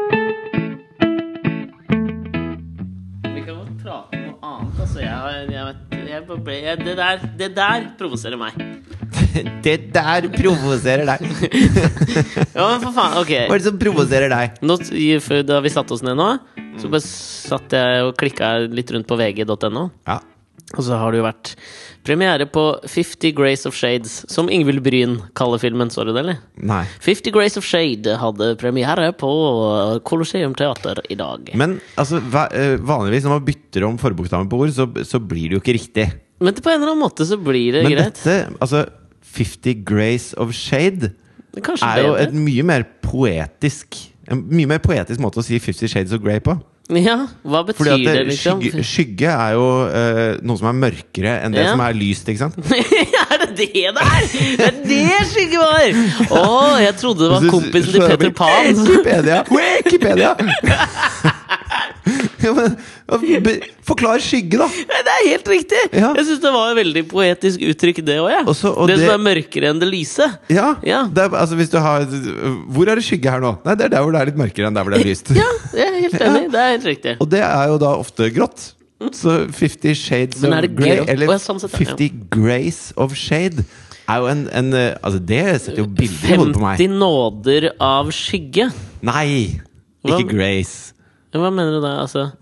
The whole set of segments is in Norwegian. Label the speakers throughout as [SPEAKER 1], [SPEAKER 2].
[SPEAKER 1] altså. Nå ble jeg, det, der, det der provoserer meg.
[SPEAKER 2] Det der provoserer deg.
[SPEAKER 1] Ja, men for faen.
[SPEAKER 2] Hva
[SPEAKER 1] Ok.
[SPEAKER 2] er det som provoserer deg?
[SPEAKER 1] Nå, i- før- da vi satte oss ned nå, så bare satt jeg og klikka litt rundt på vg.no.
[SPEAKER 2] Ja.
[SPEAKER 1] Og så har det jo vært premiere på 'Fifty Grace of Shades', som Ingvild Bryn kaller filmen. Så du det, eller?
[SPEAKER 2] Nei.
[SPEAKER 1] 'Fifty Grace of Shade' hadde premiere på Colosseum Teater i dag.
[SPEAKER 2] Men altså, hva- eh, vanligvis når man bytter om forbokstaven på ord, så, så blir det jo ikke riktig.
[SPEAKER 1] Men på en eller annen måte så blir det
[SPEAKER 2] Men
[SPEAKER 1] greit.
[SPEAKER 2] dette, altså 'Fifty Grays of Shade',
[SPEAKER 1] Kanskje
[SPEAKER 2] er jo
[SPEAKER 1] bedre.
[SPEAKER 2] et mye mer poetisk En mye mer poetisk måte å si 'Fifty Shades of Grey' på.
[SPEAKER 1] Ja, hva betyr
[SPEAKER 2] Fordi at
[SPEAKER 1] det,
[SPEAKER 2] det,
[SPEAKER 1] liksom?
[SPEAKER 2] skygge, skygge er jo eh, noe som er mørkere enn det
[SPEAKER 1] Ja.
[SPEAKER 2] som er lyst, ikke sant?
[SPEAKER 1] er det det det er? Det er det skygge var! Å, jeg trodde det var
[SPEAKER 2] Hvis du
[SPEAKER 1] kompisen
[SPEAKER 2] slår
[SPEAKER 1] til
[SPEAKER 2] opp
[SPEAKER 1] Peter
[SPEAKER 2] i
[SPEAKER 1] Pan.
[SPEAKER 2] Wikipedia! Wikipedia! ja, men, ja, be- forklar skygge, da!
[SPEAKER 1] Nei, Det er helt riktig!
[SPEAKER 2] Ja.
[SPEAKER 1] Jeg syns det var et veldig poetisk uttrykk, det òg.
[SPEAKER 2] Og så- og
[SPEAKER 1] det, som
[SPEAKER 2] det-
[SPEAKER 1] er mørkere enn det lyse.
[SPEAKER 2] Ja,
[SPEAKER 1] Ja.
[SPEAKER 2] Det er, altså hvis du har Hvor er det skygge her nå? Nei, det er der hvor det er litt mørkere enn der hvor det er lyst.
[SPEAKER 1] Ja, jeg er helt enig. Det er helt riktig.
[SPEAKER 2] Og det er jo da ofte grått. Så 'Fifty Shades
[SPEAKER 1] Men
[SPEAKER 2] of
[SPEAKER 1] er det
[SPEAKER 2] Grey',
[SPEAKER 1] grått? Å,
[SPEAKER 2] eller
[SPEAKER 1] ja, sånn sett, ja.
[SPEAKER 2] 'Fifty Grays of Shade', er jo en, en eh, Altså, det setter jo bilder i hodet på meg.
[SPEAKER 1] 50 nåder av skygge.
[SPEAKER 2] Nei!
[SPEAKER 1] Hva?
[SPEAKER 2] Ikke Grays.
[SPEAKER 1] Hva mener du da? Altså,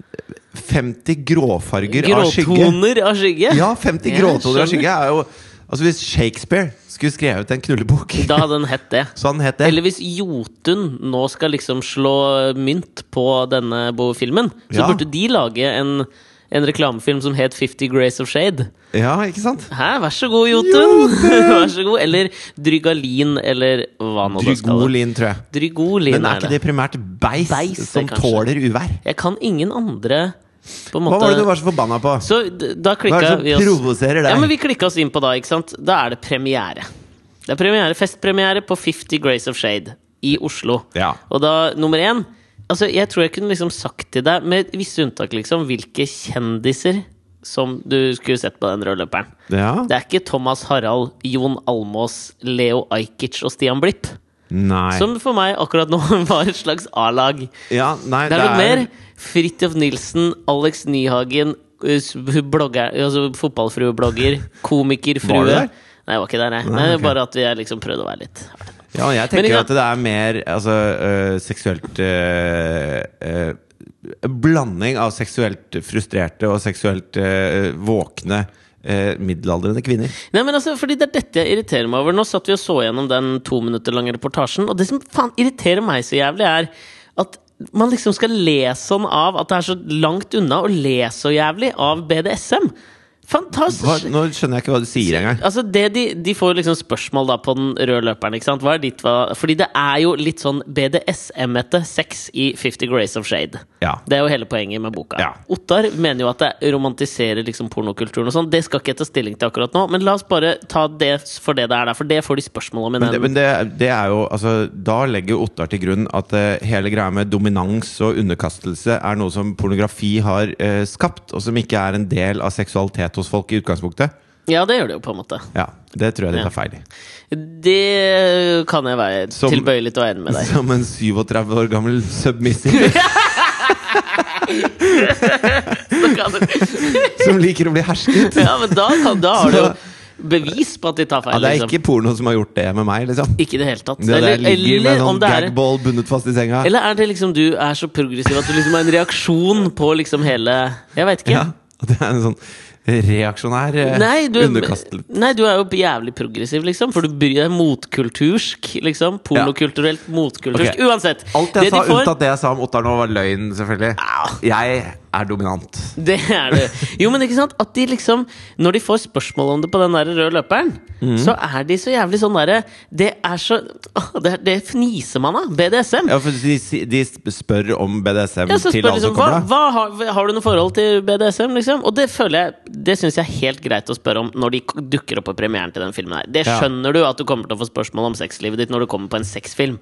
[SPEAKER 2] 50 gråfarger av skygge.
[SPEAKER 1] gråtoner av skygge?
[SPEAKER 2] Ja, 50
[SPEAKER 1] Jeg
[SPEAKER 2] gråtoner av
[SPEAKER 1] skjønner.
[SPEAKER 2] skygge er jo Altså, hvis Shakespeare skulle skrevet en knullebok,
[SPEAKER 1] Da hadde den hett det.
[SPEAKER 2] så han het det.
[SPEAKER 1] Eller hvis Jotun nå skal liksom slå mynt på denne bo- filmen, så
[SPEAKER 2] Ja.
[SPEAKER 1] burde de lage en, en reklamefilm som het 'Fifty Grays of Shade'.
[SPEAKER 2] Ja, ikke sant?
[SPEAKER 1] Hæ, vær så god, Jotun! vær så god. Eller Drygalin, eller hva nå det skal
[SPEAKER 2] Drygolin, tror jeg.
[SPEAKER 1] Drygolin
[SPEAKER 2] Men er ikke det primært beis,
[SPEAKER 1] Beis, det
[SPEAKER 2] som
[SPEAKER 1] kanskje.
[SPEAKER 2] tåler uvær?
[SPEAKER 1] Jeg kan ingen andre på en måte
[SPEAKER 2] Hva var det du var så forbanna på?
[SPEAKER 1] Så d- da
[SPEAKER 2] Hva er
[SPEAKER 1] klikka vi
[SPEAKER 2] det som
[SPEAKER 1] oss
[SPEAKER 2] provoserer deg?
[SPEAKER 1] Ja, men vi klikka oss inn på da, ikke sant? Da er det premiere. Det er premiere, festpremiere på 50 Grace of Shade i Oslo.
[SPEAKER 2] Ja.
[SPEAKER 1] Og da, nummer én Altså, jeg tror jeg kunne liksom sagt til deg, med visse unntak, liksom, hvilke kjendiser som du skulle sett på den røde løperen.
[SPEAKER 2] Ja.
[SPEAKER 1] Det er ikke Thomas Harald, Jon Almås, Leo Ajkic og Stian Blipp.
[SPEAKER 2] Nei.
[SPEAKER 1] Som for meg akkurat nå var et slags A-lag.
[SPEAKER 2] Ja, nei,
[SPEAKER 1] Det er noe mer. Fridtjof Nilsen, Alex Nyhagen, us- blogger, altså fotballfrueblogger, komikerfrue.
[SPEAKER 2] Var du der?
[SPEAKER 1] Nei, jeg var ikke der, nei.
[SPEAKER 2] Nei,
[SPEAKER 1] nei
[SPEAKER 2] ok.
[SPEAKER 1] Bare at jeg liksom prøvde å være litt
[SPEAKER 2] Ja, jeg
[SPEAKER 1] Men
[SPEAKER 2] tenker
[SPEAKER 1] ikke
[SPEAKER 2] jo at det er mer altså, øh, seksuelt øh, øh, en Blanding av seksuelt frustrerte og seksuelt øh, våkne øh, middelaldrende kvinner.
[SPEAKER 1] Nei, men altså, fordi Det er dette jeg irriterer meg over. Nå satt vi og så gjennom den to minutter lange reportasjen, og det som faen irriterer meg så jævlig, er at man liksom skal le sånn av at det er så langt unna å le så jævlig av BDSM.
[SPEAKER 2] Hva,
[SPEAKER 1] Fantastisk!
[SPEAKER 2] nå skjønner jeg ikke hva du sier engang.
[SPEAKER 1] Altså det de, de får jo liksom spørsmål da på den røde løperen. ikke sant? Hva er ditt, hva? Fordi det er jo litt sånn BDSM-ete sex i 50 Grace of Shade.
[SPEAKER 2] Ja.
[SPEAKER 1] Det er jo hele poenget med boka.
[SPEAKER 2] Ja.
[SPEAKER 1] Ottar mener jo at det romantiserer liksom pornokulturen. og sånn. Det skal ikke jeg ta stilling til akkurat nå, men la oss bare ta det for det det er der. For det får de spørsmål om i
[SPEAKER 2] Men, det,
[SPEAKER 1] den.
[SPEAKER 2] men det, det er jo altså, Da legger jo Ottar til grunn at eh, hele greia med dominans og underkastelse er noe som pornografi har eh, skapt, og som ikke er en del av seksualitet hos folk i utgangspunktet.
[SPEAKER 1] Ja, det gjør det jo, på en måte.
[SPEAKER 2] Ja, Det tror jeg de
[SPEAKER 1] Ja.
[SPEAKER 2] tar feil i.
[SPEAKER 1] Det kan jeg være
[SPEAKER 2] Som-
[SPEAKER 1] tilbøyelig til å være enig med deg i.
[SPEAKER 2] Som en 37 år gammel submissive
[SPEAKER 1] Så kan du-
[SPEAKER 2] som liker å bli hersket.
[SPEAKER 1] Ja, men da, kan, da har du jo
[SPEAKER 2] Så-
[SPEAKER 1] bevis på at de tar feil.
[SPEAKER 2] Ja, det er
[SPEAKER 1] liksom.
[SPEAKER 2] ikke porno som har gjort det med meg, liksom.
[SPEAKER 1] Ikke i det hele tatt.
[SPEAKER 2] Det der ligger med en
[SPEAKER 1] om
[SPEAKER 2] sånn
[SPEAKER 1] det er-
[SPEAKER 2] gagball bundet fast i senga.
[SPEAKER 1] eller er det liksom du er så progressiv at du liksom har en reaksjon på liksom hele Jeg veit ikke.
[SPEAKER 2] Ja, og det er en sånn reaksjonær eh,
[SPEAKER 1] Nei du,
[SPEAKER 2] underkastelse.
[SPEAKER 1] nei, du er jo jævlig progressiv, liksom. For du bryr deg motkultursk, liksom. Pornokulturelt motkultursk.
[SPEAKER 2] Ok.
[SPEAKER 1] Uansett.
[SPEAKER 2] Alt jeg
[SPEAKER 1] det de
[SPEAKER 2] sa,
[SPEAKER 1] får-
[SPEAKER 2] unntatt det jeg sa om Ottar nå, var løgn, selvfølgelig. Jeg er dominant.
[SPEAKER 1] Det er det. Jo, men ikke sant? At de liksom Når de får spørsmål om det på den der røde løperen,
[SPEAKER 2] Mm.
[SPEAKER 1] så er de så jævlig sånn derre Det er så Åh, Det, det fniser man av. BDSM.
[SPEAKER 2] Ja, for de, de spør om BDSM
[SPEAKER 1] Ja, så
[SPEAKER 2] til
[SPEAKER 1] spør
[SPEAKER 2] alle
[SPEAKER 1] liksom,
[SPEAKER 2] som
[SPEAKER 1] hva,
[SPEAKER 2] kommer, da.
[SPEAKER 1] hva har, har du noe forhold til BDSM, liksom? Og det føler jeg Det syns jeg er helt greit å spørre om når de k- dukker opp på premieren til den filmen her. Det
[SPEAKER 2] Ja.
[SPEAKER 1] skjønner du at du kommer til å få spørsmål om sexlivet ditt når du kommer på en sexfilm.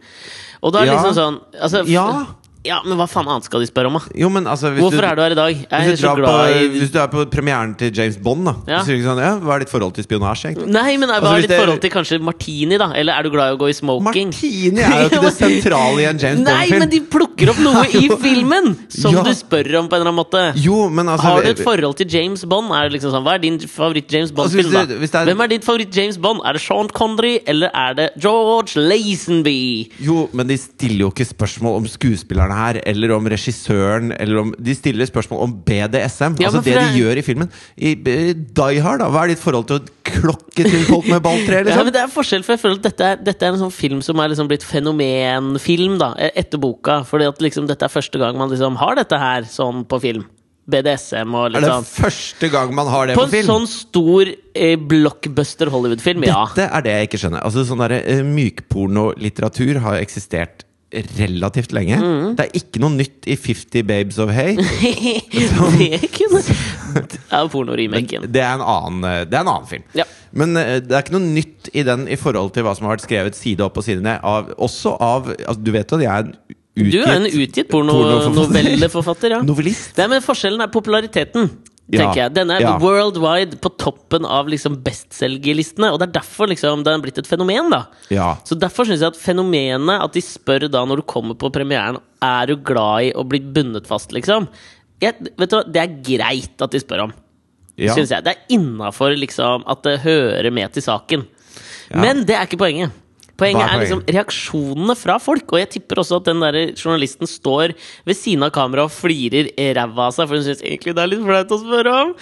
[SPEAKER 1] Og da er det
[SPEAKER 2] Ja.
[SPEAKER 1] liksom sånn altså, f-
[SPEAKER 2] Ja,
[SPEAKER 1] Ja, men hva faen annet skal de spørre om, da?
[SPEAKER 2] Jo, men altså hvis
[SPEAKER 1] Hvorfor
[SPEAKER 2] du,
[SPEAKER 1] er du her i dag? Jeg er
[SPEAKER 2] hvis du,
[SPEAKER 1] så
[SPEAKER 2] drar
[SPEAKER 1] glad
[SPEAKER 2] på, eh,
[SPEAKER 1] i
[SPEAKER 2] hvis du er på premieren til James Bond, da
[SPEAKER 1] Ja.
[SPEAKER 2] så sier du ikke sånn, ja, Hva er ditt forhold til spionasje, egentlig?
[SPEAKER 1] Nei, men hva
[SPEAKER 2] Altså, hvis
[SPEAKER 1] er ditt
[SPEAKER 2] det-
[SPEAKER 1] forhold til kanskje martini, da? Eller er du glad i å gå i smoking?
[SPEAKER 2] Martini er jo ikke det sentrale i en James
[SPEAKER 1] Nei, men
[SPEAKER 2] Bond-film.
[SPEAKER 1] de plukker opp noe i
[SPEAKER 2] Jo.
[SPEAKER 1] filmen som
[SPEAKER 2] Ja.
[SPEAKER 1] du spør om på en eller annen måte.
[SPEAKER 2] Jo, men altså
[SPEAKER 1] Har du et forhold til James Bond? Er det liksom sånn, Hva er din favoritt-James
[SPEAKER 2] Altså, hvis
[SPEAKER 1] Bond-film, da?
[SPEAKER 2] det- hvis det er-
[SPEAKER 1] Hvem er ditt favoritt-James Bond? Er det Sean Connery, eller er det George Lazenby?
[SPEAKER 2] Jo, men de stiller jo ikke spørsmål om skuespillerne her, eller om regissøren, eller om De stiller spørsmål om BDSM,
[SPEAKER 1] Ja,
[SPEAKER 2] altså
[SPEAKER 1] men for
[SPEAKER 2] det de
[SPEAKER 1] det-
[SPEAKER 2] gjør i filmen. I eh, Die Hard, da. Hva er ditt forhold til å klokke til folk med balltre,
[SPEAKER 1] Ja, men
[SPEAKER 2] liksom?
[SPEAKER 1] det er forskjell, for jeg føler at dette er, dette er en sånn film som er liksom blitt fenomenfilm da, e- etter boka. Fordi at liksom dette er første gang man liksom har dette her sånn på film. BDSM og
[SPEAKER 2] Er
[SPEAKER 1] litt
[SPEAKER 2] det
[SPEAKER 1] sånn.
[SPEAKER 2] første gang man har det
[SPEAKER 1] På
[SPEAKER 2] på
[SPEAKER 1] en
[SPEAKER 2] film?
[SPEAKER 1] sånn stor eh, blockbuster Hollywood-film, ja.
[SPEAKER 2] Dette er det jeg ikke skjønner. Altså sånn derre eh, Mykpornolitteratur har eksistert relativt lenge.
[SPEAKER 1] Mm.
[SPEAKER 2] Det er ikke noe nytt i 50 Babes of Hay.
[SPEAKER 1] det kunne Det er pornoremaken.
[SPEAKER 2] Det er en annen, eh, det er en annen film.
[SPEAKER 1] Ja.
[SPEAKER 2] Men eh, det er ikke noe nytt i den i forhold til hva som har vært skrevet side opp og side ned. Av, også av altså, Du vet jo at jeg er en utgitt
[SPEAKER 1] Du er en utgitt
[SPEAKER 2] pornoforfatter.
[SPEAKER 1] pornonovelleforfatter, ja.
[SPEAKER 2] Novellist.
[SPEAKER 1] Nei, men forskjellen er populariteten.
[SPEAKER 2] Ja,
[SPEAKER 1] tenker jeg. Denne er
[SPEAKER 2] ja.
[SPEAKER 1] worldwide på toppen av liksom bestselgerlistene. Og det er derfor liksom, det er blitt et fenomen. da.
[SPEAKER 2] Ja.
[SPEAKER 1] Så derfor syns jeg at fenomenet at de spør da når du kommer på premieren Er du glad i å bli bundet fast, liksom. Jeg, vet du hva, Det er greit at de spør om.
[SPEAKER 2] Ja.
[SPEAKER 1] Synes jeg. Det er innafor liksom, at det hører med til saken.
[SPEAKER 2] Ja.
[SPEAKER 1] Men det er ikke poenget. Poenget
[SPEAKER 2] Hva
[SPEAKER 1] er,
[SPEAKER 2] er
[SPEAKER 1] liksom reaksjonene fra folk. Og jeg tipper også at den der journalisten står ved siden av kameraet og flirer ræva av seg, for hun syns egentlig det er litt flaut å spørre om.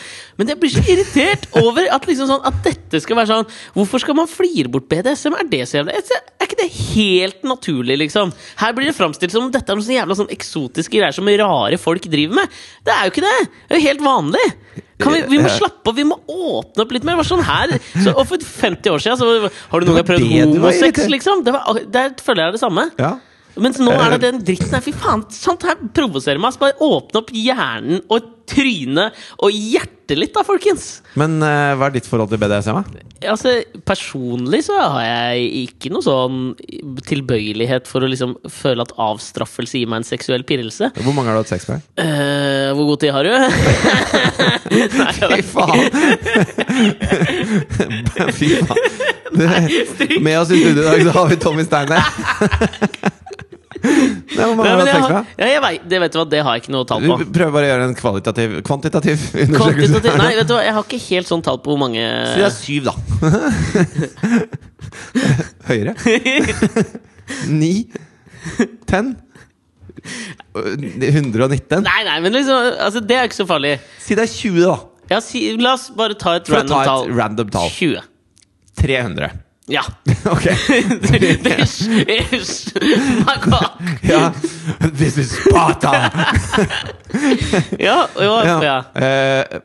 [SPEAKER 1] Men jeg blir så irritert over at, liksom sånn, at dette skal være sånn Hvorfor skal man flire bort BDSM? Er det så jævla Er ikke det helt naturlig, liksom? Her blir det framstilt som om dette er noen sånne jævla sånn eksotiske greier som rare folk driver med. Det er jo ikke det! Det er jo helt vanlig! Kan vi, vi må
[SPEAKER 2] Ja.
[SPEAKER 1] slappe av, vi må åpne opp litt mer. Det var sånn her så, Og for 50 år siden så Har du noen
[SPEAKER 2] Det
[SPEAKER 1] gang
[SPEAKER 2] var
[SPEAKER 1] prøvd
[SPEAKER 2] det du var
[SPEAKER 1] homosex,
[SPEAKER 2] irritert.
[SPEAKER 1] liksom? Det var, der føler jeg det samme.
[SPEAKER 2] ja.
[SPEAKER 1] Mens nå er det den dritten her. Fy faen, sånt her provoserer meg. Så bare åpne opp hjernen og trynet og hjertet litt, da, folkens.
[SPEAKER 2] Men eh, hva er ditt forhold til BDSM? Da?
[SPEAKER 1] Altså, Personlig så har jeg ikke noe sånn tilbøyelighet for å liksom føle at avstraffelse gir meg en seksuell pirrelse.
[SPEAKER 2] Hvor mange har du hatt sex med?
[SPEAKER 1] Eh, hvor god tid har du? Nei, jeg
[SPEAKER 2] Fy
[SPEAKER 1] vet
[SPEAKER 2] faen! Fy faen. Det, med oss i studio i dag så har vi Tommy Steine. Nei, Hvor mange
[SPEAKER 1] Nei,
[SPEAKER 2] har
[SPEAKER 1] men jeg
[SPEAKER 2] du hatt sex
[SPEAKER 1] har,
[SPEAKER 2] med?
[SPEAKER 1] ja, jeg vet, det vet du hva, det har jeg ikke noe tall
[SPEAKER 2] Vi
[SPEAKER 1] på.
[SPEAKER 2] prøver bare å gjøre en kvalitativ Kvantitativ undersøkelse.
[SPEAKER 1] Kvantitativ, nei, vet du hva, jeg har ikke helt sånn tall på hvor mange
[SPEAKER 2] Så det er syv, da. Høyere. Ni. Ten. 119.
[SPEAKER 1] Nei, nei, men liksom, altså, det er ikke så farlig.
[SPEAKER 2] Si det er 20, da.
[SPEAKER 1] Ja, si, la oss bare ta et
[SPEAKER 2] For å
[SPEAKER 1] random
[SPEAKER 2] ta
[SPEAKER 1] tall.
[SPEAKER 2] et random tall.
[SPEAKER 1] 20.
[SPEAKER 2] 300.
[SPEAKER 1] Ja.
[SPEAKER 2] Ok.
[SPEAKER 1] Ish, ish. My God.
[SPEAKER 2] Ja. This is Sparta!
[SPEAKER 1] Ja, jo, Altså, ja.
[SPEAKER 2] Ja. Eh,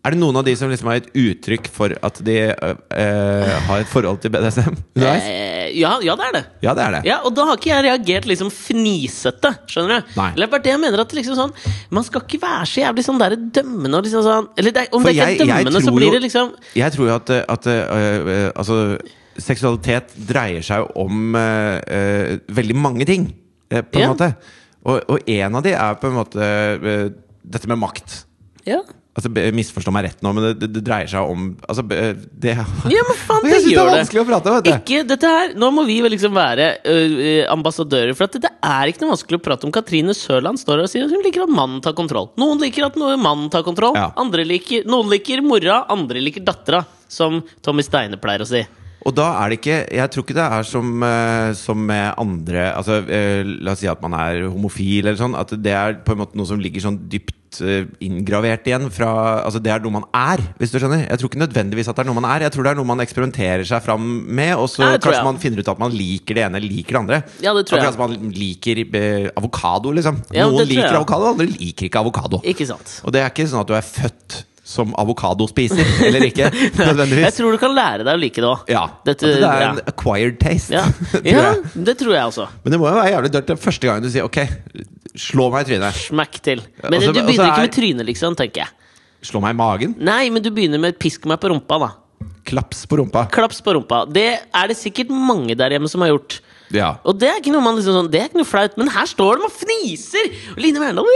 [SPEAKER 2] er det noen av de som liksom har gitt uttrykk for at de eh, eh, har et forhold til BDSM? underveis?
[SPEAKER 1] Eh, ja, ja, det er det.
[SPEAKER 2] Ja, det er det.
[SPEAKER 1] Ja, Og da har ikke jeg reagert liksom fnisete. Skjønner du?
[SPEAKER 2] Nei.
[SPEAKER 1] Eller det er bare det jeg mener at liksom sånn Man skal ikke være så jævlig sånn der dømmende og liksom sånn Eller det, er- om
[SPEAKER 2] For
[SPEAKER 1] det ikke er
[SPEAKER 2] jeg- jeg
[SPEAKER 1] dømmende, så
[SPEAKER 2] tror
[SPEAKER 1] blir
[SPEAKER 2] jo-
[SPEAKER 1] det liksom
[SPEAKER 2] Jeg tror jo at, eh, at eh, eh, Altså, seksualitet dreier seg jo om eh, eh, veldig mange ting, eh, på en
[SPEAKER 1] Ja.
[SPEAKER 2] måte. Og, og en av de er på en måte eh, dette med makt.
[SPEAKER 1] Ja,
[SPEAKER 2] Altså, be- Misforstå meg rett nå, men det, det, det dreier seg om altså, be- det,
[SPEAKER 1] ja men faen, det
[SPEAKER 2] Jeg synes det
[SPEAKER 1] gjør
[SPEAKER 2] er
[SPEAKER 1] det!
[SPEAKER 2] vanskelig å prate om, vet du.
[SPEAKER 1] Ikke dette her Nå må vi vel liksom være ø, ø, ambassadører For at det er ikke noe vanskelig å prate om Katrine Sørland står her og sier at Hun liker at mannen tar kontroll Noen liker at noe- mannen tar kontroll
[SPEAKER 2] Ja.
[SPEAKER 1] andre liker, Noen liker mora, andre liker dattera Som Tommy Steine pleier å si
[SPEAKER 2] Og da er det ikke Jeg tror ikke det er som, eh, som med andre altså, eh, La oss si at man er homofil, eller sånn. At det er på en måte noe som ligger sånn dypt eh, inngravert igjen. Fra, altså, det er noe man er, hvis du skjønner. Jeg tror ikke nødvendigvis at det er noe man er. Jeg tror det er noe man eksperimenterer seg fram med, og så
[SPEAKER 1] Ja, det tror
[SPEAKER 2] kanskje
[SPEAKER 1] jeg.
[SPEAKER 2] man finner ut at man liker det ene, liker det andre.
[SPEAKER 1] Ja, det tror jeg.
[SPEAKER 2] Akkurat som man liker eh, avokado, liksom.
[SPEAKER 1] Ja, det
[SPEAKER 2] Noen
[SPEAKER 1] tror jeg.
[SPEAKER 2] liker avokado, andre liker ikke avokado.
[SPEAKER 1] Ikke sant?
[SPEAKER 2] Og det er ikke sånn at du er født som avokadospiser, eller ikke, nødvendigvis.
[SPEAKER 1] Jeg tror du kan lære deg å like det også
[SPEAKER 2] Ja.
[SPEAKER 1] Dette-
[SPEAKER 2] at det er
[SPEAKER 1] ja.
[SPEAKER 2] en acquired taste.
[SPEAKER 1] ja.
[SPEAKER 2] tror
[SPEAKER 1] ja,
[SPEAKER 2] jeg.
[SPEAKER 1] det tror jeg også
[SPEAKER 2] Men det må jo være jævlig dørt den første gangen du sier ok, slå meg i trynet.
[SPEAKER 1] Smack til Men
[SPEAKER 2] altså,
[SPEAKER 1] du
[SPEAKER 2] altså
[SPEAKER 1] begynner
[SPEAKER 2] er-
[SPEAKER 1] ikke med trynet liksom, tenker jeg
[SPEAKER 2] Slå meg i magen.
[SPEAKER 1] Nei, men du begynner med pisk meg på rumpa da
[SPEAKER 2] Klaps på rumpa.
[SPEAKER 1] Klaps på rumpa. Det er det sikkert mange der hjemme som har gjort.
[SPEAKER 2] Ja.
[SPEAKER 1] Og det er ikke noe man liksom sånn, det er ikke noe flaut, men her står de og fniser! Og Line Verndal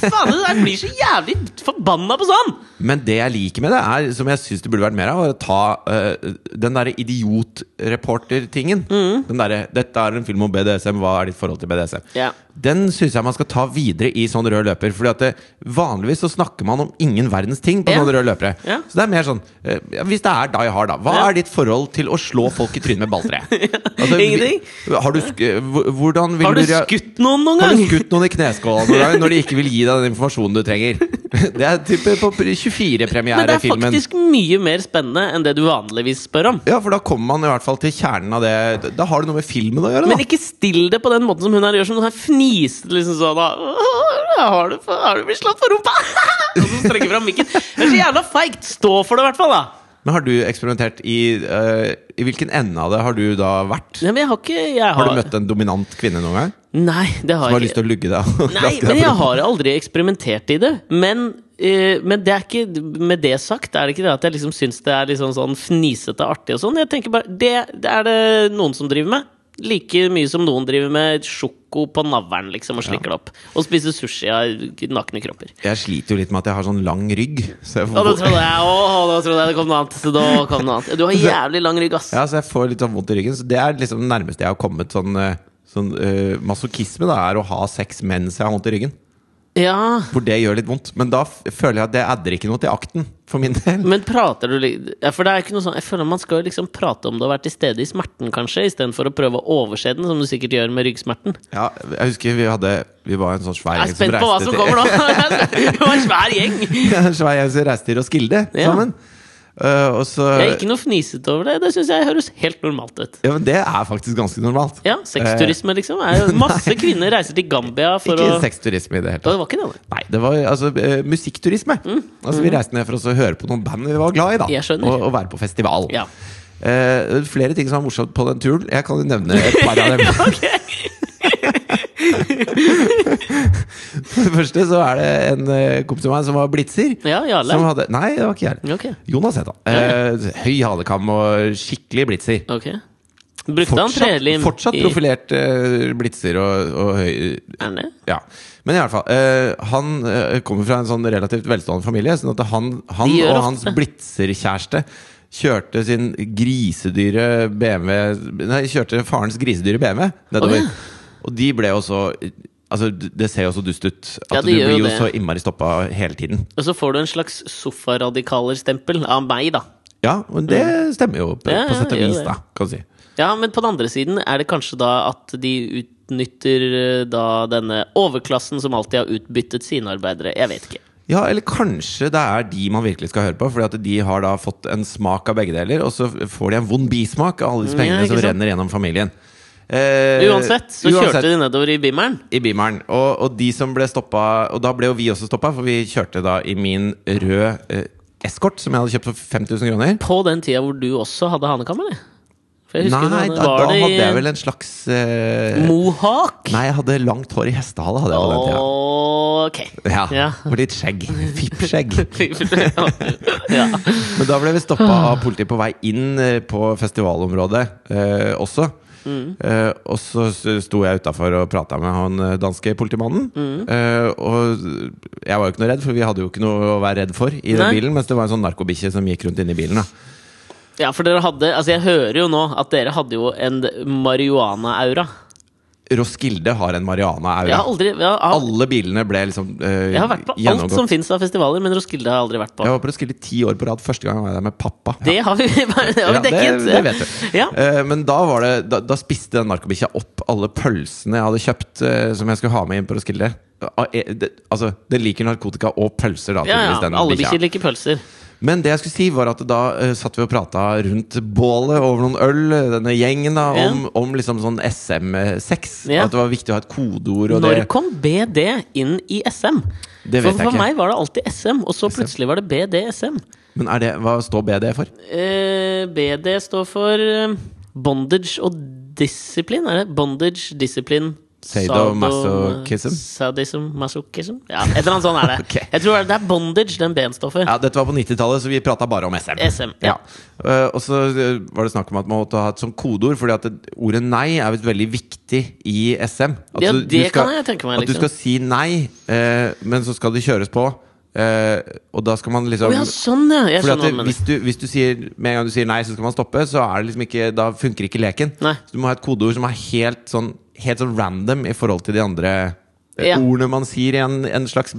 [SPEAKER 1] Faen, jeg blir så jævlig forbanna på sånn!
[SPEAKER 2] Men det jeg liker med det, er, som jeg syns det burde vært mer av, er å ta eh, den derre idiotreporter-tingen.
[SPEAKER 1] Mm.
[SPEAKER 2] Den derre 'Dette er en film om BDSM, hva er ditt forhold til BDSM?'
[SPEAKER 1] Ja.
[SPEAKER 2] Den syns jeg man skal ta videre i sånn rød løper. Fordi at det, vanligvis så snakker man om ingen verdens ting på
[SPEAKER 1] Ja.
[SPEAKER 2] sånne røde løpere.
[SPEAKER 1] Ja.
[SPEAKER 2] Så det er mer sånn eh, ja, Hvis det er Die Hard, da. Hva
[SPEAKER 1] Ja.
[SPEAKER 2] er ditt forhold til å slå folk i trynet med balltre? Altså, vi-
[SPEAKER 1] Ingenting.
[SPEAKER 2] Har du, sk h- hvordan vil
[SPEAKER 1] Har du
[SPEAKER 2] rea-
[SPEAKER 1] skutt noen noen
[SPEAKER 2] har
[SPEAKER 1] gang?
[SPEAKER 2] du skutt noen i kneskålen noen gang når de ikke vil gi deg den informasjonen du trenger? Det er type på
[SPEAKER 1] Men det er
[SPEAKER 2] 24-premierefilmen.
[SPEAKER 1] faktisk mye mer spennende enn det du vanligvis spør om.
[SPEAKER 2] Ja, for da kommer man i hvert fall til kjernen av det. Da har det noe med filmen å gjøre,
[SPEAKER 1] Men
[SPEAKER 2] da.
[SPEAKER 1] ikke still det på den måten som hun her gjør, som hun her fniser liksom sånn da. «Åh, Har du, har du blitt slått på rumpa? Og så strekker fram mikken. Det er så jævla feigt! Stå for det, i hvert fall, da!
[SPEAKER 2] Men har du eksperimentert i eh, I hvilken ende av det har du da vært?
[SPEAKER 1] Nei, men jeg har ikke jeg
[SPEAKER 2] Har du møtt en dominant kvinne noen gang?
[SPEAKER 1] Nei, det har
[SPEAKER 2] Som har
[SPEAKER 1] jeg
[SPEAKER 2] lyst
[SPEAKER 1] ikke.
[SPEAKER 2] til å lugge deg? og
[SPEAKER 1] Nei, men
[SPEAKER 2] klaske deg på
[SPEAKER 1] jeg
[SPEAKER 2] rumpa?
[SPEAKER 1] har aldri eksperimentert i det. Men, eh, men det er ikke, med det sagt er det ikke det at jeg liksom syns det er liksom sånn fnisete artig og sånn. Jeg tenker bare, det, det er det noen som driver med. Like mye som noen driver med sjoko på navlen liksom, og slikker det opp. Og spiser sushi av nakne kropper.
[SPEAKER 2] Jeg sliter jo litt med at jeg har sånn lang rygg. Så jeg
[SPEAKER 1] Og da
[SPEAKER 2] får,
[SPEAKER 1] trodde jeg, åh, da trodde jeg det kom noe annet. Så da kom noe annet. Du har jævlig lang rygg, ass.
[SPEAKER 2] ja, så jeg får litt sånn vondt i ryggen. Så det er liksom det nærmeste jeg har kommet sånn, eh, sånn eh, masochisme, da, er å ha sex mens jeg har vondt i ryggen.
[SPEAKER 1] Ja,
[SPEAKER 2] Hvor det gjør litt vondt. Men da f- føler jeg at det adder ikke noe til akten, for min del.
[SPEAKER 1] Men prater du li- ja, For det er ikke noe sånn Jeg føler man skal jo liksom prate om det og være til stede i smerten, kanskje, istedenfor å prøve å overse den, som du sikkert gjør med ryggsmerten.
[SPEAKER 2] Ja, jeg husker vi hadde Vi var en sånn svær
[SPEAKER 1] Jeg er
[SPEAKER 2] gjeng som
[SPEAKER 1] spent på hva
[SPEAKER 2] reiste
[SPEAKER 1] som kommer nå!
[SPEAKER 2] til
[SPEAKER 1] Det var en svær gjeng!
[SPEAKER 2] En svær gjeng som reiste til Roskilde
[SPEAKER 1] Ja.
[SPEAKER 2] sammen. Eh, og så
[SPEAKER 1] Jeg er ikke noe fnisete over det. Det syns jeg høres helt normalt ut.
[SPEAKER 2] ja, men Det er faktisk ganske normalt.
[SPEAKER 1] Ja, sexturisme, liksom. Er jo masse kvinner reiser til Gambia for
[SPEAKER 2] Eh. Ikke
[SPEAKER 1] å
[SPEAKER 2] sexturisme i det hele
[SPEAKER 1] Ja,
[SPEAKER 2] tatt.
[SPEAKER 1] Det var ikke det, nei.
[SPEAKER 2] Nei, det var altså eh, musikkturisme. Altså Vi reiste ned for oss å høre på noen band vi var glad i, da.
[SPEAKER 1] Mm. Jeg skjønner.
[SPEAKER 2] og, og være på festival.
[SPEAKER 1] Ja.
[SPEAKER 2] Eh, flere ting som var morsomt på den turen. Jeg kan jo nevne et par av dem.
[SPEAKER 1] Ok.
[SPEAKER 2] For det første så er det en eh, kompis av meg som var blitzer.
[SPEAKER 1] Ja, Jarle?
[SPEAKER 2] Som hadde, nei, det var ikke Jarle.
[SPEAKER 1] Ok.
[SPEAKER 2] Jonas het han. Eh, høy halekam og skikkelig blitzer.
[SPEAKER 1] ok. Brukte han
[SPEAKER 2] Fortsatt,
[SPEAKER 1] trelim
[SPEAKER 2] fortsatt
[SPEAKER 1] i-
[SPEAKER 2] profilert eh, blitzer og, og høy
[SPEAKER 1] Er han det?
[SPEAKER 2] Ja. Men i alle fall, eh, han eh, kommer fra en sånn relativt velstående familie, sånn at han, han
[SPEAKER 1] De gjør
[SPEAKER 2] og
[SPEAKER 1] ofte.
[SPEAKER 2] hans blitzerkjæreste kjørte sin grisedyre BMW Nei, kjørte farens grisedyre BMW nedover.
[SPEAKER 1] Å, ja.
[SPEAKER 2] Og de ble jo så Altså, det ser jo så dust ut. At
[SPEAKER 1] Ja, det
[SPEAKER 2] du
[SPEAKER 1] gjør
[SPEAKER 2] blir
[SPEAKER 1] jo
[SPEAKER 2] jo
[SPEAKER 1] det.
[SPEAKER 2] så innmari stoppa hele tiden.
[SPEAKER 1] Og så får du en slags sofaradikalerstempel av meg, da.
[SPEAKER 2] Ja, men det stemmer jo på,
[SPEAKER 1] Mm. Ja,
[SPEAKER 2] på sett og
[SPEAKER 1] ja, gjør
[SPEAKER 2] vis,
[SPEAKER 1] det.
[SPEAKER 2] da, kan du si.
[SPEAKER 1] Ja, men på den andre siden er det kanskje da at de utnytter eh, da denne overklassen som alltid har utbyttet sine arbeidere. Jeg vet ikke.
[SPEAKER 2] Ja, eller kanskje det er de man virkelig skal høre på. Fordi at de har da fått en smak av begge deler, og så får de en vond bismak av alle disse
[SPEAKER 1] Ja,
[SPEAKER 2] pengene
[SPEAKER 1] Mm, ikke
[SPEAKER 2] som
[SPEAKER 1] sant?
[SPEAKER 2] renner gjennom familien. Eh,
[SPEAKER 1] Uansett, så
[SPEAKER 2] uansett,
[SPEAKER 1] kjørte de nedover i bimmeren.
[SPEAKER 2] i Bimeren. Og, og de som ble stoppa Og da ble jo vi også stoppa, for vi kjørte da i min rød eh, eskort som jeg hadde kjøpt for 5000 kroner.
[SPEAKER 1] På den tida hvor du også hadde hanekam, eller? For
[SPEAKER 2] Nei,
[SPEAKER 1] du
[SPEAKER 2] da,
[SPEAKER 1] hadde-
[SPEAKER 2] da
[SPEAKER 1] var det i
[SPEAKER 2] hadde jeg vel en slags eh,
[SPEAKER 1] Mohawk?
[SPEAKER 2] Nei, jeg hadde langt hår i hestehale, hadde jeg på den tida.
[SPEAKER 1] Ok.
[SPEAKER 2] Ja,
[SPEAKER 1] Ja.
[SPEAKER 2] Og litt skjegg. Fippskjegg.
[SPEAKER 1] ja.
[SPEAKER 2] Men da ble vi stoppa
[SPEAKER 1] Ah.
[SPEAKER 2] av politiet på vei inn eh, på festivalområdet eh, også.
[SPEAKER 1] Mm.
[SPEAKER 2] Eh, og så s- sto jeg utafor og prata med han eh, danske politimannen.
[SPEAKER 1] Mm.
[SPEAKER 2] Eh, og jeg var jo ikke noe redd, for vi hadde jo ikke noe å være redd for i den
[SPEAKER 1] Nei.
[SPEAKER 2] bilen. Mens det var en sånn narkobikkje som gikk rundt inni bilen. Da.
[SPEAKER 1] ja, for dere hadde Altså, jeg hører jo nå at dere hadde jo en marihuana-aura.
[SPEAKER 2] Roskilde har en
[SPEAKER 1] Jeg har
[SPEAKER 2] mariana-aura.
[SPEAKER 1] aldri jeg har,
[SPEAKER 2] Alle bilene ble liksom eh,
[SPEAKER 1] Jeg har vært på alt
[SPEAKER 2] gjennomgått.
[SPEAKER 1] som fins av festivaler, men Roskilde har jeg aldri vært på.
[SPEAKER 2] Jeg var på Roskilde ti år på rad. Første gang var jeg der med pappa.
[SPEAKER 1] Det har vi, det har vi
[SPEAKER 2] Ja,
[SPEAKER 1] dekket.
[SPEAKER 2] Det, det vet du.
[SPEAKER 1] Ja.
[SPEAKER 2] Eh, men da, var det, da, da spiste den narkobikkja opp alle pølsene jeg hadde kjøpt eh, som jeg skulle ha med inn på Roskilde. Ah, eh, det, altså, den liker narkotika og pølser, da.
[SPEAKER 1] Ja, ja,
[SPEAKER 2] tydeligvis, den
[SPEAKER 1] alle
[SPEAKER 2] bikkja.
[SPEAKER 1] bikkjer liker pølser.
[SPEAKER 2] Men det jeg skulle si, var at da eh, satt vi og prata rundt bålet over noen øl, eh, denne gjengen, da,
[SPEAKER 1] Ja.
[SPEAKER 2] om, om liksom sånn SM-sex.
[SPEAKER 1] Ja.
[SPEAKER 2] At det var viktig å ha et kodeord. Og
[SPEAKER 1] Når
[SPEAKER 2] det,
[SPEAKER 1] kom BD inn i SM?
[SPEAKER 2] Det
[SPEAKER 1] for
[SPEAKER 2] vet jeg
[SPEAKER 1] for
[SPEAKER 2] ikke.
[SPEAKER 1] meg var det alltid SM, og så plutselig var det BDSM.
[SPEAKER 2] men er det, hva står BD for?
[SPEAKER 1] Eh, BD står for eh, bondage og disiplin, er det? Bondage, disiplin,
[SPEAKER 2] Sadomasochism?
[SPEAKER 1] Sadism, masochism? Ja, et eller annet sånt er det.
[SPEAKER 2] Ok.
[SPEAKER 1] Jeg tror det er bondage, den benstoffet.
[SPEAKER 2] Ja, dette var på 90-tallet, så vi prata bare om SM.
[SPEAKER 1] SM, ja.
[SPEAKER 2] Eh, og så eh, var det snakk om at man måtte ha et sånt kodeord, fordi at det, ordet nei er visst veldig viktig i SM. At
[SPEAKER 1] Ja,
[SPEAKER 2] du- du
[SPEAKER 1] det kan jeg tenke meg,
[SPEAKER 2] At du
[SPEAKER 1] liksom.
[SPEAKER 2] skal si nei, eh, men så skal det kjøres på. eh, og da skal man
[SPEAKER 1] Å
[SPEAKER 2] liksom
[SPEAKER 1] ja, sånn, ja! Jeg
[SPEAKER 2] fordi at
[SPEAKER 1] skjønner hva
[SPEAKER 2] det,
[SPEAKER 1] du mener.
[SPEAKER 2] hvis, du, hvis du sier Med en gang du sier nei, så skal man stoppe, så er det liksom ikke, da funker ikke leken.
[SPEAKER 1] Nei.
[SPEAKER 2] Så du må ha et kodeord som er helt sånn, helt sånn random i forhold til de andre eh,
[SPEAKER 1] Ja.
[SPEAKER 2] ordene man sier i en, en slags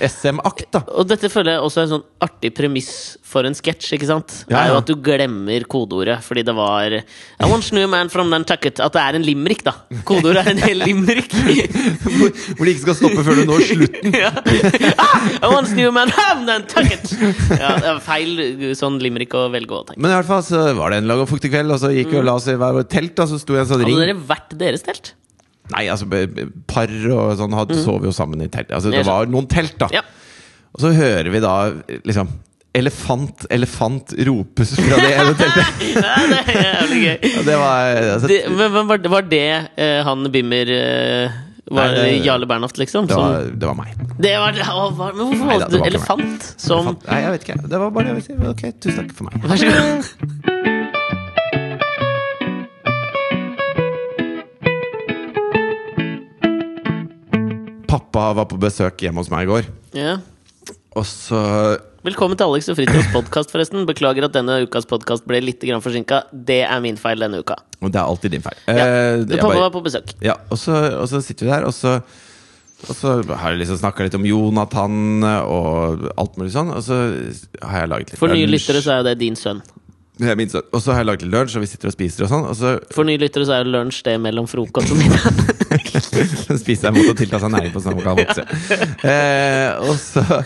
[SPEAKER 2] SM-akt. da
[SPEAKER 1] Og dette føler jeg også er en sånn artig premiss for en sketsj. ikke sant?
[SPEAKER 2] Ja,
[SPEAKER 1] Er
[SPEAKER 2] ja.
[SPEAKER 1] jo At du glemmer kodeordet fordi det var I want new man from Nantucket. At det er en limerick, da. Kodeordet er en hel limerick.
[SPEAKER 2] Hvor, hvor de ikke skal stoppe før du når slutten.
[SPEAKER 1] ja. ah, I want new man from Nantucket! Ja, det er feil sånn limerick å velge å tenke.
[SPEAKER 2] Men i hvert fall så var det en lang og fuktig kveld, og så gikk vi og la oss i hver vår telt. Da, så sto jeg i en sånn
[SPEAKER 1] Hadde
[SPEAKER 2] ring
[SPEAKER 1] Mm. dere vært deres telt?
[SPEAKER 2] Nei, altså b- b- par og sånn hadde, sov jo sammen i telt. Altså, det
[SPEAKER 1] Jeg skjønner.
[SPEAKER 2] var noen telt, da.
[SPEAKER 1] Mm. Ja.
[SPEAKER 2] Og så hører vi da liksom Elefant, elefant ropes fra det ene teltet.
[SPEAKER 1] ja, det er jævlig gøy.
[SPEAKER 2] Og Det var altså,
[SPEAKER 1] Det, men, men var, var det eh, han Bimmer eh, var
[SPEAKER 2] Nei, det-
[SPEAKER 1] Jarle Bernhoft, liksom?
[SPEAKER 2] det,
[SPEAKER 1] Som,
[SPEAKER 2] var, det var meg.
[SPEAKER 1] det var, å, hva- men hvorfor
[SPEAKER 2] Nei, da,
[SPEAKER 1] valgte
[SPEAKER 2] det
[SPEAKER 1] du
[SPEAKER 2] var ikke meg.
[SPEAKER 1] elefant som
[SPEAKER 2] Elefant. Nei, jeg vet ikke. Det var bare det jeg ville si. Ok, tusen takk for meg.
[SPEAKER 1] Vær så god.
[SPEAKER 2] Pappa var på besøk hjemme hos meg i går,
[SPEAKER 1] Ja.
[SPEAKER 2] og så
[SPEAKER 1] Velkommen til Alex og Fritjofs podkast, forresten. Beklager at denne ukas podkast ble litt forsinka. Det er min feil denne uka.
[SPEAKER 2] Og det er alltid din feil.
[SPEAKER 1] Ja.
[SPEAKER 2] Eh,
[SPEAKER 1] Du,
[SPEAKER 2] jeg
[SPEAKER 1] pappa
[SPEAKER 2] bare-
[SPEAKER 1] var på besøk.
[SPEAKER 2] Ja, og så, og så sitter vi der, og så, og så har jeg liksom snakka litt om Jonathan og alt mulig sånn. Og så har jeg laget litt
[SPEAKER 1] For nye
[SPEAKER 2] lunsj.
[SPEAKER 1] lyttere så er jo det din sønn.
[SPEAKER 2] Jeg minnes det. Og så har jeg laget litt lunsj, og vi sitter og spiser og sånn. Og så
[SPEAKER 1] For nye lyttere så er jo lunsj det mellom frokost og middag.
[SPEAKER 2] spiser jeg mot å tilta seg næring på sånn at man kan vokse. Eh, og, så,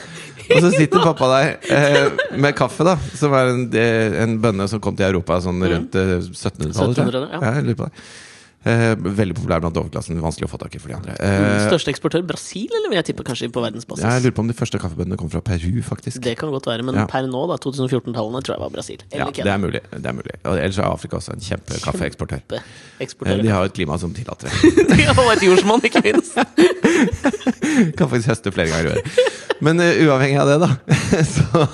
[SPEAKER 2] og så sitter pappa der eh, med kaffe, da. Som er en, eh, en bønne som kom til Europa sånn rundt eh, 1700-tallet. tror jeg.
[SPEAKER 1] 1700, Mm. ja.
[SPEAKER 2] Ja, jeg lurer på det. Eh, veldig populær blant overklassen. Vanskelig å få tak i for de andre. Eh,
[SPEAKER 1] Største eksportør Brasil, eller vil jeg tippe kanskje på verdensbasis?
[SPEAKER 2] Jeg lurer på om de første kaffebønnene kom fra Peru, faktisk.
[SPEAKER 1] Det kan godt være, men
[SPEAKER 2] Ja.
[SPEAKER 1] per nå, da, 2014-tallene, tror jeg var Brasil.
[SPEAKER 2] Ja,
[SPEAKER 1] Eller
[SPEAKER 2] det er mulig. Det er mulig. Og ellers er Afrika også en kjempekaffeeksportør. Eh,
[SPEAKER 1] Kjempeeksportører.
[SPEAKER 2] De har jo et klima som tillater det.
[SPEAKER 1] Og et jordsmonn, ikke minst!
[SPEAKER 2] Kan faktisk høste flere ganger i året. Men eh, uavhengig av det, da, så,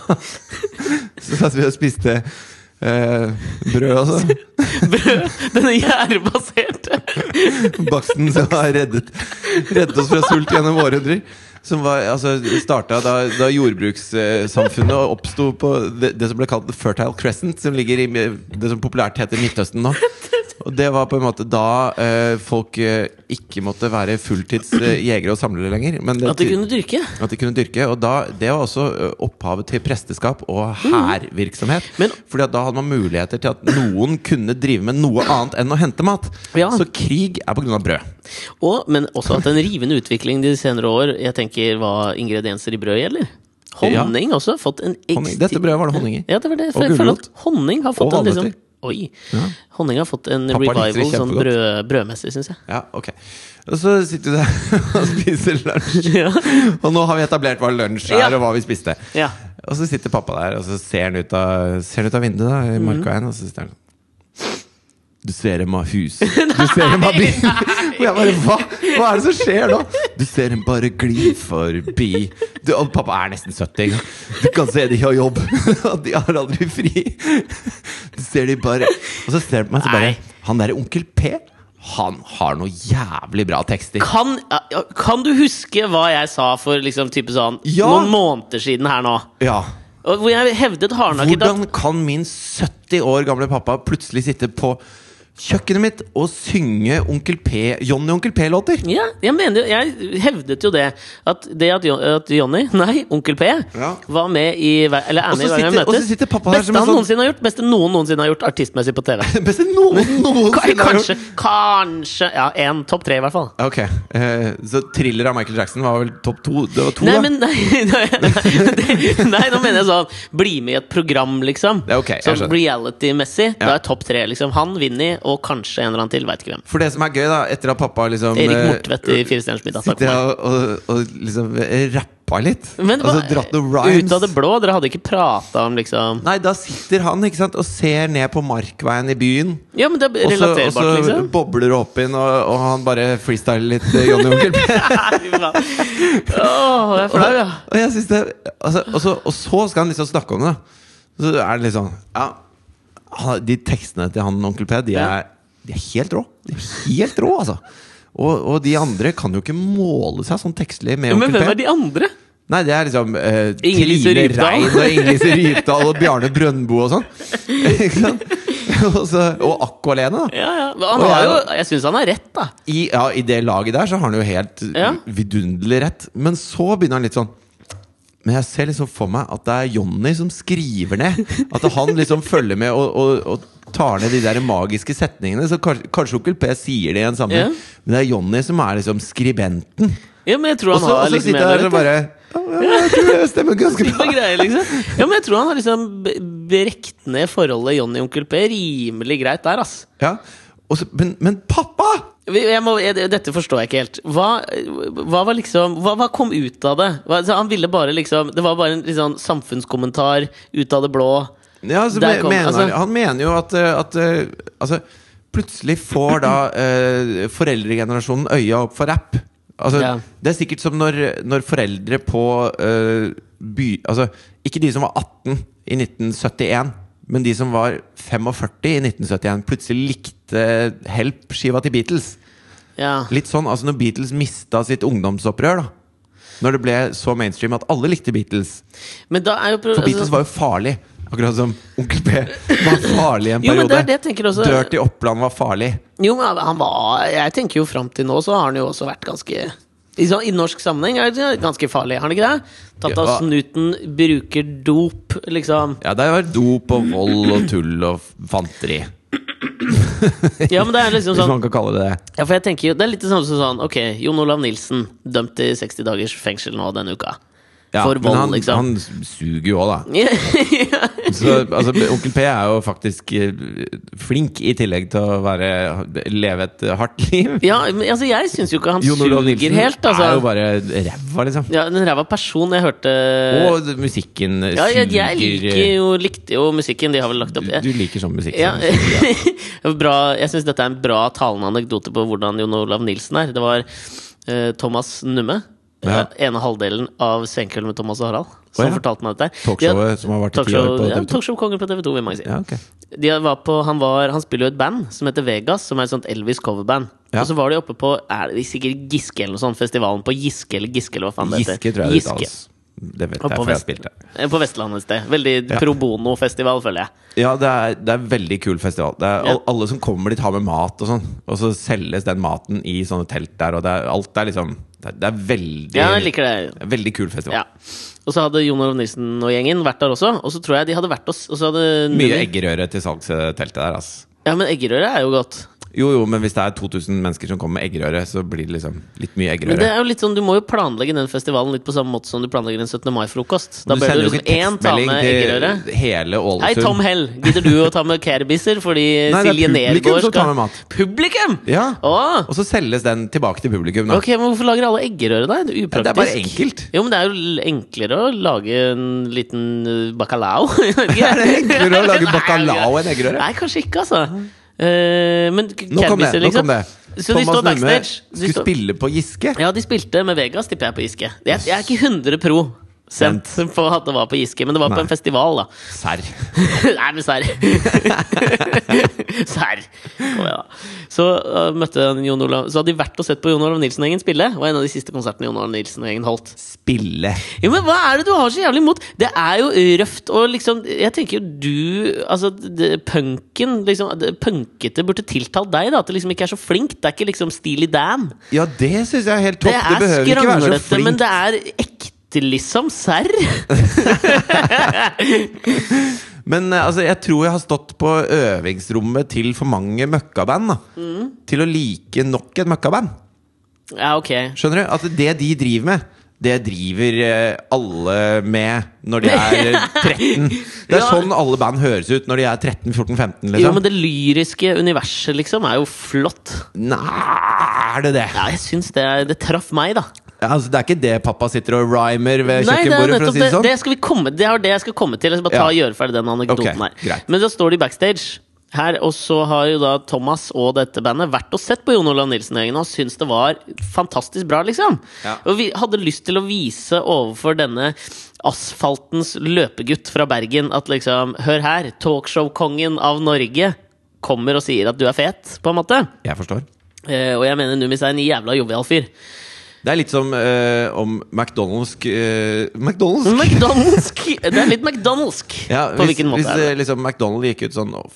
[SPEAKER 2] så satt vi og spiste eh, brød og sånn.
[SPEAKER 1] Brød, Denne gjærbaserte.
[SPEAKER 2] Baksten som har reddet, reddet oss fra sult gjennom århundrer. Som var, altså, starta da, da jordbrukssamfunnet oppsto på det, det som ble kalt The Fertile Crescent, som ligger i det som populært heter Midtøsten nå. Og det var på en måte da eh, folk eh, ikke måtte være fulltids eh, jegere og samlere lenger. Men det,
[SPEAKER 1] At de kunne dyrke.
[SPEAKER 2] at de kunne dyrke. Og da, det var også ø, opphavet til presteskap og hærvirksomhet.
[SPEAKER 1] Mm. Men-
[SPEAKER 2] Fordi at da hadde man muligheter til at noen kunne drive med noe annet enn å hente mat.
[SPEAKER 1] Ja.
[SPEAKER 2] Så krig er på grunn av brød.
[SPEAKER 1] Og, men også at en rivende utvikling de senere år Jeg tenker hva ingredienser i brød gjelder. Honning også. har Fått en
[SPEAKER 2] Honning. Dette brødet var det honning i.
[SPEAKER 1] Ja, det var det. For
[SPEAKER 2] Og
[SPEAKER 1] jeg føler at
[SPEAKER 2] gulrot.
[SPEAKER 1] honning har fått
[SPEAKER 2] Og
[SPEAKER 1] en liksom,
[SPEAKER 2] valnøtter.
[SPEAKER 1] Oi. Honning har fått en
[SPEAKER 2] Pappa likte det
[SPEAKER 1] revival sånn
[SPEAKER 2] kjempegodt.
[SPEAKER 1] brød, brødmessig, syns jeg.
[SPEAKER 2] Ja, ok Og så sitter du der og spiser lunsj.
[SPEAKER 1] Ja.
[SPEAKER 2] Og nå har vi etablert hva lunsj er,
[SPEAKER 1] Ja.
[SPEAKER 2] og hva vi spiste.
[SPEAKER 1] Ja.
[SPEAKER 2] Og så sitter pappa der, og så ser han ut av, ser han ut av vinduet da, i marka igjen, og så sitter han sånn Du ser dem av hus. Du ser dem av bil. Og jeg bare hva? Hva er det som skjer nå? Du ser dem bare gli forbi. Du, og pappa er nesten 70. ikke sant? Du kan se de har jobb, og de har aldri fri. Du ser de bare Og så ser de på meg, så bare
[SPEAKER 1] Nei.
[SPEAKER 2] Han derre onkel P, han har noe jævlig bra tekster.
[SPEAKER 1] Kan, ja, kan du huske hva jeg sa for liksom, type sånn
[SPEAKER 2] Ja.
[SPEAKER 1] noen måneder siden her nå?
[SPEAKER 2] Ja.
[SPEAKER 1] Og hvor jeg hevdet hardnakket at
[SPEAKER 2] Hvordan kan min 70 år gamle pappa plutselig sitte på kjøkkenet mitt og synge Onkel P, Johnny Onkel P-låter?
[SPEAKER 1] Ja, jeg mener jo Jeg hevdet jo det. At det at, Jo- at Johnny, nei, Onkel P,
[SPEAKER 2] Ja.
[SPEAKER 1] var med i hver- Eller er
[SPEAKER 2] Og
[SPEAKER 1] med i
[SPEAKER 2] så
[SPEAKER 1] Hver gang vi
[SPEAKER 2] sitter- og så
[SPEAKER 1] møtes.
[SPEAKER 2] sitter pappa her
[SPEAKER 1] beste
[SPEAKER 2] som en
[SPEAKER 1] han
[SPEAKER 2] sånn-
[SPEAKER 1] noensinne har gjort. Beste noen noensinne har gjort artistmessig på TV.
[SPEAKER 2] Best noen
[SPEAKER 1] Ka-
[SPEAKER 2] noensinne har gjort.
[SPEAKER 1] Kanskje, kanskje Ja, én. Topp tre, i hvert fall.
[SPEAKER 2] Ok, eh, Så thriller av Michael Jackson var vel topp to? Det var to,
[SPEAKER 1] Nei,
[SPEAKER 2] da?
[SPEAKER 1] men nei, nei, nei, nei, nå mener jeg sånn Bli med i et program, liksom.
[SPEAKER 2] Ja, ok, jeg
[SPEAKER 1] sånn
[SPEAKER 2] skjønner.
[SPEAKER 1] reality-messig. Da
[SPEAKER 2] Ja.
[SPEAKER 1] er topp tre. liksom Han, Vinni og kanskje en eller annen til. Veit ikke hvem.
[SPEAKER 2] For det som er gøy, da, etter at pappa liksom
[SPEAKER 1] Erik
[SPEAKER 2] eh,
[SPEAKER 1] Mortvedt i Firestjerners middag. takk for
[SPEAKER 2] Sitter
[SPEAKER 1] meg.
[SPEAKER 2] og, og, og liksom rapper rappa litt.
[SPEAKER 1] Men det var-
[SPEAKER 2] altså dratt noen rhymes.
[SPEAKER 1] Ut av det blå? Dere hadde ikke prata om liksom
[SPEAKER 2] Nei, da sitter han ikke sant, og ser ned på markveien i byen.
[SPEAKER 1] Ja, men det er
[SPEAKER 2] Og så, og så
[SPEAKER 1] relaterbart, liksom.
[SPEAKER 2] bobler det opp inn, og, og han bare freestyler litt. eh, Johnny Onkel P.
[SPEAKER 1] Åh, jeg er flau, ja.
[SPEAKER 2] Og jeg synes det altså, og, så, og så skal han liksom snakke om det. Så er det litt sånn ja, han- De tekstene til han onkel P, de
[SPEAKER 1] Ja.
[SPEAKER 2] er, de er helt rå. De er helt rå, altså. Og, og de andre kan jo ikke måle seg sånn tekstlig med
[SPEAKER 1] Men hvem
[SPEAKER 2] onkel
[SPEAKER 1] er
[SPEAKER 2] P.
[SPEAKER 1] de andre?
[SPEAKER 2] Nei, det er liksom eh,
[SPEAKER 1] Inger-Lise
[SPEAKER 2] Trine
[SPEAKER 1] Rypdal.
[SPEAKER 2] Rein og Inger-Lise Rypdal og Bjarne Brøndbo og sånn. Ikke sant? og så- og Aqua Lene, da.
[SPEAKER 1] Ja, ja. Men Han
[SPEAKER 2] Og
[SPEAKER 1] har
[SPEAKER 2] jeg-
[SPEAKER 1] jo, jeg syns han har rett, da.
[SPEAKER 2] I, ja, I det laget der så har han jo helt
[SPEAKER 1] Ja.
[SPEAKER 2] vidunderlig rett. Men så begynner han litt sånn Men jeg ser liksom for meg at det er Jonny som skriver ned. At han liksom følger med og, og, og tar ned de der magiske setningene. Så kanskje, kanskje onkel P sier det i en sammenheng,
[SPEAKER 1] Ja.
[SPEAKER 2] men det er Jonny som er liksom skribenten.
[SPEAKER 1] Ja, men jeg tror
[SPEAKER 2] Og
[SPEAKER 1] han
[SPEAKER 2] så, og
[SPEAKER 1] har
[SPEAKER 2] så
[SPEAKER 1] liksom
[SPEAKER 2] sitter
[SPEAKER 1] en
[SPEAKER 2] jeg her
[SPEAKER 1] rett,
[SPEAKER 2] og bare ja, ja, Jeg tror det stemmer ganske
[SPEAKER 1] Sitt med
[SPEAKER 2] bra.
[SPEAKER 1] greier, liksom. Ja, men jeg tror han har liksom b- brekt ned forholdet Johnny og Onkel P rimelig greit der, ass.
[SPEAKER 2] Ja. Og så, men, men pappa!
[SPEAKER 1] Vi- Jeg må, jeg, dette forstår jeg ikke helt. Hva, hva var liksom hva, hva kom ut av det? Hva, så han ville bare liksom Det var bare en liksom, samfunnskommentar ut av det blå.
[SPEAKER 2] Ja, altså,
[SPEAKER 1] Der
[SPEAKER 2] me-
[SPEAKER 1] kom-
[SPEAKER 2] mener,
[SPEAKER 1] altså-
[SPEAKER 2] han mener jo at, eh, at eh, altså, Plutselig får da eh, foreldregenerasjonen øya opp for rapp. Altså,
[SPEAKER 1] Ja.
[SPEAKER 2] Det er sikkert som når, når foreldre på eh, by Altså, ikke de som var 18 i 1971, men de som var 45 i 1971, plutselig likte Help-skiva til Beatles.
[SPEAKER 1] Ja.
[SPEAKER 2] Litt sånn, altså Når Beatles mista sitt ungdomsopprør, da. Når det ble så mainstream at alle likte Beatles.
[SPEAKER 1] Men da er jo pro- altså-
[SPEAKER 2] For Beatles var jo farlig. Akkurat som Onkel P var farlig i en
[SPEAKER 1] Jo, men
[SPEAKER 2] periode.
[SPEAKER 1] det er det altså- jeg tenker også.
[SPEAKER 2] Dirty Oppland var farlig.
[SPEAKER 1] Jo, men han var Jeg tenker jo fram til nå så har han jo også vært ganske i, sånn- I norsk sammenheng er det ganske farlig, har han ikke det? Tatt av
[SPEAKER 2] Ja.
[SPEAKER 1] snuten, bruker dop, liksom.
[SPEAKER 2] Ja, det var dop og vold og tull og fanteri.
[SPEAKER 1] Ja, men det er liksom
[SPEAKER 2] Hvis
[SPEAKER 1] sånn
[SPEAKER 2] man kan kalle det det.
[SPEAKER 1] Ja, for jeg tenker jo, Det er litt det samme som sånn Ok, Jon Olav Nilsen dømt til 60 dagers fengsel nå denne uka.
[SPEAKER 2] Ja,
[SPEAKER 1] For vold,
[SPEAKER 2] men han,
[SPEAKER 1] liksom.
[SPEAKER 2] han suger jo òg, da.
[SPEAKER 1] ja,
[SPEAKER 2] Så, altså, Onkel P er jo faktisk eh, flink i tillegg til å være, leve et hardt liv.
[SPEAKER 1] men altså jeg syns jo ikke han
[SPEAKER 2] Jon Olav
[SPEAKER 1] suger
[SPEAKER 2] Nilsen
[SPEAKER 1] helt,
[SPEAKER 2] er jo
[SPEAKER 1] altså.
[SPEAKER 2] bare ræva, liksom.
[SPEAKER 1] Ja, Den ræva person jeg hørte
[SPEAKER 2] Og musikken
[SPEAKER 1] Eh, Ja,
[SPEAKER 2] suger. eh,
[SPEAKER 1] jeg, jeg liker jo, likte jo musikken de har vel lagt opp
[SPEAKER 2] Du liker sånn musikk.
[SPEAKER 1] Ja,
[SPEAKER 2] sånn.
[SPEAKER 1] bra, jeg syns dette er en bra talende anekdote på hvordan Jon Olav Nilsen er. Det var eh, Thomas Numme.
[SPEAKER 2] Ja.
[SPEAKER 1] eh, ene halvdelen av Senkveld med Thomas og Harald. Som
[SPEAKER 2] Å, ja.
[SPEAKER 1] fortalte meg dette.
[SPEAKER 2] Talkshowet som har vært i ti år på
[SPEAKER 1] ja,
[SPEAKER 2] TV2.
[SPEAKER 1] Talkshow-kongen på TV 2, vil mange si.
[SPEAKER 2] Ja, ok.
[SPEAKER 1] De var på, han, var, han spiller jo et band som heter Vegas, som er et sånt Elvis coverband.
[SPEAKER 2] Ja.
[SPEAKER 1] Og så var de oppe på er det sikkert Giske eller noe sånt, festivalen på Giske eller Giske eller hva faen det heter.
[SPEAKER 2] Giske, tror jeg det
[SPEAKER 1] Giske.
[SPEAKER 2] uttales. Det vet
[SPEAKER 1] Og på,
[SPEAKER 2] jeg, for jeg har
[SPEAKER 1] vest,
[SPEAKER 2] spilt det.
[SPEAKER 1] eh, på Vestlandet et sted. Veldig pro bono-festival, føler jeg.
[SPEAKER 2] Ja, det er, det er veldig kul festival. Det er,
[SPEAKER 1] Ja.
[SPEAKER 2] al- Alle som kommer dit, har med mat og sånn. Og så selges den maten i sånne telt der, og det er, alt er liksom Det er, det er veldig
[SPEAKER 1] Ja, jeg liker det.
[SPEAKER 2] Veldig kul festival.
[SPEAKER 1] Ja. Og så hadde Jon Olav Nilsen og gjengen vært der også. Og så tror jeg de hadde vært oss. Og så hadde
[SPEAKER 2] Mye eggerøre til salgs eh, teltet der, ass.
[SPEAKER 1] Ja, men eggerøre er jo godt.
[SPEAKER 2] Jo, jo, men hvis det er 2000 mennesker som kommer med eggerøre, så blir det liksom litt mye
[SPEAKER 1] Men det
[SPEAKER 2] eggerøre.
[SPEAKER 1] er jo litt sånn, du må jo planlegge den festivalen litt på samme måte som du planlegger en 17. mai-frokost. Da
[SPEAKER 2] Men
[SPEAKER 1] bør du
[SPEAKER 2] sender jo
[SPEAKER 1] liksom
[SPEAKER 2] ikke
[SPEAKER 1] én ta med eggerøre.
[SPEAKER 2] til hele Ålesund.
[SPEAKER 1] Hei, Tom Hell, gidder du å ta med kerbisser fordi
[SPEAKER 2] Nei, det er
[SPEAKER 1] Silje
[SPEAKER 2] publikum
[SPEAKER 1] Nergård
[SPEAKER 2] som tar
[SPEAKER 1] skal
[SPEAKER 2] med mat.
[SPEAKER 1] Publikum!
[SPEAKER 2] Ja.
[SPEAKER 1] Å!
[SPEAKER 2] Og så selges den tilbake til publikum, da.
[SPEAKER 1] Ok, men Hvorfor lager alle eggerøre, da? Det er upraktisk.
[SPEAKER 2] det er bare enkelt.
[SPEAKER 1] Jo, men det er jo l- enklere å lage en liten eh, bacalao. er det
[SPEAKER 2] enklere å lage bacalao enn eggerøre?
[SPEAKER 1] Nei, kanskje ikke, altså. Eh, men k-
[SPEAKER 2] Nå kom det!
[SPEAKER 1] kerbisser,
[SPEAKER 2] nå
[SPEAKER 1] liksom.
[SPEAKER 2] kom det
[SPEAKER 1] Så de står
[SPEAKER 2] Numme
[SPEAKER 1] backstage. De
[SPEAKER 2] skulle
[SPEAKER 1] står-
[SPEAKER 2] spille på Giske.
[SPEAKER 1] Ja, de spilte med Vegas, tipper jeg, på Giske. Jeg, jeg er ikke 100 pro. Sendt på at det var på Giske, men det var
[SPEAKER 2] Nei.
[SPEAKER 1] på en festival, da.
[SPEAKER 2] Serr.
[SPEAKER 1] Nei, men serr. serr. Kom igjen, da. Så øh, møtte han Jon Olav Så hadde de vært og sett på Jon Olav Nilsen-gjengen spille. Det var en av de siste konsertene Jon Olav Nilsen-gjengen holdt.
[SPEAKER 2] Spille.
[SPEAKER 1] Jo, men Hva er det du har så jævlig imot? Det er jo røft og liksom Jeg tenker jo du Altså, det, punken liksom, det, Punkete burde tiltalt deg, da. At det liksom ikke er så flink. Det er ikke liksom Steely Dan.
[SPEAKER 2] Ja, det syns jeg er helt
[SPEAKER 1] Det
[SPEAKER 2] topp. Det,
[SPEAKER 1] er
[SPEAKER 2] behøver ikke være så
[SPEAKER 1] skranglete,
[SPEAKER 2] flink.
[SPEAKER 1] men det er ekte, liksom. Serr.
[SPEAKER 2] Men eh, altså, jeg tror jeg har stått på øvingsrommet til for mange møkkaband. Da.
[SPEAKER 1] Mm.
[SPEAKER 2] Til å like nok et møkkaband.
[SPEAKER 1] Ja, ok.
[SPEAKER 2] Skjønner du? At det de driver med, det driver eh, alle med når de er eh, 13. Det er
[SPEAKER 1] Ja.
[SPEAKER 2] sånn alle band høres ut når de er 13-14-15,
[SPEAKER 1] Jo,
[SPEAKER 2] liksom.
[SPEAKER 1] men det lyriske universet, liksom, er jo flott.
[SPEAKER 2] Nei, er det det?
[SPEAKER 1] Ja, jeg syns det, er- det traff meg, da.
[SPEAKER 2] Ja, altså, det er ikke det pappa sitter og rhymer
[SPEAKER 1] Nei, det
[SPEAKER 2] ved
[SPEAKER 1] er
[SPEAKER 2] kjøkkenbordet, for å
[SPEAKER 1] nettopp
[SPEAKER 2] si det
[SPEAKER 1] det.
[SPEAKER 2] sånn?
[SPEAKER 1] Det, skal vi komme, det er det jeg skal komme til. Jeg skal bare ta og
[SPEAKER 2] Ja.
[SPEAKER 1] gjøre ferdig den anekdoten
[SPEAKER 2] Ok,
[SPEAKER 1] her.
[SPEAKER 2] greit.
[SPEAKER 1] Men da står de backstage her, og så har jo da Thomas og dette bandet vært og sett på Jon Olav Nilsen-gjengen og syns det var fantastisk bra, liksom.
[SPEAKER 2] Ja.
[SPEAKER 1] Og vi hadde lyst til å vise overfor denne asfaltens løpegutt fra Bergen at liksom, hør her, talkshow-kongen av Norge kommer og sier at du er fet, på en måte.
[SPEAKER 2] Jeg forstår.
[SPEAKER 1] Eh, og jeg mener Numis er en jævla jovial fyr.
[SPEAKER 2] Det er litt som eh, om McDonald's eh, McDonald's?
[SPEAKER 1] McDonaldsk! Det er litt McDonaldsk.
[SPEAKER 2] Ja,
[SPEAKER 1] på
[SPEAKER 2] hvis,
[SPEAKER 1] hvilken måte
[SPEAKER 2] hvis
[SPEAKER 1] er det?
[SPEAKER 2] eh, liksom McDonald gikk ut sånn «Åh,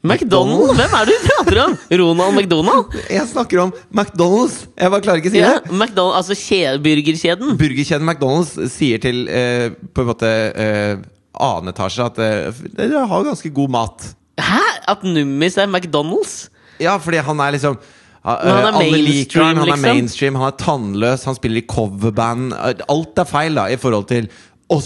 [SPEAKER 1] McDonald? Hvem er det du prater om? Ronald McDonald?
[SPEAKER 2] Jeg snakker om McDonald's! Jeg bare klarer ikke å si
[SPEAKER 1] Ja,
[SPEAKER 2] det!
[SPEAKER 1] McDonald, altså kje- burgerkjeden?
[SPEAKER 2] Burgerkjeden McDonald's sier til eh, på en måte eh, annen etasje at eh, dere har ganske god mat.
[SPEAKER 1] Hæ? At Nummis er McDonald's?
[SPEAKER 2] Ja, fordi han er liksom han
[SPEAKER 1] han er
[SPEAKER 2] alle liker
[SPEAKER 1] mainstream,
[SPEAKER 2] han, han er
[SPEAKER 1] liksom.
[SPEAKER 2] mainstream, han er tannløs, han spiller i coverband. Alt er feil da, i forhold til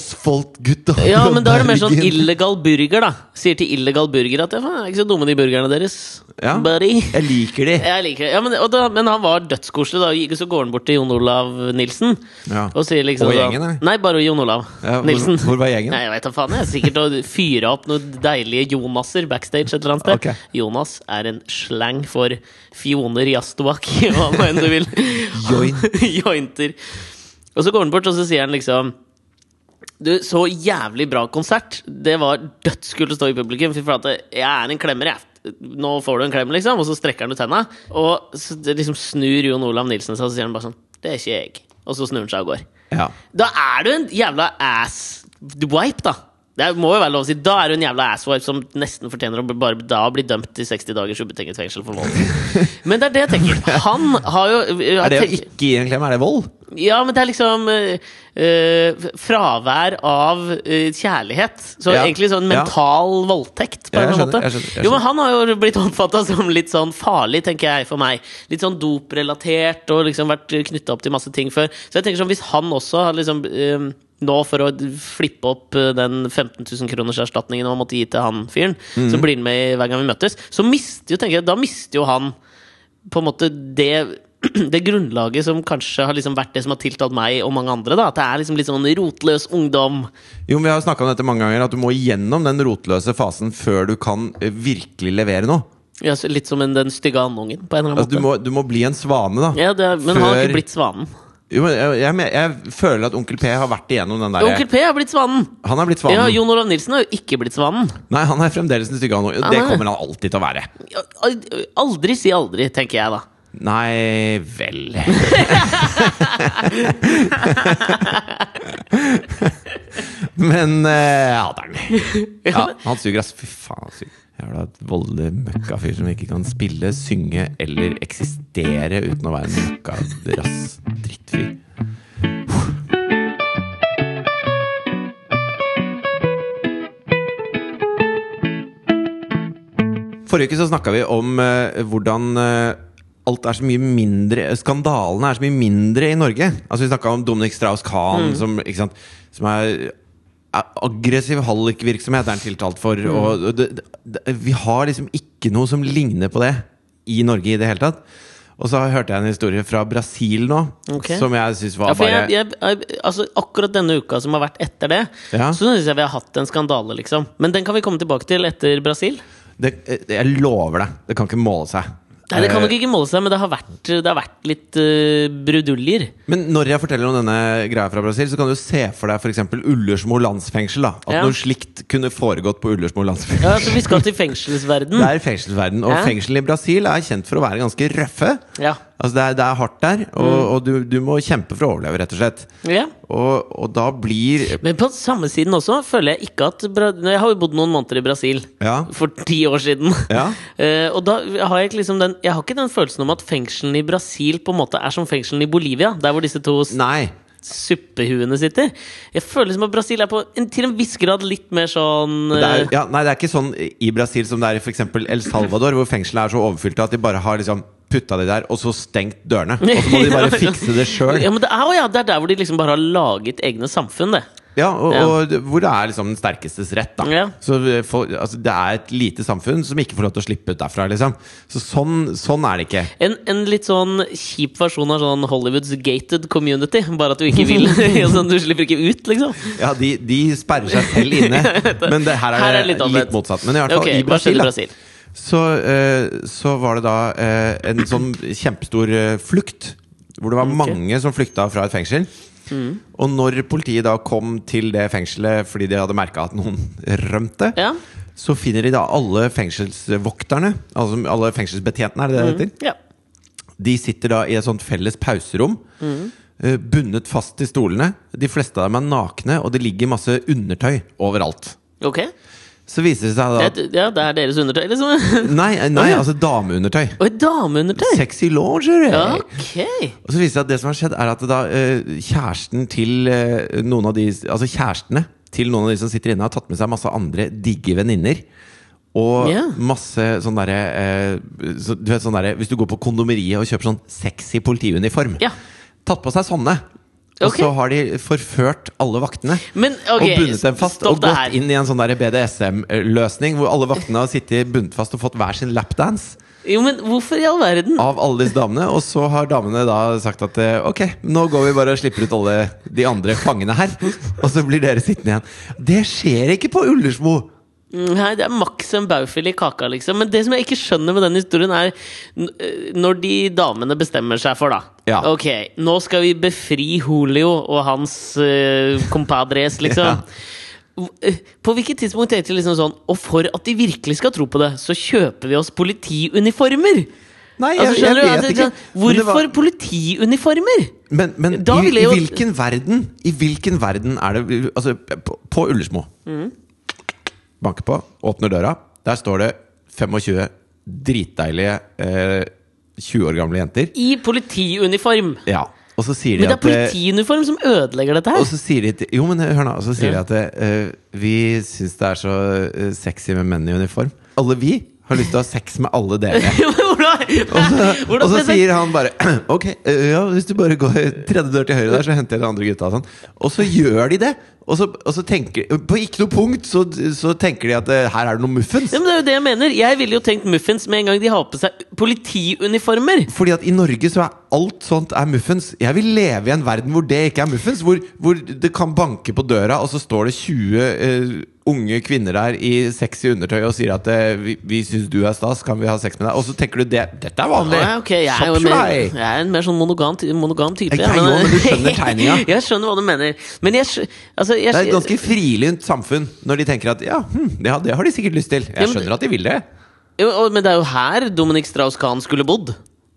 [SPEAKER 2] Osfold-gutta.
[SPEAKER 1] Ja,
[SPEAKER 2] fra
[SPEAKER 1] men da er det mer sånn
[SPEAKER 2] Bergen.
[SPEAKER 1] illegal burger, da. Sier til illegal burger at ja, faen, er ikke så dumme de burgerne deres,
[SPEAKER 2] Ja.
[SPEAKER 1] buddy.
[SPEAKER 2] Jeg liker de.
[SPEAKER 1] Jeg liker det. Ja, men, og da, men han var dødskoselig, da. Og så går han bort til Jon Olav Nilsen.
[SPEAKER 2] Ja.
[SPEAKER 1] Og sier liksom
[SPEAKER 2] Og
[SPEAKER 1] da-
[SPEAKER 2] gjengen, eller?
[SPEAKER 1] Nei, bare Jon Olav
[SPEAKER 2] Ja, hvor-
[SPEAKER 1] Nilsen.
[SPEAKER 2] hvor var gjengen?
[SPEAKER 1] Nei, jeg vet da faen. jeg Sikkert å fyre opp noen deilige Jonaser backstage et eller annet sted.
[SPEAKER 2] Ok.
[SPEAKER 1] Jonas er en slang for fjoner, jazztobakk, hva nå enn du vil.
[SPEAKER 2] Join.
[SPEAKER 1] Jointer. Og så går han bort, og så sier han liksom du, så jævlig bra konsert. Det var dødskult å stå i publikum. Fy flate, jeg er en klemmer, jeg. Nå får du en klem, liksom. Og så strekker han ut henda. Og så det liksom snur Jon Olav Nilsen seg, og så sier han bare sånn Det er ikke jeg. Og så snur han seg og går.
[SPEAKER 2] Ja.
[SPEAKER 1] Da er du en jævla ass-wipe, da. Det må jo være lov å si. Da er du en jævla ass-wipe som nesten fortjener å bli- bare da bli dømt til 60 dagers ubetinget fengsel for vold. Men det er det jeg tenker. Han har jo
[SPEAKER 2] Er det å ikke gi en klem, er det vold?
[SPEAKER 1] ja, men det er liksom eh, eh, fravær av eh, kjærlighet. Så
[SPEAKER 2] Ja.
[SPEAKER 1] egentlig sånn
[SPEAKER 2] Ja.
[SPEAKER 1] mental voldtekt, på
[SPEAKER 2] Ja,
[SPEAKER 1] en
[SPEAKER 2] jeg
[SPEAKER 1] eller annen
[SPEAKER 2] skjønner,
[SPEAKER 1] måte.
[SPEAKER 2] jeg skjønner, jeg
[SPEAKER 1] Jo, men han har jo blitt oppfatta som litt sånn farlig, tenker jeg, for meg. Litt sånn doprelatert, og liksom vært knytta opp til masse ting før. Så jeg tenker sånn, hvis han også hadde liksom eh, nå for å flippe opp eh, den 15 000 kroners erstatningen man måtte gi til han fyren, så blir han med hver gang vi møtes, så mister jo, tenker jeg, da mister jo han på en måte det det grunnlaget som kanskje har liksom vært det som har tiltalt meg og mange andre. da At det er liksom litt sånn rotløs ungdom.
[SPEAKER 2] Jo, men Vi har snakka om dette mange ganger, at du må igjennom den rotløse fasen før du kan eh, virkelig levere noe.
[SPEAKER 1] Ja, så litt som en, den stygge andungen, på en eller annen
[SPEAKER 2] Altså, du,
[SPEAKER 1] måte.
[SPEAKER 2] må, du må bli en svane, da.
[SPEAKER 1] Ja, det er, men han har
[SPEAKER 2] Før-
[SPEAKER 1] ikke blitt svanen.
[SPEAKER 2] Jo, men jeg, jeg, men- jeg føler at Onkel P har vært igjennom den der
[SPEAKER 1] Onkel P har blitt svanen!
[SPEAKER 2] Han er blitt svanen.
[SPEAKER 1] Ja, Jon Olav Nilsen har jo ikke blitt svanen.
[SPEAKER 2] Nei, han er fremdeles en stygge anon. Det
[SPEAKER 1] er-
[SPEAKER 2] kommer han alltid til å være.
[SPEAKER 1] Ja, al- Aldri si aldri, tenker jeg da.
[SPEAKER 2] Nei vel Men eh, ja, det er den. Ja, han suger, ass. Fy faen, han suger. Jævla voldelig møkkafyr som ikke kan spille, synge eller eksistere uten å være en møkkarass drittfyr. Forrige uke så snakka vi om eh, hvordan eh, alt er så mye mindre Skandalene er så mye mindre i Norge. Altså Vi snakka om Dominic Strauss-Kahn,
[SPEAKER 1] Mm.
[SPEAKER 2] som, ikke sant, som er er aggressiv hallikvirksomhet er han tiltalt for.
[SPEAKER 1] Mm.
[SPEAKER 2] Og det, det, det, vi har liksom ikke noe som ligner på det i Norge i det hele tatt. Og så hørte jeg en historie fra Brasil nå,
[SPEAKER 1] Ok.
[SPEAKER 2] som jeg syns var
[SPEAKER 1] Ja, for
[SPEAKER 2] bare
[SPEAKER 1] jeg, jeg, jeg, altså, akkurat denne uka som har vært etter det,
[SPEAKER 2] Ja.
[SPEAKER 1] så syns jeg vi har hatt en skandale, liksom. Men den kan vi komme tilbake til etter Brasil.
[SPEAKER 2] det, Jeg lover deg, det kan ikke måle seg.
[SPEAKER 1] Nei, Det kan
[SPEAKER 2] Eh,
[SPEAKER 1] nok ikke måle seg, men det har vært, det har vært litt eh, bruduljer.
[SPEAKER 2] Men når jeg forteller om denne greia fra Brasil, så kan du se for deg f.eks. Ullersmo landsfengsel. da At
[SPEAKER 1] Ja.
[SPEAKER 2] noe slikt kunne foregått på Ullersmo landsfengsel.
[SPEAKER 1] Ja, så vi skal til fengselsverden.
[SPEAKER 2] Det er fengselsverden, og
[SPEAKER 1] Ja.
[SPEAKER 2] fengsel i Brasil er kjent for å være ganske røffe.
[SPEAKER 1] Ja. Mm.
[SPEAKER 2] Altså Det er, det er hardt der, og, og du, du må kjempe for å overleve, rett og slett.
[SPEAKER 1] ja.
[SPEAKER 2] Og, og da blir
[SPEAKER 1] Men på samme siden også føler jeg ikke at Bra Jeg har jo bodd noen måneder i Brasil.
[SPEAKER 2] Ja.
[SPEAKER 1] For ti år siden.
[SPEAKER 2] Ja.
[SPEAKER 1] Eh, og da har jeg ikke liksom den Jeg har ikke den følelsen om at fengslene i Brasil på en måte er som fengslene i Bolivia. Der hvor disse to s-
[SPEAKER 2] Nei.
[SPEAKER 1] suppehuene sitter. Jeg føler som at Brasil er på en, til en viss grad litt mer sånn
[SPEAKER 2] Det er,
[SPEAKER 1] eh,
[SPEAKER 2] ja, nei, det er ikke sånn i Brasil som det er i f.eks. El Salvador, hvor fengslene er så overfylte at de bare har liksom putta de der, og så stengt
[SPEAKER 1] eh,
[SPEAKER 2] dørene. Og så må de bare fikse det sjøl.
[SPEAKER 1] Ja, men det er, å ja, det er der hvor de liksom bare har laget egne samfunn, det.
[SPEAKER 2] Ja, og,
[SPEAKER 1] Ja.
[SPEAKER 2] og hvor det er liksom den sterkestes rett. da
[SPEAKER 1] Ja.
[SPEAKER 2] Så eh, folk- altså, Det er et lite samfunn som ikke får lov til å slippe ut derfra. liksom Så Sånn, sånn er det ikke.
[SPEAKER 1] En, en litt sånn kjip versjon av sånn Hollywoods gated community. Bare at du ikke vil. sånn, du slipper ikke ut, liksom.
[SPEAKER 2] Ja, De, de sperrer seg selv inne. Men det, her er det
[SPEAKER 1] Her er det litt
[SPEAKER 2] litt,
[SPEAKER 1] annerledes.
[SPEAKER 2] motsatt. Men i hvert fall
[SPEAKER 1] Ok,
[SPEAKER 2] i
[SPEAKER 1] hva skjedde i
[SPEAKER 2] Brasil, da,
[SPEAKER 1] Brasil?
[SPEAKER 2] så, eh, så var det da eh, en sånn kjempestor eh, flukt. Hvor det var mange som flykta fra et fengsel.
[SPEAKER 1] Mm.
[SPEAKER 2] Og når politiet da kom til det fengselet fordi de hadde merka at noen rømte,
[SPEAKER 1] Ja.
[SPEAKER 2] så finner de da alle fengselsvokterne, altså alle fengselsbetjentene, er det det
[SPEAKER 1] Mm.
[SPEAKER 2] det heter?
[SPEAKER 1] ja.
[SPEAKER 2] De sitter da i et sånt felles pauserom,
[SPEAKER 1] Mm.
[SPEAKER 2] eh, bundet fast til stolene. De fleste av dem er nakne, og det ligger masse undertøy overalt.
[SPEAKER 1] Ok.
[SPEAKER 2] Så viser det seg da at
[SPEAKER 1] Det, ja, det er deres undertøy, liksom?
[SPEAKER 2] Nei, nei
[SPEAKER 1] Å, ja.
[SPEAKER 2] altså dameundertøy.
[SPEAKER 1] Og et dameundertøy!
[SPEAKER 2] Sexy eh. lingerie!
[SPEAKER 1] Ok!
[SPEAKER 2] Og så viser det seg at det som har skjedd, er at da eh, kjæresten til eh, noen av de Altså kjærestene til noen av de som sitter inne, har tatt med seg masse andre digge venninner. Og
[SPEAKER 1] Ja.
[SPEAKER 2] masse sånn derre eh, så, Du vet sånn derre Hvis du går på kondomeriet og kjøper sånn sexy politiuniform.
[SPEAKER 1] Ja.
[SPEAKER 2] Tatt på seg sånne. Og
[SPEAKER 1] Ok.
[SPEAKER 2] så har de forført alle vaktene.
[SPEAKER 1] Men ok,
[SPEAKER 2] og bundet dem fast
[SPEAKER 1] stopp
[SPEAKER 2] og
[SPEAKER 1] det
[SPEAKER 2] gått
[SPEAKER 1] her.
[SPEAKER 2] inn i en sånn der BDSM-løsning hvor alle vaktene har sittet bundet fast og fått hver sin lapdance
[SPEAKER 1] Jo, men hvorfor i all verden?
[SPEAKER 2] av alle disse damene, og så har damene da sagt at eh, ok, nå går vi bare og slipper ut alle de andre fangene her, og så blir dere sittende igjen. Det skjer ikke på Ullersmo!
[SPEAKER 1] Mm, Nei, det er maks en baufil i kaka, liksom. Men det som jeg ikke skjønner med den historien, er n- øh, når de damene bestemmer seg for, da
[SPEAKER 2] Ja.
[SPEAKER 1] Ok, nå skal vi befri Julio og hans øh, compadres,
[SPEAKER 2] Ja.
[SPEAKER 1] liksom. Hv- På hvilket tidspunkt tenkte de liksom sånn Og for at de virkelig skal tro på det, så kjøper vi oss politiuniformer!
[SPEAKER 2] Nei, jeg,
[SPEAKER 1] Altså, skjønner du?
[SPEAKER 2] jeg vet
[SPEAKER 1] Altså,
[SPEAKER 2] ikke. Men det
[SPEAKER 1] Hvorfor
[SPEAKER 2] var-
[SPEAKER 1] politiuniformer?
[SPEAKER 2] Men, men
[SPEAKER 1] Da
[SPEAKER 2] i,
[SPEAKER 1] ville
[SPEAKER 2] i
[SPEAKER 1] jeg jo-
[SPEAKER 2] hvilken verden I hvilken verden er det Altså, på, på Ullersmo
[SPEAKER 1] Mm.
[SPEAKER 2] Banker på, åpner døra Der står det 25 dritdeilige eh, 20 år gamle jenter
[SPEAKER 1] I politiuniform!
[SPEAKER 2] Ja, og så sier de
[SPEAKER 1] Men det er
[SPEAKER 2] at eh,
[SPEAKER 1] politiuniform som ødelegger dette
[SPEAKER 2] og
[SPEAKER 1] her!
[SPEAKER 2] så sier de til, Jo, men hør nå. Og så sier
[SPEAKER 1] Ja.
[SPEAKER 2] de at eh, vi syns det er så eh, sexy med menn i uniform. Alle vi har lyst til å ha sex med alle dere.
[SPEAKER 1] Hvordan,
[SPEAKER 2] Og
[SPEAKER 1] hvordan
[SPEAKER 2] så
[SPEAKER 1] skal jeg-
[SPEAKER 2] sier han bare Ok, eh, ja, hvis du bare går tredje dør til høyre der, så henter jeg de andre gutta. og Sånn. Og så gjør de det. Og så, og så tenker På ikke noe punkt så, så tenker de at eh, her er det noe muffens.
[SPEAKER 1] Ja, men det er jo det jeg mener. Jeg ville jo tenkt muffins med en gang de har på seg politiuniformer.
[SPEAKER 2] Fordi at i Norge så er alt sånt er muffens. Jeg vil leve i en verden hvor det ikke er muffens. Hvor, hvor det kan banke på døra, og så står det 20 eh, unge kvinner der i sexy undertøy og sier at eh, vi, vi syns du er stas, kan vi ha sex med deg? Og så tenker du Sånn, det, dette er vanlig!
[SPEAKER 1] Ja, Ah, ok, jeg er jo
[SPEAKER 2] Shop
[SPEAKER 1] mer,
[SPEAKER 2] shy.
[SPEAKER 1] jeg er en mer sånn monogam, ty- monogam type.
[SPEAKER 2] Jeg er jo, men du skjønner tegninga.
[SPEAKER 1] jeg skjønner hva du mener. Men jeg, skj- altså, jeg
[SPEAKER 2] Det er et ganske frilynt samfunn når de tenker at ja, hm, det har- det har de sikkert lyst til. Jeg
[SPEAKER 1] men-
[SPEAKER 2] skjønner at de vil det.
[SPEAKER 1] jo, og- Men det er jo her Dominic Strauss-Kahn skulle bodd.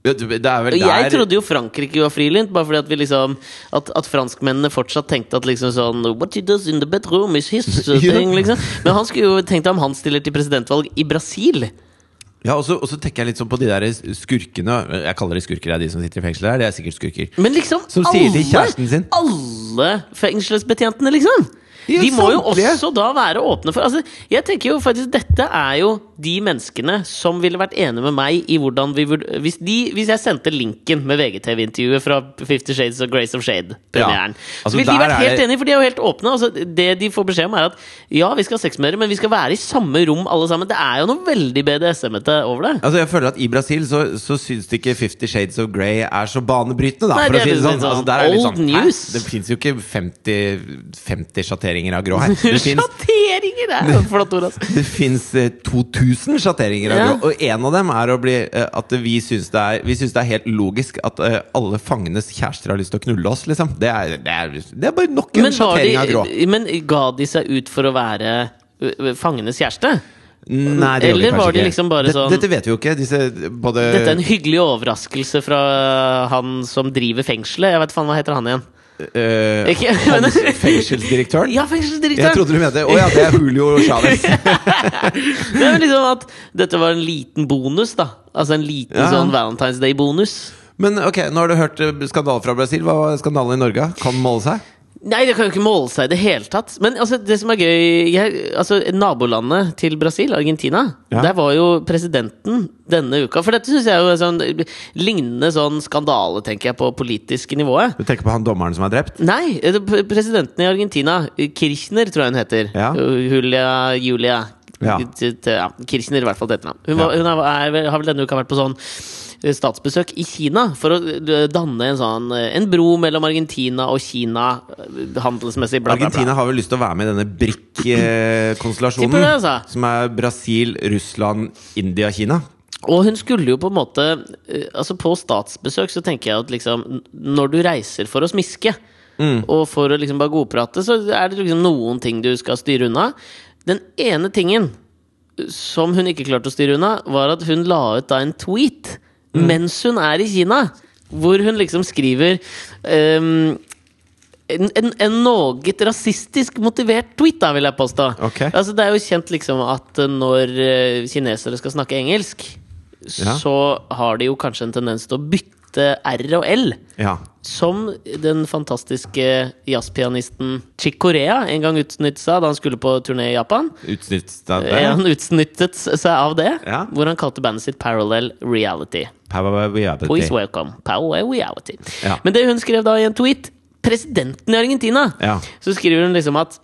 [SPEAKER 2] Ja, du- Det er vel
[SPEAKER 1] Og jeg
[SPEAKER 2] der
[SPEAKER 1] trodde jo Frankrike var frilynt, bare fordi at, vi liksom, at, at franskmennene fortsatt tenkte at liksom sånn What he does in the bedroom is his
[SPEAKER 2] Ja.
[SPEAKER 1] thing, liksom. Men han skulle jo tenkt om han stiller til presidentvalg i Brasil.
[SPEAKER 2] ja, og, så, og så tenker jeg litt sånn på de der skurkene. Jeg kaller de skurker, det er de som sitter i fengsel der. Det er sikkert skurker.
[SPEAKER 1] Men liksom
[SPEAKER 2] Som sier til kjæresten sin.
[SPEAKER 1] Alle fengselsbetjentene, liksom!
[SPEAKER 2] Ja,
[SPEAKER 1] De må jo
[SPEAKER 2] samtlige.
[SPEAKER 1] også da være åpne for altså, Jeg tenker jo faktisk Dette er jo de menneskene som ville vært enige med meg i hvordan vi vurd- hvis, de, hvis jeg sendte linken med VGTV-intervjuet fra Fifty Shades of Grace of Shade-premieren,
[SPEAKER 2] Ja. Altså,
[SPEAKER 1] så ville de
[SPEAKER 2] der
[SPEAKER 1] vært
[SPEAKER 2] er
[SPEAKER 1] helt
[SPEAKER 2] det-
[SPEAKER 1] enige, for de er jo helt åpne. Altså, det de får beskjed om, er at ja, vi skal ha sex med dere, men vi skal være i samme rom alle sammen. Det er jo noe veldig BDSM-ete over det.
[SPEAKER 2] Altså jeg føler at I Brasil så, så syns de ikke Fifty Shades of Grey er så banebrytende. da
[SPEAKER 1] Nei,
[SPEAKER 2] for
[SPEAKER 1] det
[SPEAKER 2] å
[SPEAKER 1] er
[SPEAKER 2] si det
[SPEAKER 1] litt
[SPEAKER 2] sånn.
[SPEAKER 1] sånn
[SPEAKER 2] Altså, der er det litt
[SPEAKER 1] old
[SPEAKER 2] sånn, hæ?
[SPEAKER 1] news.
[SPEAKER 2] Det fins jo ikke 50, 50 sjatteringer av grå her. Det finnes-
[SPEAKER 1] Sjatteringer! Det er jo et flott ord, altså.
[SPEAKER 2] Det fins 2000 sjatteringer av
[SPEAKER 1] Ja.
[SPEAKER 2] grå, og en av dem er å bli eh, at vi syns det, er- vi syns det er helt logisk at eh, alle fangenes kjærester har lyst til å knulle oss, liksom. Det er, det er, det er bare nok en
[SPEAKER 1] Men, var
[SPEAKER 2] sjattering av grå.
[SPEAKER 1] de, men ga de seg ut for å være ø, ø, fangenes kjæreste?
[SPEAKER 2] Nei, det gjør
[SPEAKER 1] eller
[SPEAKER 2] kanskje
[SPEAKER 1] var de
[SPEAKER 2] ikke.
[SPEAKER 1] liksom bare
[SPEAKER 2] Dette-
[SPEAKER 1] sånn-
[SPEAKER 2] Dette vet vi jo ikke. Disse både
[SPEAKER 1] Dette er en hyggelig overraskelse fra han som driver fengselet. Jeg vet faen, hva heter han igjen?
[SPEAKER 2] eh,
[SPEAKER 1] Ikke-
[SPEAKER 2] hans fengselsdirektøren.
[SPEAKER 1] Ja,
[SPEAKER 2] Jeg
[SPEAKER 1] fengselsdirektøren!
[SPEAKER 2] trodde du mente Å ja, det er Julio Chávez.
[SPEAKER 1] Det er vel liksom at dette var en liten bonus, da. Altså en liten
[SPEAKER 2] Ja.
[SPEAKER 1] sånn Valentine's Day-bonus.
[SPEAKER 2] Men ok, nå har du hørt eh, skandale fra Brasil. Hva var skandalen i Norge? Kan den måle seg?
[SPEAKER 1] Nei, det kan jo ikke måle seg i det hele tatt. Men altså, det som er gøy jeg, altså, Nabolandet til Brasil, Argentina,
[SPEAKER 2] Ja.
[SPEAKER 1] der var jo presidenten denne uka. For dette syns jeg jo er sånn lignende sånn skandale, tenker jeg, på politiske nivået.
[SPEAKER 2] Du tenker på han dommeren som er drept?
[SPEAKER 1] Nei, eh, p- presidenten i Argentina, eh, Kirchner tror jeg hun heter.
[SPEAKER 2] Ja.
[SPEAKER 1] Eh, Julia, Julia.
[SPEAKER 2] Ja.
[SPEAKER 1] T- t- ja, Kirchner i hvert fall det heter han. Hun,
[SPEAKER 2] Ja.
[SPEAKER 1] var, hun er, er, vel- har vel denne uka vært på sånn eh, statsbesøk i Kina for å eh, danne en sånn eh, En bro mellom Argentina og Kina eh, handelsmessig, bla, bla, bla.
[SPEAKER 2] Argentina har vel lyst til å være med i denne BRIC-konstellasjonen.
[SPEAKER 1] Tipper det, altså.
[SPEAKER 2] Som er Brasil, Russland, India, Kina.
[SPEAKER 1] Og hun skulle jo på en måte eh, Altså På statsbesøk så tenker jeg at liksom n- Når du reiser for å smiske Og for å liksom bare godprate Så er det liksom noen ting du skal styre unna Den ene tingen eh, Som hun ikke klarte å styre unna Var at hun la ut da en tweet Mens hun er i Kina Hvor hun liksom skriver ehm, en, en, en noe rasistisk motivert tweet, da, vil jeg påstå.
[SPEAKER 2] Ok.
[SPEAKER 1] Altså, det er jo kjent liksom at eh, når eh, kinesere skal snakke engelsk,
[SPEAKER 2] Ja.
[SPEAKER 1] så har de jo kanskje en tendens til å bytte R og L.
[SPEAKER 2] Ja.
[SPEAKER 1] Som den fantastiske jazzpianisten Chick Corea en gang utnyttet seg da han skulle på turné i Japan. Eh,
[SPEAKER 2] Utsnittsstandard.
[SPEAKER 1] Han utnyttet seg av det,
[SPEAKER 2] Ja.
[SPEAKER 1] hvor han kalte bandet sitt Parallel Reality. Please welcome Power Reality.
[SPEAKER 2] Ja.
[SPEAKER 1] Men det hun skrev da i en tweet Presidenten i Argentina!
[SPEAKER 2] Ja.
[SPEAKER 1] Så skriver hun liksom at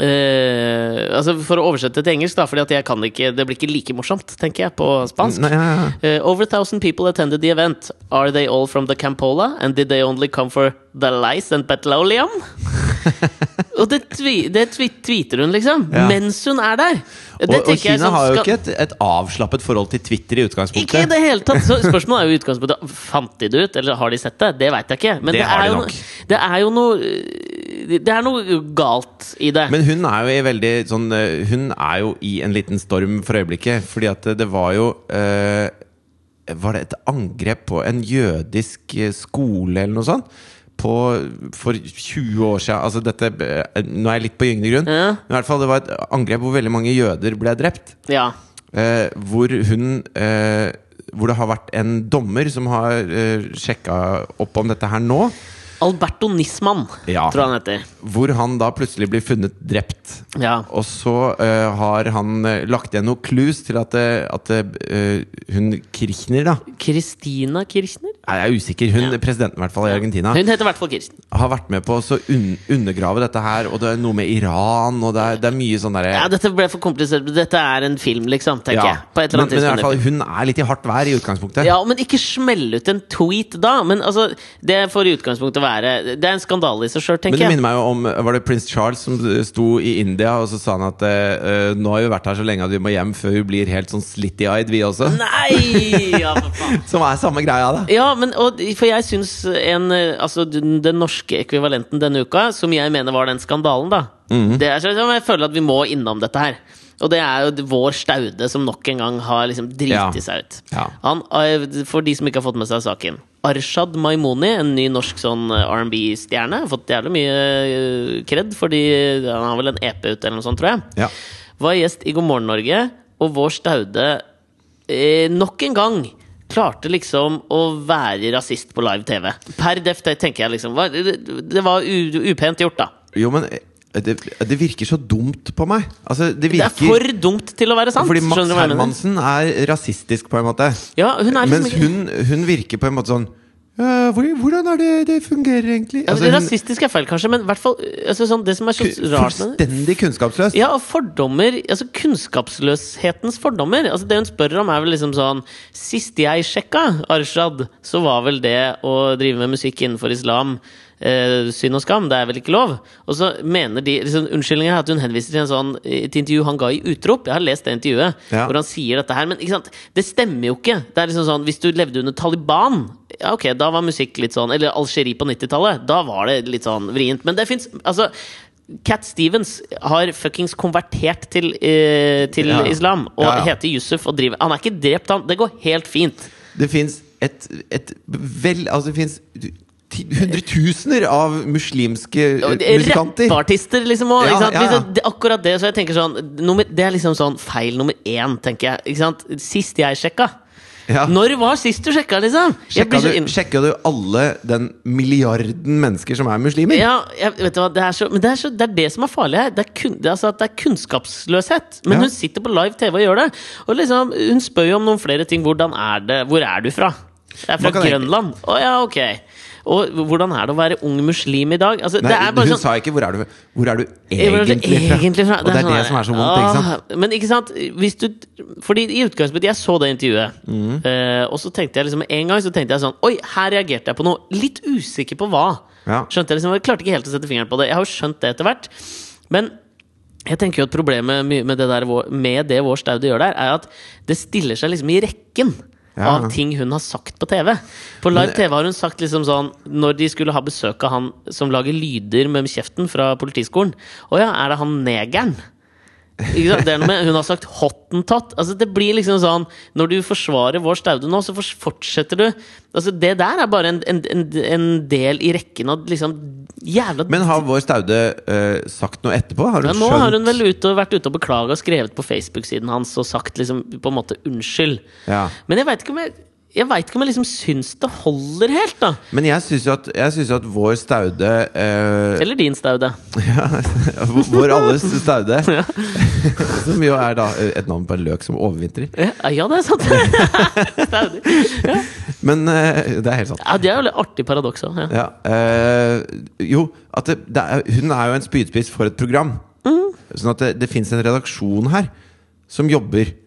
[SPEAKER 1] eh, altså For å oversette til engelsk, da, Fordi at jeg kan ikke det blir ikke like morsomt, tenker jeg, på spansk.
[SPEAKER 2] Nei, ja, ja.
[SPEAKER 1] Eh, over a thousand people attended the event. Are they all from the Campola? And did they only come for the lice and petroleum? og det, tvi, det tvi, tweeter hun, liksom.
[SPEAKER 2] Ja.
[SPEAKER 1] Mens hun er der. Det
[SPEAKER 2] Og, og
[SPEAKER 1] tenker jeg
[SPEAKER 2] Kina
[SPEAKER 1] sånn
[SPEAKER 2] har jo
[SPEAKER 1] skal-
[SPEAKER 2] ikke et, et avslappet forhold til Twitter i utgangspunktet.
[SPEAKER 1] ikke i det hele tatt! Så spørsmålet er jo i utgangspunktet Fant de det ut, eller har de sett det? Det veit jeg ikke. Men
[SPEAKER 2] Det
[SPEAKER 1] det,
[SPEAKER 2] har de
[SPEAKER 1] er jo,
[SPEAKER 2] nok.
[SPEAKER 1] no- det er jo noe øh, Det er noe galt i det.
[SPEAKER 2] Men hun er jo i veldig sånn eh, Hun er jo i en liten storm for øyeblikket. Fordi at det- det var jo eh, Var det et angrep på en jødisk eh, skole eller noe sånt? På, for 20 år siden altså dette, eh, Nå er jeg litt på gyngende grunn.
[SPEAKER 1] Ja.
[SPEAKER 2] Men i hvert fall Det var et angrep hvor veldig mange jøder ble drept.
[SPEAKER 1] ja.
[SPEAKER 2] Eh, hvor hun eh, Hvor det har vært en dommer som har eh, sjekka opp om dette her nå.
[SPEAKER 1] Alberto Nisman,
[SPEAKER 2] Ja.
[SPEAKER 1] tror jeg han heter.
[SPEAKER 2] Hvor han da plutselig blir funnet drept.
[SPEAKER 1] Ja.
[SPEAKER 2] Og så eh, har han eh, lagt igjen noen clues til at, eh, at eh, hun Kirchner, da
[SPEAKER 1] Christina Kirchner?
[SPEAKER 2] Nei, Jeg er usikker. Hun, Presidenten i hvert fall i Argentina
[SPEAKER 1] Hun heter i hvert fall Kirchner.
[SPEAKER 2] har vært med på å så un undergrave dette her. Og det er noe med Iran, og det er, det er mye sånn derre
[SPEAKER 1] Ja, dette ble for komplisert. Dette er en film, liksom, tenker
[SPEAKER 2] Ja.
[SPEAKER 1] jeg. På et eller annet
[SPEAKER 2] men, men i
[SPEAKER 1] tidspunkt.
[SPEAKER 2] hvert fall, hun er litt i hardt vær i utgangspunktet.
[SPEAKER 1] Ja, men ikke smell ut en tweet da! Men altså, det får i utgangspunktet være Det er en skandale i seg sjøl,
[SPEAKER 2] Men
[SPEAKER 1] tenker
[SPEAKER 2] det
[SPEAKER 1] jeg.
[SPEAKER 2] minner meg jo om Var det prins Charles som sto i India, og så sa han at eh, nå har vi vært her så lenge at vi må hjem før vi blir helt sånn slitty-eyed, vi også?
[SPEAKER 1] Nei! Ja, for faen.
[SPEAKER 2] Som er samme greia, da.
[SPEAKER 1] Ja, men, og, for jeg syns en eh, Altså, den, den norske ekvivalenten denne uka, som jeg mener var den skandalen, da
[SPEAKER 2] Mhm.
[SPEAKER 1] Det er sånn som jeg føler at vi må innom dette her. Og det er jo vår Staude som nok en gang har liksom driti
[SPEAKER 2] Ja.
[SPEAKER 1] seg ut.
[SPEAKER 2] Ja.
[SPEAKER 1] Han, eh, for de som ikke har fått med seg saken. Arshad Maimoni, en ny norsk sånn R&B-stjerne, har fått jævlig mye eh, kred fordi han har vel en EP ute eller noe sånt, tror jeg
[SPEAKER 2] Ja.
[SPEAKER 1] var gjest i God morgen Norge, og vår Staude eh, nok en gang klarte liksom å være rasist på live-TV. Per def, det tenker jeg liksom var, det, det var u, upent gjort, da.
[SPEAKER 2] Jo, men eh, det, det virker så dumt på meg. Altså, det
[SPEAKER 1] Det
[SPEAKER 2] virker
[SPEAKER 1] er for dumt til å være sant!
[SPEAKER 2] Fordi
[SPEAKER 1] skjønner
[SPEAKER 2] Max
[SPEAKER 1] du hva jeg mener?
[SPEAKER 2] Hermansen er rasistisk, på en måte.
[SPEAKER 1] Ja, hun er liksom
[SPEAKER 2] Mens
[SPEAKER 1] ikke
[SPEAKER 2] hun, hun virker på en måte sånn «Ja, hvor- Hvordan er det det fungerer, egentlig?
[SPEAKER 1] Ja,
[SPEAKER 2] Altså, hun,
[SPEAKER 1] Rasistisk er feil, kanskje, men i hvert fall eh, altså, sånn, Det som er så
[SPEAKER 2] ku-
[SPEAKER 1] rart med det
[SPEAKER 2] fullstendig kunnskapsløs.
[SPEAKER 1] Ja, og fordommer Altså kunnskapsløshetens fordommer. Altså Det hun spør om, er vel liksom sånn Sist jeg sjekka, Arshad, så var vel det å drive med musikk innenfor islam eh, synd og skam. Det er vel ikke lov? Og så mener de liksom, Unnskyldningen er at hun henviser til en sånn et intervju han ga i Utrop. Jeg har lest det intervjuet.
[SPEAKER 2] Ja.
[SPEAKER 1] Hvor han sier dette her Men ikke sant? det stemmer jo ikke. Det er liksom sånn Hvis du levde under Taliban ja, ok, da var musikk litt sånn Eller Algerie på 90-tallet. Da var det litt sånn vrient. Men det fins Altså, Cat Stevens har fuckings konvertert til, eh, til
[SPEAKER 2] Ja.
[SPEAKER 1] islam og
[SPEAKER 2] Ja, ja.
[SPEAKER 1] heter Yusuf og driver Han er ikke drept, han. Det går helt fint.
[SPEAKER 2] Det fins et, et vel Altså, det fins hundretusener av muslimske eh,
[SPEAKER 1] Og det er
[SPEAKER 2] musikanter.
[SPEAKER 1] Rappartister, liksom. Og,
[SPEAKER 2] Ja,
[SPEAKER 1] ikke sant?
[SPEAKER 2] ja, ja.
[SPEAKER 1] Liksom, det, akkurat det. Så jeg tenker sånn nummer, Det er liksom sånn feil nummer én, tenker jeg. Ikke sant? Sist jeg sjekka.
[SPEAKER 2] Ja.
[SPEAKER 1] Når var sist du sjekka, liksom? Jeg
[SPEAKER 2] Sjekka
[SPEAKER 1] blir
[SPEAKER 2] du,
[SPEAKER 1] så inn-
[SPEAKER 2] sjekka du alle den milliarden mennesker som er muslimer?
[SPEAKER 1] Ja, jeg, vet du hva, det er så, men det er, så, det er det som er farlig her. Det er, kun, det, er altså, at det er kunnskapsløshet. Men
[SPEAKER 2] Ja.
[SPEAKER 1] hun sitter på live TV og gjør det. Og liksom, hun spør jo om noen flere ting. Hvordan er det? Hvor er du fra? Jeg er
[SPEAKER 2] Man
[SPEAKER 1] fra
[SPEAKER 2] kan egentlig-
[SPEAKER 1] Grønland. Å ja, ok. Og hvordan er det å være ung muslim i dag? Altså,
[SPEAKER 2] Nei,
[SPEAKER 1] det er bare
[SPEAKER 2] hun
[SPEAKER 1] sånn
[SPEAKER 2] sa ikke 'hvor er du, hvor er du
[SPEAKER 1] hvor er du
[SPEAKER 2] egentlig fra'?
[SPEAKER 1] egentlig fra?
[SPEAKER 2] Og det er
[SPEAKER 1] sånn
[SPEAKER 2] det
[SPEAKER 1] der,
[SPEAKER 2] som er så vondt. ikke sant?
[SPEAKER 1] «Åh», Men ikke sant, hvis du Fordi i utgangspunktet, jeg så det intervjuet.
[SPEAKER 2] Mm.
[SPEAKER 1] eh, og så tenkte jeg liksom en gang så tenkte jeg sånn Oi, her reagerte jeg på noe. Litt usikker på hva.
[SPEAKER 2] Ja.
[SPEAKER 1] Skjønte jeg liksom, jeg klarte ikke helt å sette fingeren på det. Jeg har jo skjønt det etter hvert. Men jeg tenker jo at problemet my- med det, der, vår- med det vår Staude gjør der, er at det stiller seg liksom i rekken.
[SPEAKER 2] Ja.
[SPEAKER 1] Av ting hun har sagt på TV. På live TV har hun sagt liksom sånn Når de skulle ha besøk av han som lager lyder med kjeften fra politiskolen Å ja, er det han negeren? Ikke sant? Det er noe med, hun har sagt hottentott. Altså, det blir liksom sånn Når du forsvarer vår staude nå, så fors- fortsetter du altså, Det der er bare en, en, en, en del i rekken av liksom jævla
[SPEAKER 2] Men har vår Staude eh, sagt noe etterpå? Har
[SPEAKER 1] ja,
[SPEAKER 2] hun
[SPEAKER 1] nå
[SPEAKER 2] skjønt?
[SPEAKER 1] har hun vel ute, vært ute og beklaga og skrevet på Facebook-siden hans og sagt liksom på en måte unnskyld.
[SPEAKER 2] Ja.
[SPEAKER 1] Men jeg veit ikke om jeg, jeg, vet ikke om jeg liksom syns det holder helt, da.
[SPEAKER 2] Men jeg syns jo, at- jeg synes jo at vår Staude eh,
[SPEAKER 1] Eller din staude.
[SPEAKER 2] ja, Vår alles Staude, som jo er da et navn på en løk som overvintrer.
[SPEAKER 1] Ja, Eh, ja, det er sant! Stauder. ja.
[SPEAKER 2] Men eh, det er helt sant.
[SPEAKER 1] ja, det er jo litt artig paradoks òg. Ja.
[SPEAKER 2] Ja, eh, jo, at det, det er, hun er jo en spydspiss for et program.
[SPEAKER 1] Mm.
[SPEAKER 2] Sånn at det, det fins en redaksjon her som jobber. Eh,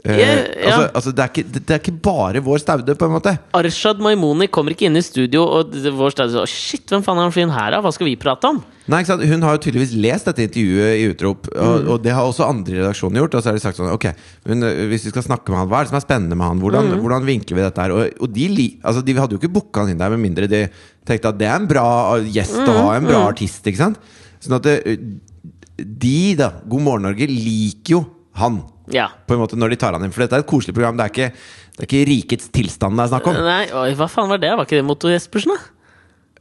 [SPEAKER 1] Ja, ja.
[SPEAKER 2] Altså, altså det, er ikke, det, det er ikke bare vår staude, på en måte.
[SPEAKER 1] Arshad Maimoni kommer ikke inn i studio, og det- vår staude sier Shit, hvem faen er han fyren her, da? Hva skal vi prate om?
[SPEAKER 2] Nei, ikke sant? Hun har jo tydeligvis lest dette intervjuet i Utrop,
[SPEAKER 1] Mm.
[SPEAKER 2] og, og det har også andre i redaksjonen gjort. Og så har de sagt sånn Ok, men eh, hvis vi skal snakke med han, hva er det som er spennende med han? Hvordan,
[SPEAKER 1] Mm.
[SPEAKER 2] hvordan vinkler vi dette her? Og, og de, li- altså, de hadde jo ikke booka han inn der med mindre de tenkte at det er en bra gjest å ha, en
[SPEAKER 1] Mm,
[SPEAKER 2] bra artist, ikke sant? Sånn at det, de, da, God morgen Norge, liker jo han.
[SPEAKER 1] Ja.
[SPEAKER 2] På en måte når de tar han inn. For dette er et koselig program. Det er ikke, det er ikke rikets tilstand det er snakk om.
[SPEAKER 1] Nei, oi, hva faen var det? Var ikke det Motto Jespersen, da?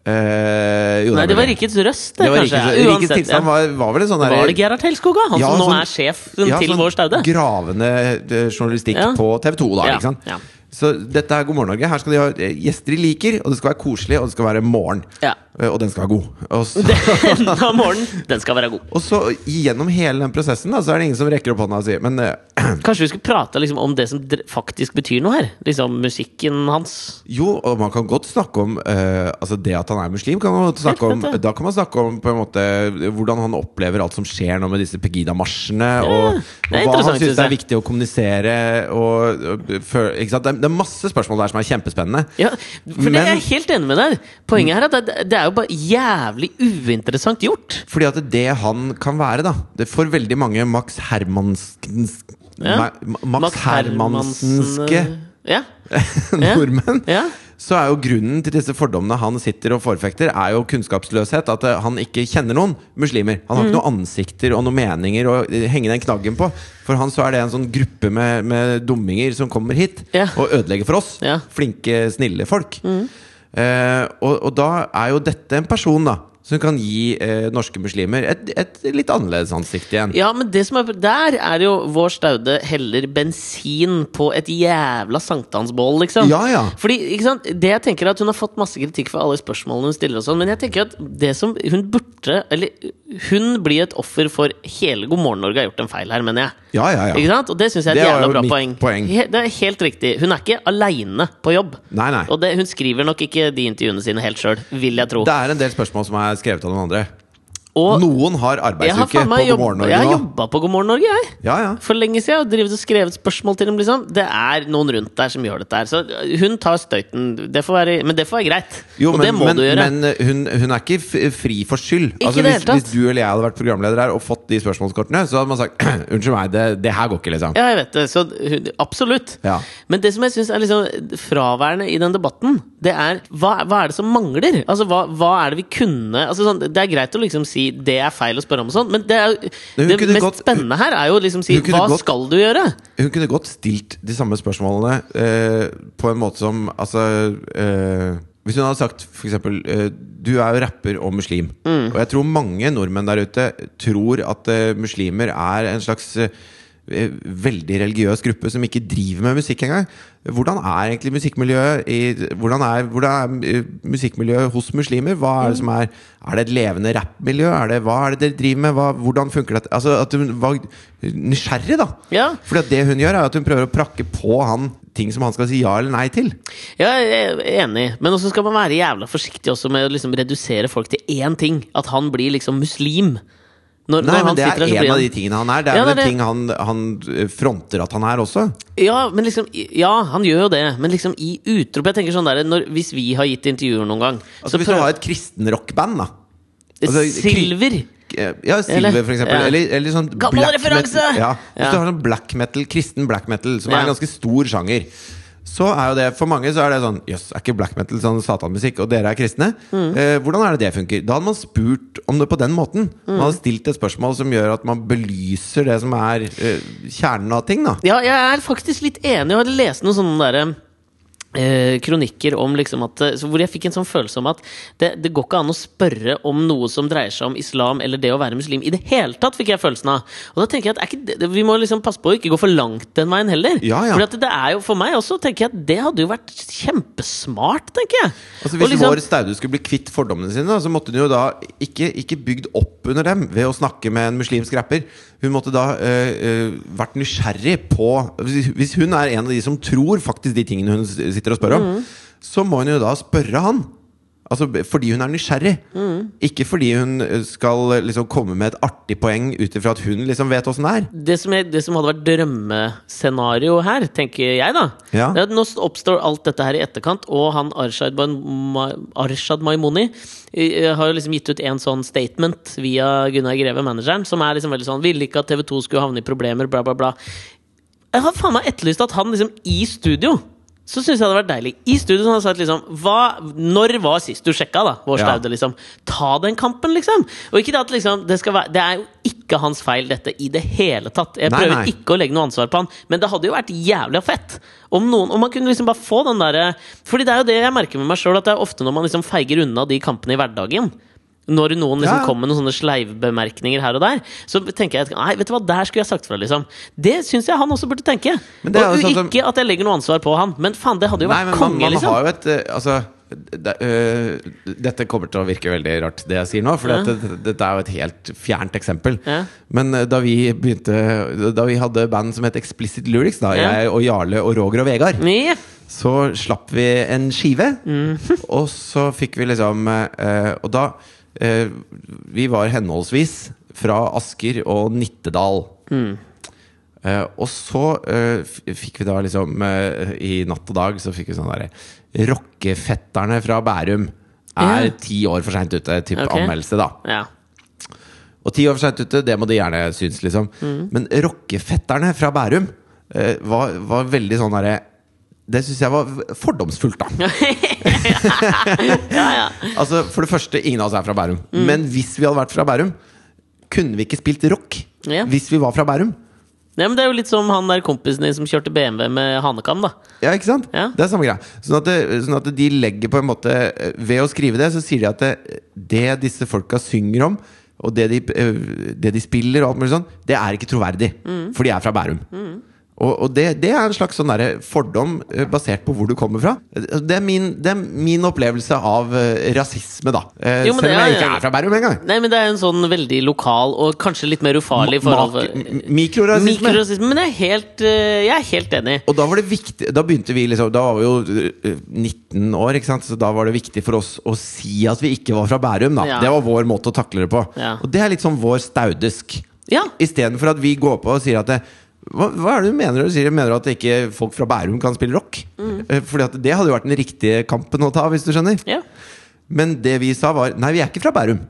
[SPEAKER 2] Eh, jo,
[SPEAKER 1] Nei, det
[SPEAKER 2] ble
[SPEAKER 1] var Rikets Røst, det,
[SPEAKER 2] Det var
[SPEAKER 1] kanskje.
[SPEAKER 2] rikets, rikets
[SPEAKER 1] Uansett,
[SPEAKER 2] tilstand
[SPEAKER 1] ja.
[SPEAKER 2] var, var vel en sånn
[SPEAKER 1] Var
[SPEAKER 2] derre-
[SPEAKER 1] det Gerhard Helskoga, han
[SPEAKER 2] Ja,
[SPEAKER 1] som nå
[SPEAKER 2] sånn-
[SPEAKER 1] er sjefen til
[SPEAKER 2] sånn
[SPEAKER 1] vår staude?
[SPEAKER 2] Gravende eh, journalistikk
[SPEAKER 1] Ja.
[SPEAKER 2] på TV 2, da.
[SPEAKER 1] Ja,
[SPEAKER 2] Ikke sant?
[SPEAKER 1] ja.
[SPEAKER 2] Så dette er God morgen, Norge. Her skal de ha eh, gjester de liker, og det skal være koselig, og det skal være morgen.
[SPEAKER 1] Ja.
[SPEAKER 2] Eh, Og den skal være god. Og så,
[SPEAKER 1] Enden av morgenen, den skal være god.
[SPEAKER 2] og så gjennom hele den prosessen da, så er det ingen som rekker opp hånda og sier Men eh,
[SPEAKER 1] Kanskje vi skulle prate liksom, om det som dr- faktisk betyr noe her? Liksom musikken hans.
[SPEAKER 2] jo, og man kan godt snakke om eh, Altså det at han er muslim, kan man godt snakke om,
[SPEAKER 1] Helt rett, ja.
[SPEAKER 2] da kan man snakke om på en måte hvordan han opplever alt som skjer nå med disse Pegida-marsjene, og, og
[SPEAKER 1] det er
[SPEAKER 2] hva han
[SPEAKER 1] interessant, synes
[SPEAKER 2] syns er
[SPEAKER 1] jeg.
[SPEAKER 2] viktig å kommunisere. Og, og, fø- ikke sant? Det, er, det er masse spørsmål der som er kjempespennende.
[SPEAKER 1] Ja, for det
[SPEAKER 2] Men-
[SPEAKER 1] er jeg helt enig med deg. Poenget her er at det, det er jo bare jævlig uinteressant gjort.
[SPEAKER 2] Fordi at det han kan være, da Det får veldig mange Max Hermanskens
[SPEAKER 1] Ja.
[SPEAKER 2] Ma- Max, Hermansenske
[SPEAKER 1] Ja. Ja.
[SPEAKER 2] nordmenn.
[SPEAKER 1] ja.
[SPEAKER 2] Så er jo grunnen til disse fordommene han sitter og forfekter, er jo kunnskapsløshet. At eh, han ikke kjenner noen muslimer. Han har
[SPEAKER 1] Mm.
[SPEAKER 2] ikke noen ansikter og noen meninger å eh, henge den knaggen på. For han så er det en sånn gruppe med, med dumminger som kommer hit
[SPEAKER 1] Ja.
[SPEAKER 2] og ødelegger for oss.
[SPEAKER 1] Ja. Mm.
[SPEAKER 2] Flinke, snille folk. Eh, og, og da er jo dette en person, da. Som kan gi eh, norske muslimer et, et litt annerledes ansikt igjen.
[SPEAKER 1] Ja, men det som er der, er jo vår staude heller bensin på et jævla sankthansbål, liksom.
[SPEAKER 2] Ja, ja.
[SPEAKER 1] Fordi, ikke sant, det jeg tenker er at Hun har fått masse kritikk for alle spørsmålene hun stiller, og sånn, men jeg tenker at det som hun burde Eller hun blir et offer for hele God morgen Norge har gjort en feil her, mener jeg.
[SPEAKER 2] Ja, ja, ja.
[SPEAKER 1] Ikke sant? Og det syns jeg er
[SPEAKER 2] Det
[SPEAKER 1] et
[SPEAKER 2] var
[SPEAKER 1] jævla
[SPEAKER 2] jo
[SPEAKER 1] bra
[SPEAKER 2] mitt
[SPEAKER 1] poeng.
[SPEAKER 2] poeng.
[SPEAKER 1] He- Det er helt riktig. Hun er ikke aleine på jobb.
[SPEAKER 2] Nei, nei.
[SPEAKER 1] Og det, hun skriver nok ikke de intervjuene sine helt sjøl, vil jeg tro.
[SPEAKER 2] Det er en del spørsmål som er skrevet av noen andre.
[SPEAKER 1] Og
[SPEAKER 2] Noen har
[SPEAKER 1] jeg har,
[SPEAKER 2] arbeidsuke
[SPEAKER 1] faen
[SPEAKER 2] på
[SPEAKER 1] meg
[SPEAKER 2] God
[SPEAKER 1] jobb,
[SPEAKER 2] morgen
[SPEAKER 1] jeg har
[SPEAKER 2] Norge nå.
[SPEAKER 1] jobba på God morgen Norge, jeg.
[SPEAKER 2] Ja, ja.
[SPEAKER 1] For lenge siden og drevet og skrevet spørsmål til dem. liksom Det er noen rundt der som gjør dette her. Så øh, hun tar støyten. Det får være, men det får være greit.
[SPEAKER 2] Jo,
[SPEAKER 1] og
[SPEAKER 2] men,
[SPEAKER 1] det må
[SPEAKER 2] men,
[SPEAKER 1] du gjøre.
[SPEAKER 2] men eh, hun, hun er ikke f- fri for skyld.
[SPEAKER 1] i det
[SPEAKER 2] Altså, hvis,
[SPEAKER 1] hele tatt.
[SPEAKER 2] hvis du eller jeg hadde vært programleder her og fått de spørsmålskortene, så hadde man sagt unnskyld meg, det, det her går ikke, liksom.
[SPEAKER 1] Ja, jeg vet det. Så hun, absolutt.
[SPEAKER 2] Ja.
[SPEAKER 1] Men det som jeg syns er liksom fraværende i den debatten, det er hva, hva er det som mangler? Altså, hva, hva er det vi kunne altså, sånn, Det er greit å liksom si det er feil å spørre om og sånn, men det, er, jo-
[SPEAKER 2] Men hun
[SPEAKER 1] det
[SPEAKER 2] kunne
[SPEAKER 1] mest
[SPEAKER 2] gått-
[SPEAKER 1] spennende her er jo å liksom si
[SPEAKER 2] hun kunne
[SPEAKER 1] hva
[SPEAKER 2] gått-
[SPEAKER 1] skal du gjøre?
[SPEAKER 2] Hun kunne godt stilt de samme spørsmålene eh, på en måte som Altså eh, Hvis hun hadde sagt f.eks.: eh, Du er jo rapper og muslim. Og jeg tror mange nordmenn der ute tror at eh, muslimer er en slags eh, eh, veldig religiøs gruppe som ikke driver med musikk engang. Hvordan er egentlig musikkmiljøet i, hvordan er, hvordan er eh, musikkmiljøet hos muslimer? Hva Er det som er Er det et levende rappmiljø? Er det- Hva er det dere driver med? Hva, hvordan funker det? Altså At hun var nysgjerrig, da.
[SPEAKER 1] Ja.
[SPEAKER 2] Fordi at det hun gjør, er at hun prøver å prakke på han ting som han skal si ja eller nei til.
[SPEAKER 1] Ja, jeg er enig. Men også skal man være jævla forsiktig også med å liksom redusere folk til én ting. At han blir liksom muslim. Når,
[SPEAKER 2] Nei,
[SPEAKER 1] når
[SPEAKER 2] men
[SPEAKER 1] han
[SPEAKER 2] det er
[SPEAKER 1] sitter der, så
[SPEAKER 2] en
[SPEAKER 1] blir
[SPEAKER 2] av
[SPEAKER 1] han
[SPEAKER 2] de tingene han er. Det er
[SPEAKER 1] Ja,
[SPEAKER 2] vel
[SPEAKER 1] det
[SPEAKER 2] en
[SPEAKER 1] er
[SPEAKER 2] ting han, han eh, fronter at han er også. Altså,
[SPEAKER 1] Ja, men liksom, ja, han gjør jo det, men liksom i utrop Jeg tenker sånn der, når, Hvis vi har gitt intervjuer noen gang
[SPEAKER 2] Altså Hvis du har et kristenrockband, da. altså,
[SPEAKER 1] prøv- Silver!
[SPEAKER 2] Eh, Ja, Silver,
[SPEAKER 1] Eller-
[SPEAKER 2] for eksempel.
[SPEAKER 1] ja.
[SPEAKER 2] Eller, eller sånn
[SPEAKER 1] Gammel referanse!
[SPEAKER 2] metal. Ja. Hvis
[SPEAKER 1] Ja.
[SPEAKER 2] du har sånn black metal, kristen black metal, som
[SPEAKER 1] Ja.
[SPEAKER 2] er en ganske stor sjanger, så er jo det for mange så er det sånn Jøss, er ikke black metal sånn satanmusikk, og dere er kristne?
[SPEAKER 1] Mm.
[SPEAKER 2] Eh, hvordan er det det funker? Da hadde man spurt om det på den måten. Man
[SPEAKER 1] Mm.
[SPEAKER 2] hadde stilt et spørsmål som gjør at man belyser det som er eh, kjernen av ting, da.
[SPEAKER 1] Ja, jeg er faktisk litt enig. Jeg har lest noen sånne der, eh, kronikker om liksom at, eh, så hvor jeg fikk en sånn følelse om at det, det går ikke an å spørre om noe som dreier seg om islam eller det å være muslim. I det hele tatt fikk jeg følelsen av. Og da tenker jeg at er ikke det, Vi må liksom passe på å ikke gå for langt den veien heller.
[SPEAKER 2] Ja, ja.
[SPEAKER 1] Fordi at det er jo, For meg også tenker jeg at det hadde jo vært kjempesmart, tenker jeg.
[SPEAKER 2] Altså
[SPEAKER 1] Og liksom-
[SPEAKER 2] Hvis Bård Staude skulle bli kvitt fordommene sine, da, så måtte hun jo da ikke, ikke bygd opp under dem ved å snakke med en muslimsk rapper. Hun måtte da øh, øh, vært nysgjerrig på hvis, hvis hun er en av de som tror faktisk de tingene hun s- sitter og spør om, så må hun jo da spørre han. Altså b- Fordi hun er nysgjerrig. Ikke fordi hun øh, skal øh, liksom komme med et artig poeng ut ifra at hun liksom vet åssen det er.
[SPEAKER 1] det som, jeg, det som hadde vært drømmescenario her, tenker jeg da
[SPEAKER 2] Ja.
[SPEAKER 1] det er at Nå oppstår alt dette her i etterkant, og han Arshad, Ban- Ma- Arshad Maimoni eh, har jo liksom gitt ut en sånn statement via Gunnar Greve, manageren, som er liksom veldig sånn Ville ikke at TV 2 skulle havne i problemer, bla, bla, bla. Jeg har faen meg etterlyst at han liksom i studio så syns jeg det hadde vært deilig. I studio så hadde han sagt liksom hva, Når var sist du sjekka, da? Vår
[SPEAKER 2] Ja.
[SPEAKER 1] Staude, liksom. Ta den kampen, liksom! Og ikke det at liksom det, skal være, det er jo ikke hans feil, dette, i det hele tatt. Jeg
[SPEAKER 2] Nei,
[SPEAKER 1] prøver
[SPEAKER 2] nei.
[SPEAKER 1] ikke å legge noe ansvar på han, men det hadde jo vært jævlig fett om noen Om man kunne liksom bare få den derre Fordi det er jo det jeg merker med meg sjøl, at det er ofte når man liksom feiger unna de kampene i hverdagen. Når noen liksom
[SPEAKER 2] Ja.
[SPEAKER 1] kommer med noen sånne sleivbemerkninger her og der, så tenker jeg at, Nei, vet du hva, der skulle jeg sagt fra, liksom. Det syns jeg han også burde tenke.
[SPEAKER 2] Men det er
[SPEAKER 1] og
[SPEAKER 2] jo sånn som-
[SPEAKER 1] ikke at jeg legger noe ansvar på han, men faen, det hadde jo
[SPEAKER 2] Nei,
[SPEAKER 1] vært
[SPEAKER 2] men man,
[SPEAKER 1] konge,
[SPEAKER 2] man
[SPEAKER 1] liksom.
[SPEAKER 2] har jo et eh, Altså det, øh, dette kommer til å virke veldig rart, det jeg sier nå. For
[SPEAKER 1] Ja.
[SPEAKER 2] dette, dette er jo et helt fjernt eksempel.
[SPEAKER 1] Ja.
[SPEAKER 2] Men eh, da vi begynte Da vi hadde band som het Explicit Lyrics, da,
[SPEAKER 1] Ja.
[SPEAKER 2] jeg og Jarle og Roger og Vegard,
[SPEAKER 1] Ja.
[SPEAKER 2] så slapp vi en skive.
[SPEAKER 1] Mm.
[SPEAKER 2] Og så fikk vi liksom eh, Og da eh, Vi var henholdsvis fra Asker og Nittedal.
[SPEAKER 1] Mm.
[SPEAKER 2] Eh, og så eh, f- fikk vi da liksom eh, I natt og dag så fikk vi sånn derre Rockefetterne fra Bærum er
[SPEAKER 1] Ja.
[SPEAKER 2] ti år for seint ute. Typ
[SPEAKER 1] Ok.
[SPEAKER 2] anmeldelse, da.
[SPEAKER 1] ja.
[SPEAKER 2] Og ti år for seint ute, det må de gjerne synes, liksom. Men rockefetterne fra Bærum eh, var, var veldig sånn derre Det syns jeg var fordomsfullt, da.
[SPEAKER 1] ja, Mm. ja.
[SPEAKER 2] Altså, For det første, ingen av oss er fra Bærum. Men hvis vi hadde vært fra Bærum, kunne vi ikke spilt rock?
[SPEAKER 1] Ja.
[SPEAKER 2] Hvis vi var fra Bærum?
[SPEAKER 1] Nei, men Det er jo litt som han der kompisen din som kjørte BMW med hanekam, da.
[SPEAKER 2] Ja, ikke sant?
[SPEAKER 1] Ja.
[SPEAKER 2] Det er samme greia. Sånn at, det, sånn at de legger på en måte eh, Ved å skrive det, så sier de at det, det disse folka synger om, og det de, eh, det de spiller, og alt mulig sånn, det er ikke troverdig.
[SPEAKER 1] Mm.
[SPEAKER 2] For de er fra Bærum. Og, og det, det er en slags sånn derre fordom eh, basert på hvor du kommer fra. Eh, Det er min, det er min opplevelse av eh, rasisme, da. Eh,
[SPEAKER 1] Jo, men
[SPEAKER 2] Selv
[SPEAKER 1] det
[SPEAKER 2] om jeg
[SPEAKER 1] er-
[SPEAKER 2] ikke er fra Bærum engang.
[SPEAKER 1] Nei, men Det er jo en sånn veldig lokal og kanskje litt mer ufarlig forhold
[SPEAKER 2] Make- m- Mikrorasisme.
[SPEAKER 1] Mikrorasisme. Men jeg er helt, eh, jeg er helt enig.
[SPEAKER 2] Og da var det viktig Da begynte vi liksom Da var vi jo øh, 19 år, ikke sant? Så da var det viktig for oss å si at vi ikke var fra Bærum, da.
[SPEAKER 1] Ja.
[SPEAKER 2] Det var vår måte å takle det på.
[SPEAKER 1] Ja.
[SPEAKER 2] Og det er litt sånn vår staudesk.
[SPEAKER 1] Ja.
[SPEAKER 2] Istedenfor at vi går på og sier at det, hva, hva er det du mener? Du sier du mener at ikke folk fra Bærum kan spille rock? Eh, Fordi at det hadde jo vært den riktige kampen å ta, hvis du skjønner.
[SPEAKER 1] Mm. ja.
[SPEAKER 2] Men det vi sa, var nei, vi er ikke fra Bærum.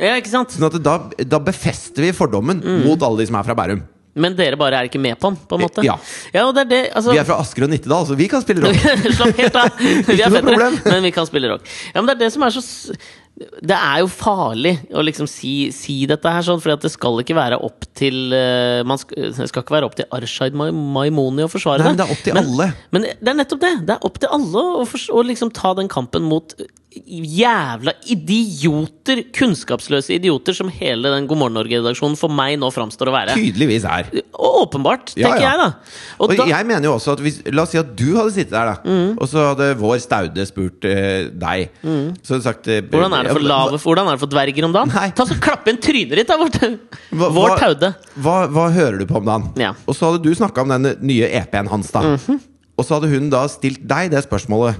[SPEAKER 1] Ja, ikke sant?
[SPEAKER 2] Sånn at da, da befester vi fordommen
[SPEAKER 1] Mm.
[SPEAKER 2] mot alle de som er fra Bærum.
[SPEAKER 1] Men dere bare er ikke med på den, på en måte?
[SPEAKER 2] Eh, Ja.
[SPEAKER 1] ja og det er det, altså,
[SPEAKER 2] Vi er fra Asker og Nittedal, så vi kan spille rock.
[SPEAKER 1] Slapp helt av. Vi
[SPEAKER 2] Ikke
[SPEAKER 1] er
[SPEAKER 2] noe
[SPEAKER 1] fettere,
[SPEAKER 2] problem.
[SPEAKER 1] men vi kan spille rock. Ja, men Det er det som er så s- Det er jo farlig å liksom si, si dette her sånn, for det skal ikke være opp til eh, man skal, Det skal ikke være opp til Arshaid Mai- Maimoni å forsvare
[SPEAKER 2] Nei, men det er opp til alle.
[SPEAKER 1] Men det er nettopp det! Det er opp til alle å, fors- å liksom ta den kampen mot jævla idioter, kunnskapsløse idioter, som hele den God morgen Norge-redaksjonen for meg nå framstår å være.
[SPEAKER 2] Tydeligvis er.
[SPEAKER 1] Og åpenbart,
[SPEAKER 2] Ja,
[SPEAKER 1] tenker
[SPEAKER 2] ja.
[SPEAKER 1] jeg, da. Og
[SPEAKER 2] Og
[SPEAKER 1] da Mm.
[SPEAKER 2] jeg mener jo også at hvis, La oss si at du hadde sittet der, da. Og så hadde vår staude spurt eh, deg. Så hadde du sagt eh,
[SPEAKER 1] hvordan er, det for
[SPEAKER 2] ja,
[SPEAKER 1] lave, hvordan er det for dverger om dagen?
[SPEAKER 2] Nei.
[SPEAKER 1] Ta så Klapp inn trynet ditt, da! Vårt,
[SPEAKER 2] Hva-
[SPEAKER 1] vår
[SPEAKER 2] hva-
[SPEAKER 1] taude.
[SPEAKER 2] Hva, hva hører du på om dagen?
[SPEAKER 1] Ja. Mhm.
[SPEAKER 2] Og så hadde du snakka om den nye EP-en hans, da. Og så hadde hun da stilt deg det spørsmålet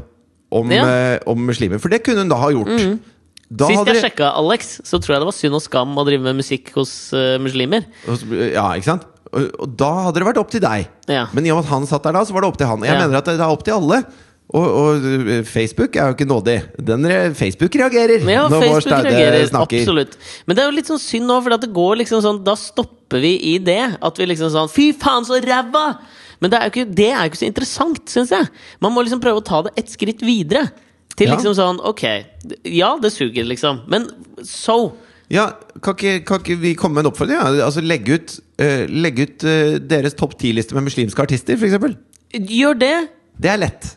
[SPEAKER 2] om,
[SPEAKER 1] Ja. Mm.
[SPEAKER 2] eh, om muslimer. For det kunne hun da ha gjort. Da
[SPEAKER 1] Sist jeg
[SPEAKER 2] hadde-
[SPEAKER 1] sjekka Alex, så tror jeg det var synd og skam å drive med musikk hos eh, muslimer.
[SPEAKER 2] Og så- Ja, ikke sant? Og, og da hadde det vært opp til deg.
[SPEAKER 1] Ja.
[SPEAKER 2] Men i og med at han satt der da, så var det opp til han. Jeg
[SPEAKER 1] Ja.
[SPEAKER 2] mener at det er opp til alle. Og, og eh, Facebook er jo ikke nådig. Den re Facebook reagerer
[SPEAKER 1] Men ja,
[SPEAKER 2] når vår
[SPEAKER 1] Facebook
[SPEAKER 2] staude
[SPEAKER 1] reagerer.
[SPEAKER 2] snakker.
[SPEAKER 1] Absolutt. Men det er jo litt sånn synd nå, for at det går liksom sånn Da stopper vi i det. At vi liksom sånn Fy faen, så ræva! Men det er jo ikke, det er jo ikke så interessant, syns jeg. Man må liksom prøve å ta det et skritt videre. Til
[SPEAKER 2] Ja.
[SPEAKER 1] liksom sånn Ok, ja, det suger, liksom. Men so?
[SPEAKER 2] Ja, kan ikke, kan ikke vi komme med en oppfordring? Ja? Altså, legg ut, eh, legg ut eh, deres topp ti-liste med muslimske artister, f.eks.
[SPEAKER 1] Gjør det.
[SPEAKER 2] Det er lett.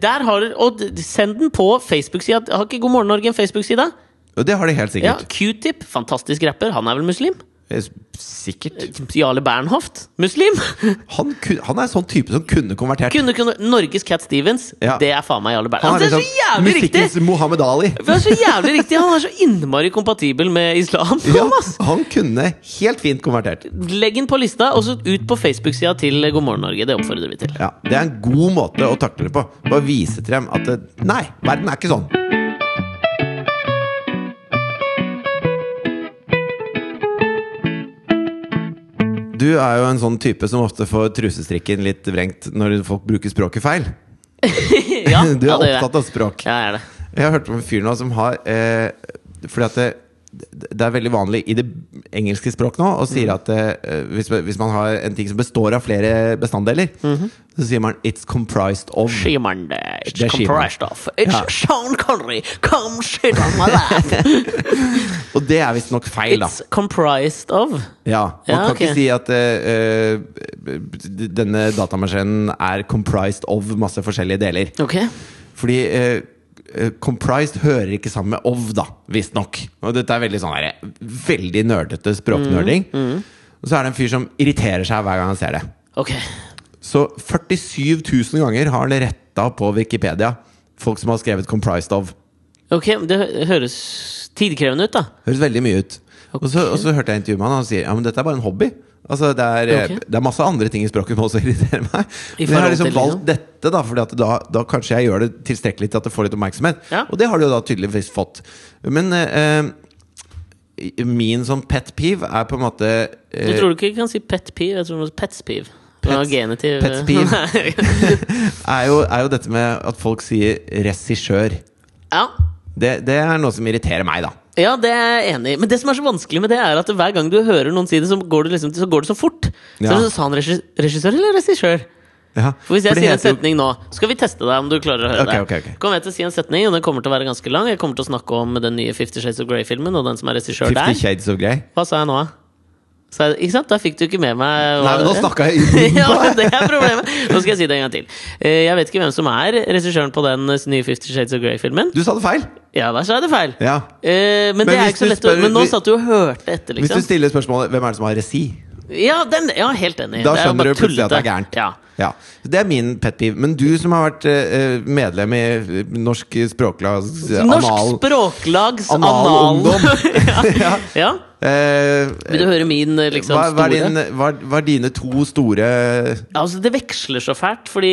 [SPEAKER 1] Der har dere Og d- send den på Facebook-sida. Har ikke God morgen Norge en Facebook-side?
[SPEAKER 2] Og det har de helt
[SPEAKER 1] Ja,
[SPEAKER 2] sikkert.
[SPEAKER 1] Q-tip, fantastisk rapper. Han er vel muslim?
[SPEAKER 2] Eh, Sikkert.
[SPEAKER 1] Jarle Bernhoft, muslim?
[SPEAKER 2] Han, ku- han er sånn type som kunne konvertert.
[SPEAKER 1] Kunne, kunne, Norges Cat Stevens,
[SPEAKER 2] Ja.
[SPEAKER 1] det er faen meg Jarle Bernt.
[SPEAKER 2] Han
[SPEAKER 1] Altså, det er så
[SPEAKER 2] liksom
[SPEAKER 1] jævlig riktig!
[SPEAKER 2] musikkens Mohammed Ali.
[SPEAKER 1] Det er så jævlig riktig Han er så innmari kompatibel med islam.
[SPEAKER 2] Ja,
[SPEAKER 1] Kom, ass.
[SPEAKER 2] han kunne helt fint konvertert.
[SPEAKER 1] Legg den på lista, og så ut på Facebook-sida til God morgen Norge. Det oppfordrer vi til.
[SPEAKER 2] Ja, Det er en god måte å takle det på. Bare vise til dem at det, nei, verden er ikke sånn. Du er jo en sånn type som ofte får trusestrikken litt vrengt når folk bruker språket feil.
[SPEAKER 1] Ja, ja,
[SPEAKER 2] Du er
[SPEAKER 1] det gjør jeg.
[SPEAKER 2] opptatt av språk.
[SPEAKER 1] Ja, jeg er det.
[SPEAKER 2] Jeg har hørt om en fyr nå som har eh, Fordi at det, det er veldig vanlig i det engelske språk nå å sier
[SPEAKER 1] Mm.
[SPEAKER 2] at eh, hvis, hvis man har en ting som består av flere bestanddeler,
[SPEAKER 1] Mhm.
[SPEAKER 2] så sier man 'it's comprised of'.
[SPEAKER 1] Skimande, it's
[SPEAKER 2] Det er skimmer.
[SPEAKER 1] compressed off. It's
[SPEAKER 2] Ja.
[SPEAKER 1] Sean Connery, come sit on my lap.
[SPEAKER 2] Og det er visstnok feil, da.
[SPEAKER 1] It's comprised of.
[SPEAKER 2] Ja, man
[SPEAKER 1] Ja,
[SPEAKER 2] kan
[SPEAKER 1] ok.
[SPEAKER 2] ikke si at eh, eh, denne datamaskinen er comprised of masse forskjellige deler.
[SPEAKER 1] Ok.
[SPEAKER 2] Fordi eh, eh, comprised hører ikke sammen med of, da, visstnok. Og dette er veldig sånn her, veldig nerdete språknerding. Og så er det en fyr som irriterer seg hver gang han ser det.
[SPEAKER 1] Ok.
[SPEAKER 2] Så 47 000 ganger har han retta på Wikipedia folk som har skrevet 'comprised of'.
[SPEAKER 1] Ok, Det hø- høres tidkrevende ut, da.
[SPEAKER 2] Høres veldig mye ut. Og, så, og så hørte jeg intervjuet med han, og han sier ja, men dette er bare en hobby. Altså, det, er, eh,
[SPEAKER 1] Ok.
[SPEAKER 2] det er masse andre ting i språket som også irriterer meg.
[SPEAKER 1] I
[SPEAKER 2] Men jeg har
[SPEAKER 1] forhold til,
[SPEAKER 2] liksom
[SPEAKER 1] liksom.
[SPEAKER 2] valgt dette, da, Fordi at da, da kanskje jeg gjør det tilstrekkelig til at det får litt oppmerksomhet.
[SPEAKER 1] Ja.
[SPEAKER 2] Og det har det jo da tydeligvis fått. Men eh, eh, min sånn pet peeve er på en måte
[SPEAKER 1] Du
[SPEAKER 2] eh,
[SPEAKER 1] tror du ikke du kan si pet peeve? Jeg tror det er pets peeve. Det var
[SPEAKER 2] Pets-
[SPEAKER 1] genitiv-
[SPEAKER 2] pets peeve.
[SPEAKER 1] Nei.
[SPEAKER 2] er, jo, er jo dette med at folk sier regissør.
[SPEAKER 1] ja.
[SPEAKER 2] Det, det er noe som irriterer meg, da.
[SPEAKER 1] Ja, det er jeg enig i. Men det som er så vanskelig med det, er at hver gang du hører noen si det, så går det, liksom, så, går det så fort. Så er
[SPEAKER 2] Ja.
[SPEAKER 1] det sånn, Sa han regis- regissør eller regissør?
[SPEAKER 2] Ja.
[SPEAKER 1] For Hvis jeg
[SPEAKER 2] det
[SPEAKER 1] sier en
[SPEAKER 2] heter jo-
[SPEAKER 1] setning nå, skal vi teste deg om du klarer å høre
[SPEAKER 2] Ok,
[SPEAKER 1] det.
[SPEAKER 2] ok, ok.
[SPEAKER 1] Kommer jeg til å si en setning, og den kommer til å være ganske lang. Jeg kommer til å snakke om den nye Fifty Shades of Grey-filmen, og den som er regissør
[SPEAKER 2] 50
[SPEAKER 1] der.
[SPEAKER 2] Shades of Grey.
[SPEAKER 1] Hva sa jeg nå, da? Sa jeg- Ikke sant? Da fikk du ikke med meg
[SPEAKER 2] Nei,
[SPEAKER 1] hva-
[SPEAKER 2] men nå snakka jeg i
[SPEAKER 1] ja, det er problemet. Nå skal jeg si det en gang til. Eh, Jeg vet ikke hvem som er regissøren på den eh, nye Fifty Shades of Grey-filmen.
[SPEAKER 2] Du sa det feil!
[SPEAKER 1] Ja, der sa jeg det feil.
[SPEAKER 2] Ja.
[SPEAKER 1] Eh, men, det er
[SPEAKER 2] hvis
[SPEAKER 1] ikke så
[SPEAKER 2] du
[SPEAKER 1] lett
[SPEAKER 2] spør-
[SPEAKER 1] å Men nå
[SPEAKER 2] hvis-
[SPEAKER 1] satt du og hørte etter,
[SPEAKER 2] Hvis
[SPEAKER 1] liksom.
[SPEAKER 2] du stiller spørsmålet 'Hvem er det som har regi?'
[SPEAKER 1] Ja, den, ja helt enig.
[SPEAKER 2] Da
[SPEAKER 1] Det er jo
[SPEAKER 2] skjønner
[SPEAKER 1] bare
[SPEAKER 2] du plutselig at det er
[SPEAKER 1] tullete.
[SPEAKER 2] gærent.
[SPEAKER 1] Ja.
[SPEAKER 2] Ja, Det er min pet peeve. Men du som har vært eh, medlem i eh, Norsk eh, Språklag
[SPEAKER 1] Norsk språklags
[SPEAKER 2] Anal
[SPEAKER 1] anal...
[SPEAKER 2] ungdom. ja.
[SPEAKER 1] ja.
[SPEAKER 2] Eh,
[SPEAKER 1] Vil du høre min eh, liksom,
[SPEAKER 2] hva, hva, er
[SPEAKER 1] store?
[SPEAKER 2] din, hva, er- hva er dine to store
[SPEAKER 1] Altså, det veksler så fælt, fordi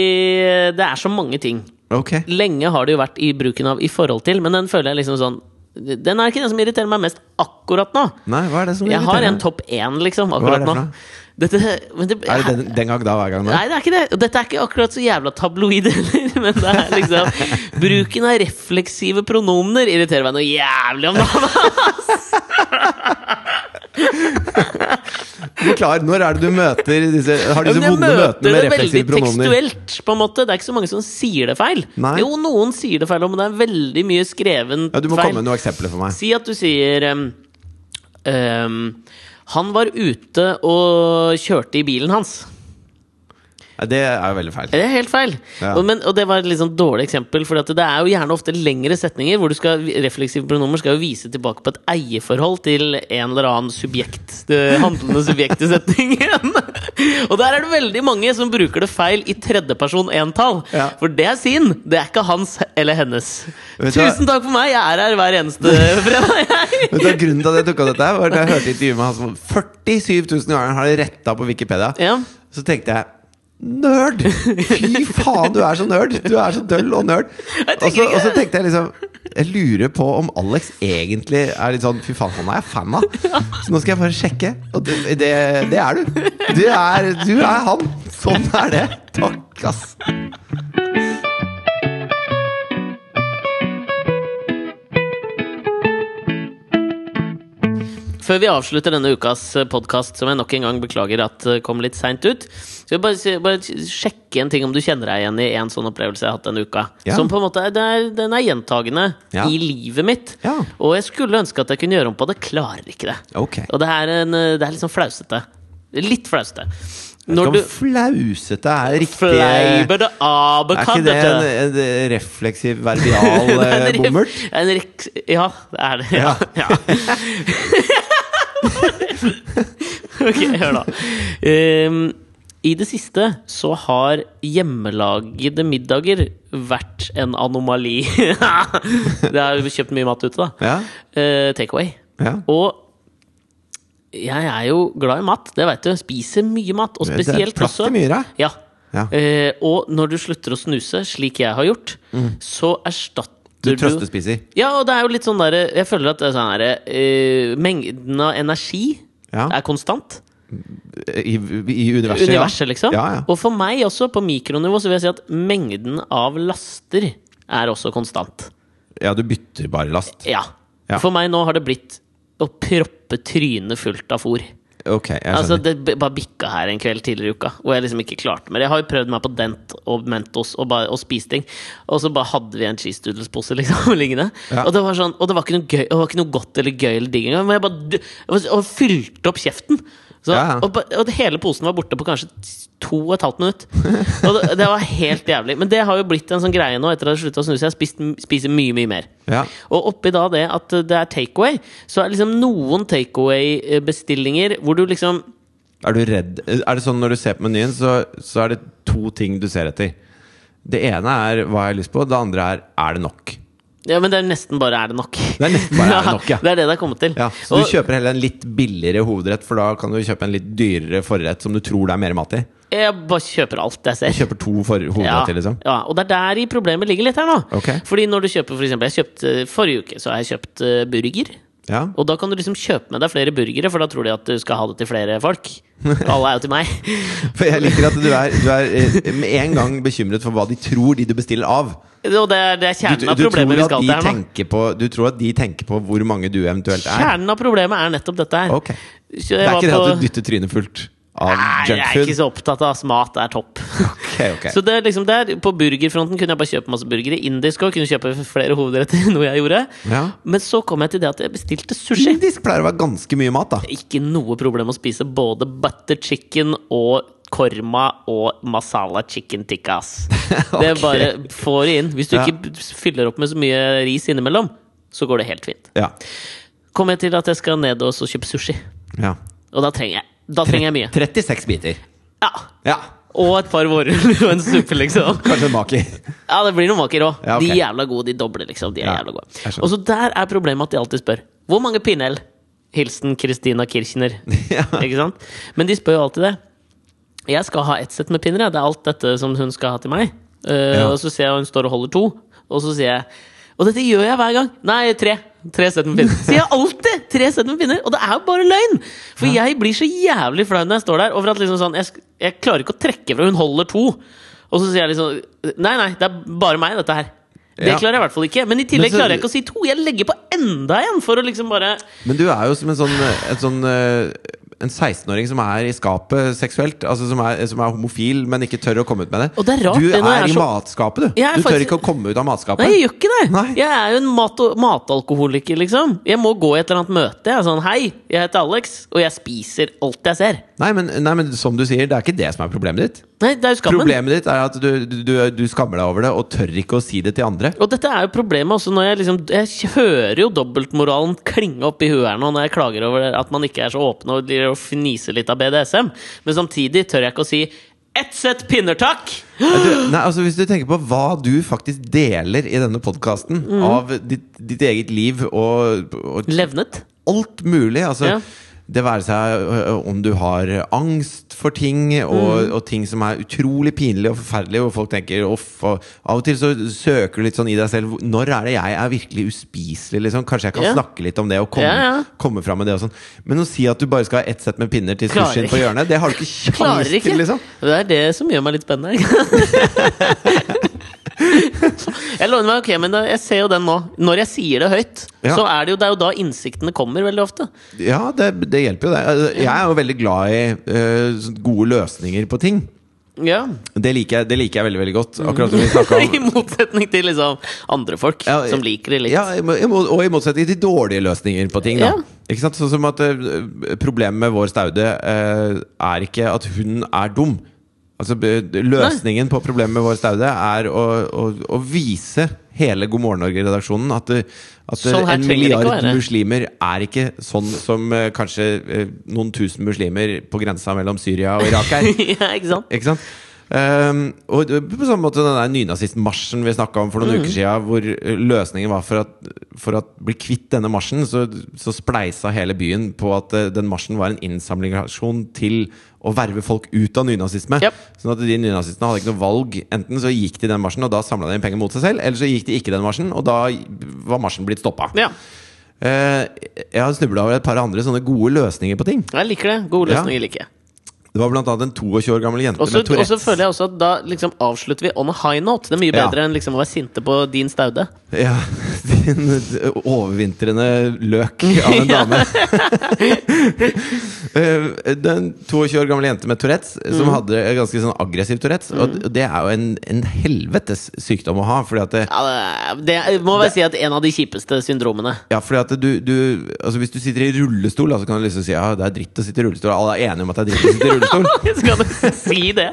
[SPEAKER 1] det er så mange ting.
[SPEAKER 2] Ok.
[SPEAKER 1] Lenge har det jo vært i bruken av 'i forhold til', men den føler jeg liksom sånn Den er ikke den som irriterer meg mest akkurat nå.
[SPEAKER 2] Nei, hva er det som
[SPEAKER 1] Jeg har
[SPEAKER 2] irriterer
[SPEAKER 1] en
[SPEAKER 2] deg?
[SPEAKER 1] topp én, liksom,
[SPEAKER 2] Hva er
[SPEAKER 1] akkurat
[SPEAKER 2] det for
[SPEAKER 1] nå.
[SPEAKER 2] noe?
[SPEAKER 1] Dette, men det,
[SPEAKER 2] Er det den, den gang da hver gang? nå?
[SPEAKER 1] Nei, det er ikke det. Og dette er ikke akkurat så jævla tabloid heller, men det er liksom Bruken av refleksive pronomener irriterer meg noe jævlig om dagen.
[SPEAKER 2] Forklar, når er det du møter disse, har disse
[SPEAKER 1] Men jeg
[SPEAKER 2] vonde
[SPEAKER 1] møter
[SPEAKER 2] møtene med
[SPEAKER 1] det veldig
[SPEAKER 2] refleksive pronomener?
[SPEAKER 1] tekstuelt, på en måte. Det er ikke så mange som sier det feil.
[SPEAKER 2] Nei.
[SPEAKER 1] Jo, noen sier det feil, men det er veldig mye skreven
[SPEAKER 2] Ja, du må
[SPEAKER 1] feil.
[SPEAKER 2] komme med noen eksempler for meg.
[SPEAKER 1] Si at du sier em, em, Han var ute og kjørte i bilen hans.
[SPEAKER 2] Nei, Det er jo veldig feil.
[SPEAKER 1] Det er helt feil.
[SPEAKER 2] Ja.
[SPEAKER 1] Og, men, og det var et litt sånn dårlig eksempel, for det er jo gjerne ofte lengre setninger hvor du skal, refleksive pronomer skal jo vise tilbake på et eierforhold til en eller annen subjekt, det handlende subjekt i setningen. og der er det veldig mange som bruker det feil i tredjeperson entall.
[SPEAKER 2] Ja.
[SPEAKER 1] For det er sin, det er ikke hans eller hennes.
[SPEAKER 2] Vet du hva-
[SPEAKER 1] Tusen takk for meg, jeg er her hver eneste fredag. jeg.
[SPEAKER 2] Men da, grunnen til at jeg tok opp dette, her, var at jeg hørte intervjuet med han som 47 000 ganger har retta på Wikipedia.
[SPEAKER 1] Ja.
[SPEAKER 2] Så tenkte jeg Nerd! Fy faen, du er så nerd! Du er så døll og nerd.
[SPEAKER 1] Jeg tenker
[SPEAKER 2] Og så,
[SPEAKER 1] ikke
[SPEAKER 2] og så
[SPEAKER 1] det.
[SPEAKER 2] tenkte jeg liksom Jeg lurer på om Alex egentlig er litt sånn Fy faen, han er jeg fan av! Så nå skal jeg bare sjekke. Og det, det, det er du. Du er, du er han. Sånn er det. Takk, ass.
[SPEAKER 1] Før vi avslutter denne ukas podkast, som jeg nok en gang beklager at eh, kom litt seint ut, skal jeg bare, si- bare sjekke en ting om du kjenner deg igjen i en sånn opplevelse jeg har hatt denne uka.
[SPEAKER 2] Ja.
[SPEAKER 1] Som på en måte er, det er, Den er gjentagende
[SPEAKER 2] Ja.
[SPEAKER 1] i livet mitt.
[SPEAKER 2] Ja.
[SPEAKER 1] Og jeg skulle ønske at jeg kunne gjøre om på det. Klarer ikke det.
[SPEAKER 2] Ok.
[SPEAKER 1] Og det er, en, eh, det er litt sånn flausete. Litt flausete. Når
[SPEAKER 2] Skal
[SPEAKER 1] du
[SPEAKER 2] flausete er riktig Er
[SPEAKER 1] Fleiber det
[SPEAKER 2] ikke det
[SPEAKER 1] abekantete.
[SPEAKER 2] en, en refleksiv, verbial
[SPEAKER 1] Det er
[SPEAKER 2] eh,
[SPEAKER 1] en ref-
[SPEAKER 2] bommert?
[SPEAKER 1] En rek... Ja, det er det. Ja. ja. ok, hør da. Um, I det siste så har hjemmelagede middager vært en anomali. det er jo kjøpt mye mat ute, da.
[SPEAKER 2] Ja.
[SPEAKER 1] Eh, Takeaway.
[SPEAKER 2] Ja.
[SPEAKER 1] Og jeg er jo glad i mat, det veit du. Spiser mye mat. Og
[SPEAKER 2] Det er
[SPEAKER 1] spesielt
[SPEAKER 2] plass til
[SPEAKER 1] også
[SPEAKER 2] myra.
[SPEAKER 1] Ja.
[SPEAKER 2] Ja.
[SPEAKER 1] Eh, og når du slutter å snuse, slik jeg har gjort, så
[SPEAKER 2] Mm. Du
[SPEAKER 1] erstatter du
[SPEAKER 2] trøstespiser.
[SPEAKER 1] ja, og det er jo litt sånn der Jeg føler at det er sånn der, eh, mengden av energi
[SPEAKER 2] Ja.
[SPEAKER 1] er konstant.
[SPEAKER 2] I, I universet,
[SPEAKER 1] Universet, liksom.
[SPEAKER 2] Ja, ja.
[SPEAKER 1] Og for meg også, på mikronivå, så vil jeg si at mengden av laster er også konstant.
[SPEAKER 2] ja, du bytter bare last.
[SPEAKER 1] Ja.
[SPEAKER 2] Ja.
[SPEAKER 1] For meg nå har det blitt å proppe trynet fullt av fôr.
[SPEAKER 2] Ok, jeg skjønner.
[SPEAKER 1] Altså, det b- bare bikka her en kveld tidligere i uka, hvor jeg liksom ikke klarte mer. Jeg har jo prøvd meg på Dent og Mentos og, bare, og spist ting, og så bare hadde vi en cheese doodles-pose liksom, liggende.
[SPEAKER 2] Ja.
[SPEAKER 1] Og, det var sånn, og det var ikke noe gøy Og det var ikke noe godt eller gøy eller digg engang, men jeg bare d- jeg var- og fylte opp kjeften. Så,
[SPEAKER 2] Ja.
[SPEAKER 1] og, ba- og hele posen var borte på kanskje t- to og et halvt minutt. Og det, det var helt jævlig. Men det har jo blitt en sånn greie nå, etter at jeg slutta å snuse. Jeg har spist, m- spiser mye, mye mer.
[SPEAKER 2] ja.
[SPEAKER 1] Og oppi da det at det er takeaway, så er det liksom noen takeaway-bestillinger hvor du liksom
[SPEAKER 2] Er du redd Er det sånn når du ser på menyen, så, så er det to ting du ser etter. Det ene er hva jeg har lyst på, det andre er er det nok.
[SPEAKER 1] Ja, men det er nesten bare er det nok.
[SPEAKER 2] Det er nesten bare er det nok, ja.
[SPEAKER 1] det er det det er kommet til.
[SPEAKER 2] Ja, så du
[SPEAKER 1] Og-
[SPEAKER 2] kjøper heller en litt billigere hovedrett, for da kan du kjøpe en litt dyrere forrett som du tror det er mer mat i.
[SPEAKER 1] Jeg bare kjøper alt jeg ser.
[SPEAKER 2] Du kjøper to for
[SPEAKER 1] ja,
[SPEAKER 2] hovedretter, liksom.
[SPEAKER 1] ja, og det er der i problemet ligger litt her nå.
[SPEAKER 2] Ok.
[SPEAKER 1] Fordi når du kjøper, for eksempel, jeg kjøpte, Forrige uke så har jeg kjøpt eh, burger.
[SPEAKER 2] Ja.
[SPEAKER 1] Og da kan du liksom kjøpe med deg flere burgere, for da tror de at du skal ha det til flere folk. Alle er jo til meg.
[SPEAKER 2] For jeg liker at du er, du er eh, med en gang bekymret for hva de tror, de du bestiller av.
[SPEAKER 1] Og det er, det er
[SPEAKER 2] Du,
[SPEAKER 1] kjernen av
[SPEAKER 2] du, tror
[SPEAKER 1] problemet vi
[SPEAKER 2] at
[SPEAKER 1] skal til
[SPEAKER 2] de
[SPEAKER 1] her nå.
[SPEAKER 2] tenker på, du tror at de tenker på hvor mange du eventuelt er?
[SPEAKER 1] Kjernen av problemet er nettopp dette her.
[SPEAKER 2] Ok.
[SPEAKER 1] Så
[SPEAKER 2] Det
[SPEAKER 1] jeg
[SPEAKER 2] er
[SPEAKER 1] var
[SPEAKER 2] ikke det
[SPEAKER 1] på-
[SPEAKER 2] at du dytter trynet fullt av
[SPEAKER 1] Nei, jeg er
[SPEAKER 2] junkfood?
[SPEAKER 1] ikke så opptatt av at mat er topp.
[SPEAKER 2] Ok, ok.
[SPEAKER 1] Så det er liksom der, På burgerfronten kunne jeg bare kjøpe masse burgere. Indisk også kunne jeg kjøpe flere hovedretter. Noe jeg gjorde
[SPEAKER 2] Ja.
[SPEAKER 1] Men så kom jeg til det at jeg bestilte sushi.
[SPEAKER 2] Indisk pleier å være ganske mye mat, da.
[SPEAKER 1] Ikke noe problem å spise både butter chicken og korma og masala chicken tikkas. Det
[SPEAKER 2] Ok.
[SPEAKER 1] bare får det inn. Hvis du
[SPEAKER 2] Ja.
[SPEAKER 1] ikke fyller opp med så mye ris innimellom, så går det helt fint.
[SPEAKER 2] Ja.
[SPEAKER 1] Kom jeg til at jeg skal ned og så kjøpe sushi.
[SPEAKER 2] ja.
[SPEAKER 1] Og da trenger jeg, da trenger jeg mye.
[SPEAKER 2] 36 biter.
[SPEAKER 1] Ja.
[SPEAKER 2] Ja.
[SPEAKER 1] Og et par vårruller og en suppe, liksom.
[SPEAKER 2] Kanskje en maki.
[SPEAKER 1] Ja, det blir noen maker òg.
[SPEAKER 2] Ja, ok.
[SPEAKER 1] De er jævla gode. De dobler, liksom. De er
[SPEAKER 2] Ja,
[SPEAKER 1] jævla
[SPEAKER 2] jeg
[SPEAKER 1] gode.
[SPEAKER 2] skjønner.
[SPEAKER 1] Og så der er problemet at de alltid spør Hvor mange pinnell? Hilsen Christina Kirchner.
[SPEAKER 2] Ja.
[SPEAKER 1] Ikke sant? Men de spør jo alltid det. Jeg skal ha ett sett med pinner. jeg. Det er alt dette som hun skal ha til meg. Eh,
[SPEAKER 2] Ja.
[SPEAKER 1] Og så ser jeg hun står og holder to, og så sier jeg Og dette gjør jeg hver gang. Nei, tre. Tre sett med pinner. Sier jeg alltid! Tre sett med pinner. Og det er jo bare løgn! For jeg blir så jævlig flau når jeg står der. Over at liksom sånn, jeg, sk- jeg klarer ikke å trekke fra hun holder to. Og så sier jeg liksom Nei, nei, det er bare meg, dette her. Det
[SPEAKER 2] Ja.
[SPEAKER 1] klarer jeg i hvert fall ikke. Men i tillegg
[SPEAKER 2] Men så-
[SPEAKER 1] klarer jeg ikke å si to. Jeg legger på enda en for å liksom bare
[SPEAKER 2] Men du er jo som en sånn, en sånn eh, en 16-åring som er i skapet seksuelt. Altså som er, som er homofil, men ikke tør å komme ut med det.
[SPEAKER 1] Og det er rart,
[SPEAKER 2] du
[SPEAKER 1] det
[SPEAKER 2] er,
[SPEAKER 1] når jeg er
[SPEAKER 2] i
[SPEAKER 1] så-
[SPEAKER 2] matskapet, du.
[SPEAKER 1] Jeg er
[SPEAKER 2] Du tør
[SPEAKER 1] faktisk-
[SPEAKER 2] ikke å komme ut av matskapet.
[SPEAKER 1] Nei, jeg gjør ikke det!
[SPEAKER 2] Nei.
[SPEAKER 1] Jeg er jo en mat matalkoholiker, liksom. Jeg må gå i et eller annet møte. Jeg er sånn Hei, jeg heter Alex, og jeg spiser alt jeg ser.
[SPEAKER 2] Nei men, nei, men som du sier, det er ikke det som er problemet ditt.
[SPEAKER 1] Nei, det er jo skammen.
[SPEAKER 2] Problemet ditt er at du, du, du, du skammer deg over det og tør ikke å si det til andre.
[SPEAKER 1] Og dette er jo problemet også når jeg liksom Jeg hører jo dobbeltmoralen klinge opp i huet her nå når jeg klager over at man ikke er så åpen og driver og fniser litt av BDSM, men samtidig tør jeg ikke å si ett sett pinner, takk!
[SPEAKER 2] Nei, Du, nei, altså Hvis du tenker på hva du faktisk deler i denne podkasten
[SPEAKER 1] Mm.
[SPEAKER 2] av ditt, ditt eget liv og, og
[SPEAKER 1] Levnet.
[SPEAKER 2] alt mulig altså,
[SPEAKER 1] Ja.
[SPEAKER 2] Det være seg ø, ø, om du har angst for ting,
[SPEAKER 1] Mm.
[SPEAKER 2] og, og ting som er utrolig pinlige og forferdelige, og folk tenker uff og Av og til så søker du litt sånn i deg selv Når er det jeg er virkelig uspiselig? Liksom? Kanskje jeg kan
[SPEAKER 1] Ja.
[SPEAKER 2] snakke litt om det og komme,
[SPEAKER 1] Ja, ja.
[SPEAKER 2] komme fram med det og sånn. Men å si at du bare skal ha ett sett med pinner til
[SPEAKER 1] Klarer
[SPEAKER 2] sushien på
[SPEAKER 1] ikke.
[SPEAKER 2] hjørnet, det har du ikke
[SPEAKER 1] Klarer
[SPEAKER 2] kjangs
[SPEAKER 1] ikke.
[SPEAKER 2] til, liksom.
[SPEAKER 1] Det er det som gjør meg litt spennende. jeg lover meg, ok, men da- jeg ser jo den nå. Når jeg sier det høyt,
[SPEAKER 2] Ja.
[SPEAKER 1] så er det jo, det er jo da innsiktene kommer veldig ofte.
[SPEAKER 2] Ja, det, det hjelper jo det. Altså, Jeg er jo veldig glad i eh, sånn gode løsninger på ting.
[SPEAKER 1] Ja.
[SPEAKER 2] Det liker jeg, det liker jeg veldig veldig godt.
[SPEAKER 1] Mm.
[SPEAKER 2] Akkurat som vi snakket
[SPEAKER 1] I
[SPEAKER 2] om
[SPEAKER 1] motsetning til liksom andre folk
[SPEAKER 2] Ja,
[SPEAKER 1] som liker det litt.
[SPEAKER 2] ja, i må- i må- Og i motsetning til dårlige løsninger på ting. Da.
[SPEAKER 1] Ja.
[SPEAKER 2] Ikke sant? Sånn som at eh, Problemet med vår staude eh, er ikke at hun er dum. Altså be- Løsningen på problemet med vår staude er å, å, å vise hele God morgen Norge-redaksjonen at, det- at det-
[SPEAKER 1] Sånn her
[SPEAKER 2] en
[SPEAKER 1] trenger det ikke å
[SPEAKER 2] milliard
[SPEAKER 1] være.
[SPEAKER 2] muslimer er ikke sånn som eh, kanskje eh, noen tusen muslimer på grensa mellom Syria og Irak er.
[SPEAKER 1] ja, ikke sant?
[SPEAKER 2] Ikke sant? Ehm, og det- på samme måte den der nynazistmarsjen vi snakka om for
[SPEAKER 1] Mm.
[SPEAKER 2] noen uker siden, hvor eh, løsningen var for at, for at bli kvitt denne marsjen, så, så spleisa hele byen på at eh, den marsjen var en innsamlingsaksjon til å verve folk ut av nynazisme.
[SPEAKER 1] Japp.
[SPEAKER 2] Sånn at de nynazistene hadde ikke noe valg. Enten så gikk de den marsjen, og da samla de inn penger mot seg selv, eller så gikk de ikke den marsjen, og da var marsjen blitt stoppa.
[SPEAKER 1] Ja.
[SPEAKER 2] jeg har snubla over et par andre sånne gode løsninger på ting.
[SPEAKER 1] Jeg liker det. Gode
[SPEAKER 2] Ja.
[SPEAKER 1] løsninger liker jeg.
[SPEAKER 2] Det var blant annet en 22 år gammel jente
[SPEAKER 1] Og så
[SPEAKER 2] med Tourettes.
[SPEAKER 1] og så føler jeg også at da liksom avslutter vi on a high note. Det er mye
[SPEAKER 2] Ja.
[SPEAKER 1] bedre enn liksom å være sinte på din staude.
[SPEAKER 2] Ja, din overvintrende løk av en dame. Eh, Den 22 år gamle jente med Tourettes,
[SPEAKER 1] Mm.
[SPEAKER 2] som hadde ganske sånn aggressiv Tourettes. Og det er jo en, en helvetes sykdom å ha. Fordi at, det,
[SPEAKER 1] Ja, det, det må vel si at en av de kjipeste syndromene.
[SPEAKER 2] ja, fordi at du, du altså Hvis du sitter i rullestol, da, så kan du liksom si ja, det er dritt å sitte i rullestol. Alle er enige om at det er dritt å sitte i rullestol.
[SPEAKER 1] Skal du si det?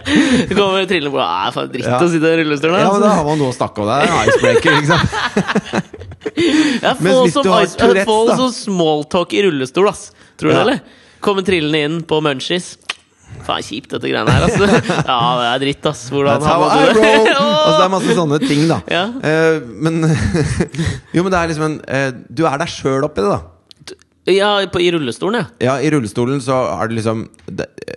[SPEAKER 1] Du kommer trillende på Æ, faen, dritt
[SPEAKER 2] Ja.
[SPEAKER 1] å sitte i rullestol.
[SPEAKER 2] Ja, men Da
[SPEAKER 1] da.
[SPEAKER 2] har man noe å snakke om. Det er en icebreaker. ikke sant?
[SPEAKER 1] Ja,
[SPEAKER 2] men
[SPEAKER 1] få
[SPEAKER 2] hvis
[SPEAKER 1] som
[SPEAKER 2] du har
[SPEAKER 1] ice- ja,
[SPEAKER 2] Tourettes,
[SPEAKER 1] få
[SPEAKER 2] da.
[SPEAKER 1] sånn smalltalk i rullestol, ass. Tror du det,
[SPEAKER 2] Ja.
[SPEAKER 1] eller? Komme trillende inn på munchies. Faen, kjipt, dette greiene her, altså. Ja, det er dritt, ass. Hvordan
[SPEAKER 2] That's how I
[SPEAKER 1] har man
[SPEAKER 2] roll!
[SPEAKER 1] det?
[SPEAKER 2] Altså, det er masse sånne ting, da.
[SPEAKER 1] Ja.
[SPEAKER 2] Eh, men Jo, men det er liksom en eh, Du er deg sjøl oppi det, da.
[SPEAKER 1] Ja, på, i rullestolen, ja.
[SPEAKER 2] Ja, i rullestolen så er det liksom det, eh,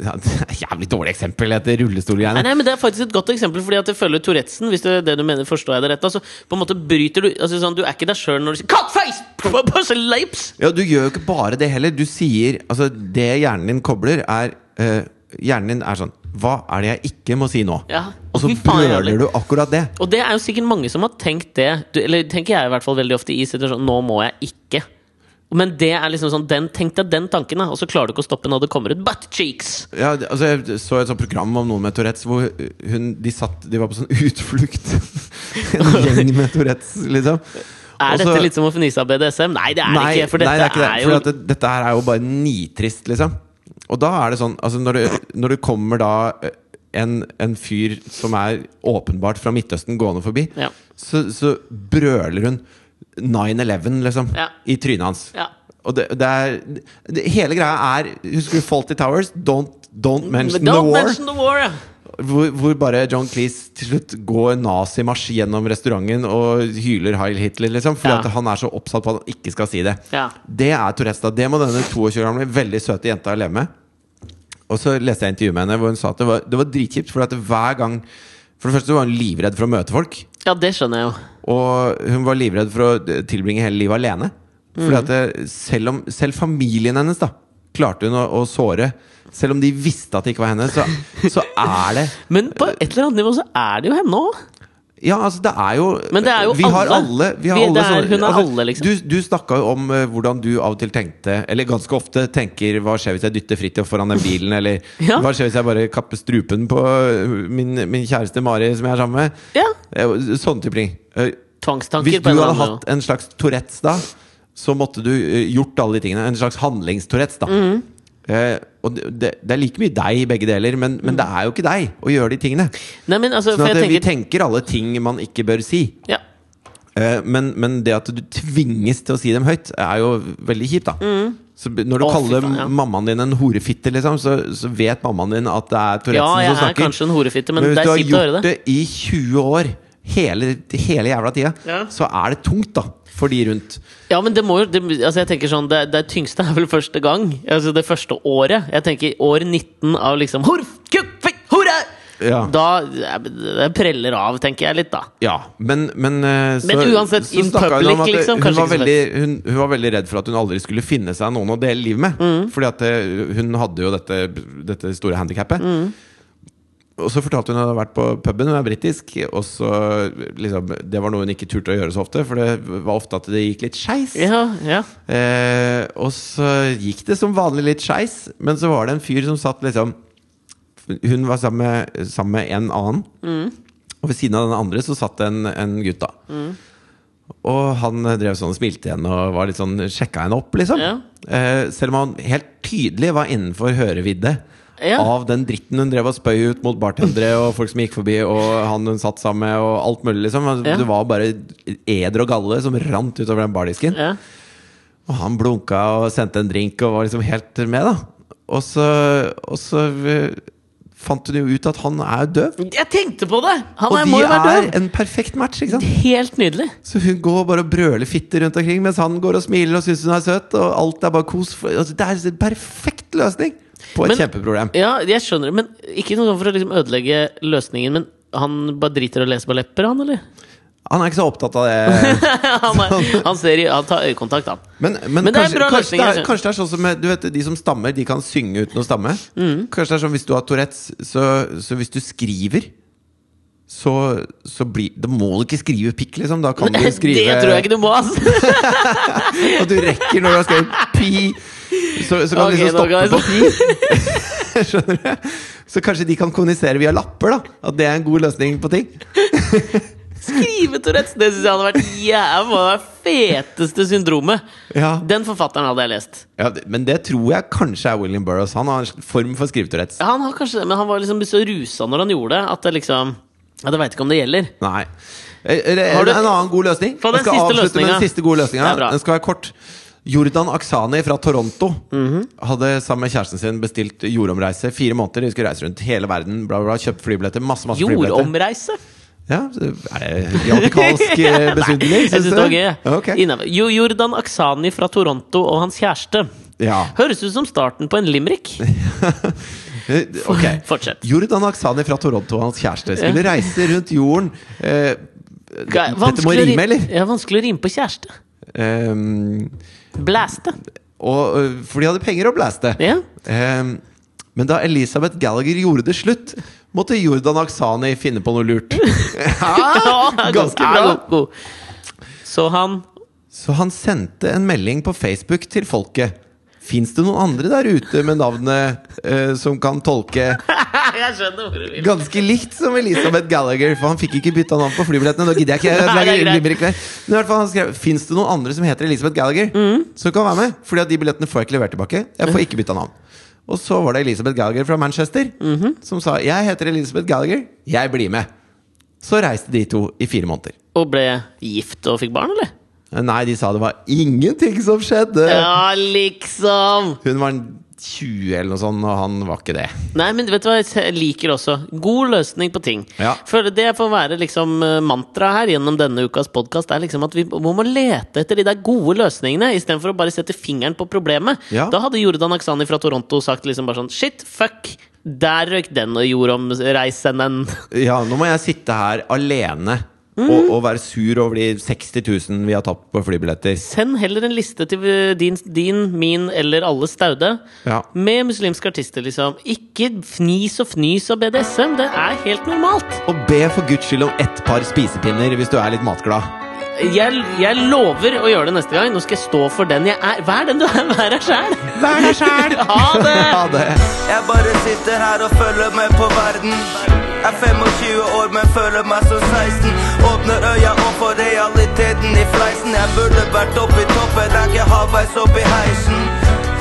[SPEAKER 2] ja, det er et Jævlig dårlig eksempel, dette
[SPEAKER 1] Nei,
[SPEAKER 2] rullestolgreiene.
[SPEAKER 1] nei, men Det er faktisk et godt eksempel. Fordi at jeg føler Tourettesen Hvis det er det du mener, forstår jeg det rett altså, På en måte bryter Du altså, sånn, Du er ikke deg sjøl når du sier Cockface! På- på seg lips!»
[SPEAKER 2] Ja, du gjør jo ikke bare det heller. Du sier Altså, det hjernen din kobler, er eh, Hjernen din er sånn Hva er det jeg ikke må si nå?
[SPEAKER 1] Ja.
[SPEAKER 2] Og så
[SPEAKER 1] Fy faen, jævlig.
[SPEAKER 2] brøler du akkurat det.
[SPEAKER 1] Og det er jo sikkert mange som har tenkt det. Du, eller tenker jeg i hvert fall veldig ofte i situasjonen Nå må jeg ikke. Men det er liksom sånn den, tenk deg den tanken, da. Og så klarer du ikke å stoppe når det kommer ut butt cheeks!
[SPEAKER 2] Ja, det- altså Jeg så et sånt program om noen med Tourettes hvor hun, de, satt, de var på sånn utflukt. en gjeng med Tourettes, liksom.
[SPEAKER 1] Er
[SPEAKER 2] Og så-
[SPEAKER 1] dette litt som å fnise av BDSM? Nei, det er det ikke. For dette
[SPEAKER 2] nei, det er ikke det.
[SPEAKER 1] jo
[SPEAKER 2] For at det, dette her er jo bare nitrist, liksom. Og da er det sånn altså når, du, når det kommer da eh, en, en fyr som er åpenbart fra Midtøsten gående forbi,
[SPEAKER 1] Ja.
[SPEAKER 2] så, så brøler hun 9-11, liksom,
[SPEAKER 1] Ja.
[SPEAKER 2] i trynet hans.
[SPEAKER 1] Ja.
[SPEAKER 2] Og det, det er det, Hele greia er Husker du Faulty Towers? Don't, don't mention
[SPEAKER 1] Don't
[SPEAKER 2] the war.
[SPEAKER 1] mention the war, ja.
[SPEAKER 2] Hvor, hvor bare John Cleese til slutt går nazimarsj gjennom restauranten og hyler Heil Hitler, liksom. Fordi
[SPEAKER 1] Ja.
[SPEAKER 2] at han er så oppsatt på at han ikke skal si det.
[SPEAKER 1] Ja.
[SPEAKER 2] Det er Tourettes. da. Det må denne 22 år gamle, veldig søte jenta leve med. Og så leste jeg intervjuet med henne hvor hun sa at det var, det var dritkjipt. For at hver gang For det første så var hun livredd for å møte folk.
[SPEAKER 1] ja, det skjønner jeg jo.
[SPEAKER 2] Og hun var livredd for å eh, tilbringe hele livet alene. Fordi
[SPEAKER 1] Mm.
[SPEAKER 2] at det, selv, om, selv familien hennes da klarte hun å, å såre. Selv om de visste at det ikke var henne, så, så er det
[SPEAKER 1] Men på et eller annet nivå så er det jo henne òg.
[SPEAKER 2] Ja, altså det er jo
[SPEAKER 1] Men det er jo
[SPEAKER 2] Vi har
[SPEAKER 1] alle.
[SPEAKER 2] alle, vi har
[SPEAKER 1] Vi-
[SPEAKER 2] alle
[SPEAKER 1] det er-
[SPEAKER 2] sånne-
[SPEAKER 1] hun er
[SPEAKER 2] altså,
[SPEAKER 1] alle, liksom.
[SPEAKER 2] Du, du snakka jo om eh, hvordan du av og til tenkte, eller ganske ofte tenker Hva skjer hvis jeg dytter Fridtjof foran den bilen, eller
[SPEAKER 1] Ja.
[SPEAKER 2] hva skjer hvis jeg bare kapper strupen på eh, min, min kjæreste Mari som jeg er sammen med?
[SPEAKER 1] Ja.
[SPEAKER 2] Eh, Sånne type ting. Eh,
[SPEAKER 1] Tvangstanker.
[SPEAKER 2] Hvis
[SPEAKER 1] på
[SPEAKER 2] du
[SPEAKER 1] en eller
[SPEAKER 2] hadde
[SPEAKER 1] annen nivå.
[SPEAKER 2] hatt en
[SPEAKER 1] Mhm.
[SPEAKER 2] slags Tourettes da, så måtte du eh, gjort alle de tingene. En slags handlingstourettes, da. Eh, og det, det det er like mye deg i begge deler, men,
[SPEAKER 1] Mm.
[SPEAKER 2] men det er jo ikke deg å gjøre de tingene.
[SPEAKER 1] Nei, men altså,
[SPEAKER 2] Sånn
[SPEAKER 1] for
[SPEAKER 2] at
[SPEAKER 1] jeg
[SPEAKER 2] Vi
[SPEAKER 1] tenker
[SPEAKER 2] tenker alle ting man ikke bør si.
[SPEAKER 1] ja.
[SPEAKER 2] Eh, men, men det at du tvinges til å si dem høyt, er jo veldig kjipt, da. Så b- når du
[SPEAKER 1] Mm. Å, fy
[SPEAKER 2] kaller
[SPEAKER 1] faen, ja.
[SPEAKER 2] mammaen din en horefitte, liksom, så, så vet mammaen din at det er
[SPEAKER 1] ja,
[SPEAKER 2] Tourettesen
[SPEAKER 1] jeg
[SPEAKER 2] som
[SPEAKER 1] er
[SPEAKER 2] snakker.
[SPEAKER 1] kanskje en horefitte, men,
[SPEAKER 2] men hvis
[SPEAKER 1] det
[SPEAKER 2] du
[SPEAKER 1] er
[SPEAKER 2] har
[SPEAKER 1] kjipt å høre
[SPEAKER 2] gjort
[SPEAKER 1] det.
[SPEAKER 2] det i 20 år, hele, hele jævla tida,
[SPEAKER 1] Ja.
[SPEAKER 2] så er det tungt, da. For de rundt.
[SPEAKER 1] Ja, men det må jo det, altså jeg tenker sånn, det, det tyngste er vel første gang. Altså det første året. Jeg tenker år 19 av liksom Horf, kupp, fikk, hore!
[SPEAKER 2] Ja.
[SPEAKER 1] Da eh, det preller av, tenker jeg litt, da.
[SPEAKER 2] Ja, men Men, eh, så,
[SPEAKER 1] Men uansett,
[SPEAKER 2] så
[SPEAKER 1] in
[SPEAKER 2] snakka hun om
[SPEAKER 1] public,
[SPEAKER 2] at
[SPEAKER 1] liksom,
[SPEAKER 2] hun,
[SPEAKER 1] kanskje
[SPEAKER 2] var
[SPEAKER 1] ikke så
[SPEAKER 2] veldig, hun, hun var veldig redd for at hun aldri skulle finne seg noen å dele livet med.
[SPEAKER 1] Mm.
[SPEAKER 2] Fordi at eh, hun hadde jo dette, dette store handikappet.
[SPEAKER 1] Mm.
[SPEAKER 2] Og så fortalte hun at hun hadde vært på puben, hun er britisk. Og så liksom, Det var noe hun ikke turte å gjøre så ofte, for det var ofte at det gikk litt skeis.
[SPEAKER 1] Ja, ja.
[SPEAKER 2] Eh, og så gikk det som vanlig litt skeis, men så var det en fyr som satt liksom Hun var sammen med, sammen med en annen,
[SPEAKER 1] Mm.
[SPEAKER 2] og ved siden av den andre så satt det en, en gutt, da. Og han eh, drev sånn og smilte henne og var litt sånn, sjekka henne opp, liksom.
[SPEAKER 1] Ja.
[SPEAKER 2] Eh, selv om han helt tydelig var innenfor hørevidde.
[SPEAKER 1] Ja.
[SPEAKER 2] Av den dritten hun drev og spøy ut mot bartendere og folk som gikk forbi, og han hun satt sammen med, og alt mulig, liksom.
[SPEAKER 1] Ja.
[SPEAKER 2] Det var bare eder og galle som rant utover den bardisken.
[SPEAKER 1] ja.
[SPEAKER 2] Og han blunka og sendte en drink og var liksom helt med, da. Og så, og så eh, fant hun jo ut at han er døv.
[SPEAKER 1] Jeg tenkte på det! Han
[SPEAKER 2] Og
[SPEAKER 1] er, må
[SPEAKER 2] de
[SPEAKER 1] jo være
[SPEAKER 2] er
[SPEAKER 1] døv!
[SPEAKER 2] en perfekt match, ikke sant?
[SPEAKER 1] Helt nydelig.
[SPEAKER 2] Så hun går bare og brøler fitte rundt omkring, mens han går og smiler og syns hun er søt. Og alt er bare kos. For- Altså, det er en perfekt løsning på et
[SPEAKER 1] Men-
[SPEAKER 2] kjempeproblem.
[SPEAKER 1] Ja, jeg skjønner det, men ikke noe for å liksom ødelegge løsningen. Men han bare driter i å lese på lepper, han, eller?
[SPEAKER 2] Han er ikke så opptatt av det.
[SPEAKER 1] han, er, han, ser, i- han tar øyekontakt, han.
[SPEAKER 2] Men, men,
[SPEAKER 1] Men det er en
[SPEAKER 2] kanskje,
[SPEAKER 1] bra
[SPEAKER 2] kanskje,
[SPEAKER 1] løsning,
[SPEAKER 2] det er,
[SPEAKER 1] altså.
[SPEAKER 2] kanskje det er sånn som med- Du vet, De som stammer, de kan synge uten å stamme.
[SPEAKER 1] Mm.
[SPEAKER 2] Kanskje det er sånn hvis du har Tourettes, så, så hvis du skriver så, så blir Da må du ikke skrive pikk, liksom. Da kan du
[SPEAKER 1] Det
[SPEAKER 2] skrive
[SPEAKER 1] tror jeg ikke du må, altså. ass!
[SPEAKER 2] Og du rekker når du har skrevet pi, så, så kan
[SPEAKER 1] Ok,
[SPEAKER 2] du
[SPEAKER 1] nå
[SPEAKER 2] liksom stoppe
[SPEAKER 1] kan jeg-
[SPEAKER 2] på pi. Skjønner du? Så kanskje de kan kommunisere via lapper, da. At det er en god løsning på ting.
[SPEAKER 1] Skrive Tourettes! Det syns jeg hadde vært jævla feteste syndromet.
[SPEAKER 2] Ja.
[SPEAKER 1] Den forfatteren hadde jeg lest.
[SPEAKER 2] Ja, det- men det tror jeg kanskje er William Burroughs. Han har en form for skrivetourettes.
[SPEAKER 1] Ja, Han har kanskje det, men han var liksom så rusa når han gjorde det, at det liksom at Jeg veit ikke om det gjelder.
[SPEAKER 2] Nei. Er det
[SPEAKER 1] Har du-
[SPEAKER 2] en annen god løsning?
[SPEAKER 1] Få den
[SPEAKER 2] Jeg skal
[SPEAKER 1] siste
[SPEAKER 2] avslutte med
[SPEAKER 1] løsningen.
[SPEAKER 2] den siste gode løsninga.
[SPEAKER 1] Det er bra.
[SPEAKER 2] Den skal være kort. Jordan Aksani fra Toronto
[SPEAKER 1] Mhm.
[SPEAKER 2] hadde sammen med kjæresten sin bestilt jordomreise. Fire måneder, de skulle reise rundt hele verden. Bla, bla, bla, kjøpt flybilletter. Masse, masse flybilletter.
[SPEAKER 1] Jordomreise?
[SPEAKER 2] Ja, så er det radikalsk eh, besudling?
[SPEAKER 1] Jeg syns det var gøy. jeg.
[SPEAKER 2] Ja, ok.
[SPEAKER 1] Innenfor- Jo, Jordan Aksani fra Toronto og hans kjæreste.
[SPEAKER 2] Ja.
[SPEAKER 1] Høres ut som starten på en limerick.
[SPEAKER 2] Eh, ok.
[SPEAKER 1] Fortsett.
[SPEAKER 2] Jordan Aksani fra Toronto og hans kjæreste skulle reise rundt jorden. Eh, dette må
[SPEAKER 1] Vanskelig å ri-
[SPEAKER 2] rime, eller?
[SPEAKER 1] Ja, vanskelig å rime på kjæreste.
[SPEAKER 2] Eh,
[SPEAKER 1] Blæste.
[SPEAKER 2] Og, øh, for de hadde penger å blæste.
[SPEAKER 1] Ja.
[SPEAKER 2] Ehm, men da Elisabeth Gallagher gjorde det slutt, måtte Jordan Aksani finne på noe lurt.
[SPEAKER 1] Ja,
[SPEAKER 2] Ah!
[SPEAKER 1] god-
[SPEAKER 2] ganske bra.
[SPEAKER 1] ja, god- god. Så han
[SPEAKER 2] Så han sendte en melding på Facebook til folket. Fins det noen andre der ute med navnet øh, som kan tolke
[SPEAKER 1] Jeg skjønner hvor du vil.
[SPEAKER 2] ganske likt som Elisabeth Gallagher? For han fikk ikke bytta navn på flybillettene. Da gidder jeg
[SPEAKER 1] Nei,
[SPEAKER 2] ikke.
[SPEAKER 1] det er greit.
[SPEAKER 2] Jeg gidder ikke. Men i hvert fall han skrev Fins det noen andre som heter Elisabeth Gallagher
[SPEAKER 1] Mm.
[SPEAKER 2] som kan være med? Fordi at de billettene får jeg ikke levert tilbake. Jeg får ikke bytta navn. Og så var det Elisabeth Gallagher fra Manchester
[SPEAKER 1] Mhm.
[SPEAKER 2] som sa Jeg heter Elisabeth Gallagher, jeg blir med. Så reiste de to i fire måneder.
[SPEAKER 1] Og ble gift og fikk barn, eller?
[SPEAKER 2] Nei, de sa det var ingenting som skjedde.
[SPEAKER 1] Ja, liksom!
[SPEAKER 2] Hun var 20 eller noe sånt, og han var ikke det.
[SPEAKER 1] Nei, men vet du hva jeg liker også? God løsning på ting.
[SPEAKER 2] Ja.
[SPEAKER 1] For det får være liksom eh, mantra her gjennom denne ukas podkast, er liksom at vi må må lete etter de der gode løsningene, istedenfor å bare sette fingeren på problemet.
[SPEAKER 2] Ja.
[SPEAKER 1] Da hadde Jordan Aksani fra Toronto sagt liksom bare sånn Shit, fuck! Der røyk den og gjorde om reisen
[SPEAKER 2] Ja, nå må jeg sitte her alene og, og være sur over de 60 000 vi har tapt på flybilletter.
[SPEAKER 1] Send heller en liste til eh, din, din min eller alles staude
[SPEAKER 2] Ja.
[SPEAKER 1] med muslimske artister, liksom. Ikke fnis og fnys og BDSM. Det er helt normalt.
[SPEAKER 2] Og be for guds skyld om ett par spisepinner hvis du er litt matglad.
[SPEAKER 1] Jeg, jeg lover å gjøre det neste gang. Nå skal jeg stå for den jeg er. Vær den du er. Vær deg sjæl.
[SPEAKER 2] Vær deg sjæl!
[SPEAKER 1] Ha det!
[SPEAKER 2] Ha det!
[SPEAKER 3] Jeg bare sitter her og følger med på verden. Er 25 år, men føler meg som 16. Åpner øya opp for realiteten i fleisen. Jeg burde vært oppi toppen, er ikke halvveis oppi heisen.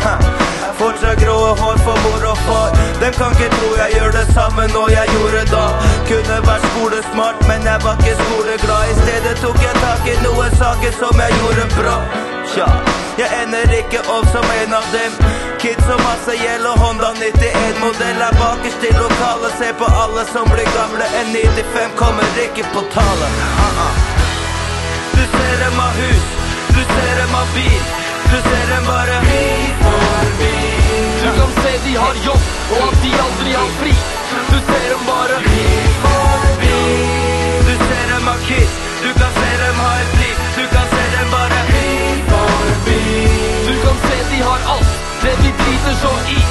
[SPEAKER 3] Ha. Jeg Fortsatt gråe hår for mor og far. Dem kan ikke tro jeg gjør det samme nå jeg gjorde da. Kunne vært skolesmart, men jeg var ikke skoleglad. I stedet tok jeg tak i noen saker som jeg gjorde bra. Tja, jeg ender ikke opp som en av dem. Kids og masse gjeld og Honda 91-modell er bakerst i lokalet. Se på alle som blir gamle, en 95 kommer ikke på tale. Ah, ah. Du ser dem av hus, du ser dem av bil Du ser dem bare bil for bil
[SPEAKER 4] Du kan se de har jobb, og at de aldri har fri. Du ser dem bare
[SPEAKER 3] Bil for bil Du ser dem av kids, du kan se dem ha et liv Du kan se dem bare bil for bil
[SPEAKER 4] Du kan se de har alt, det de driter så i.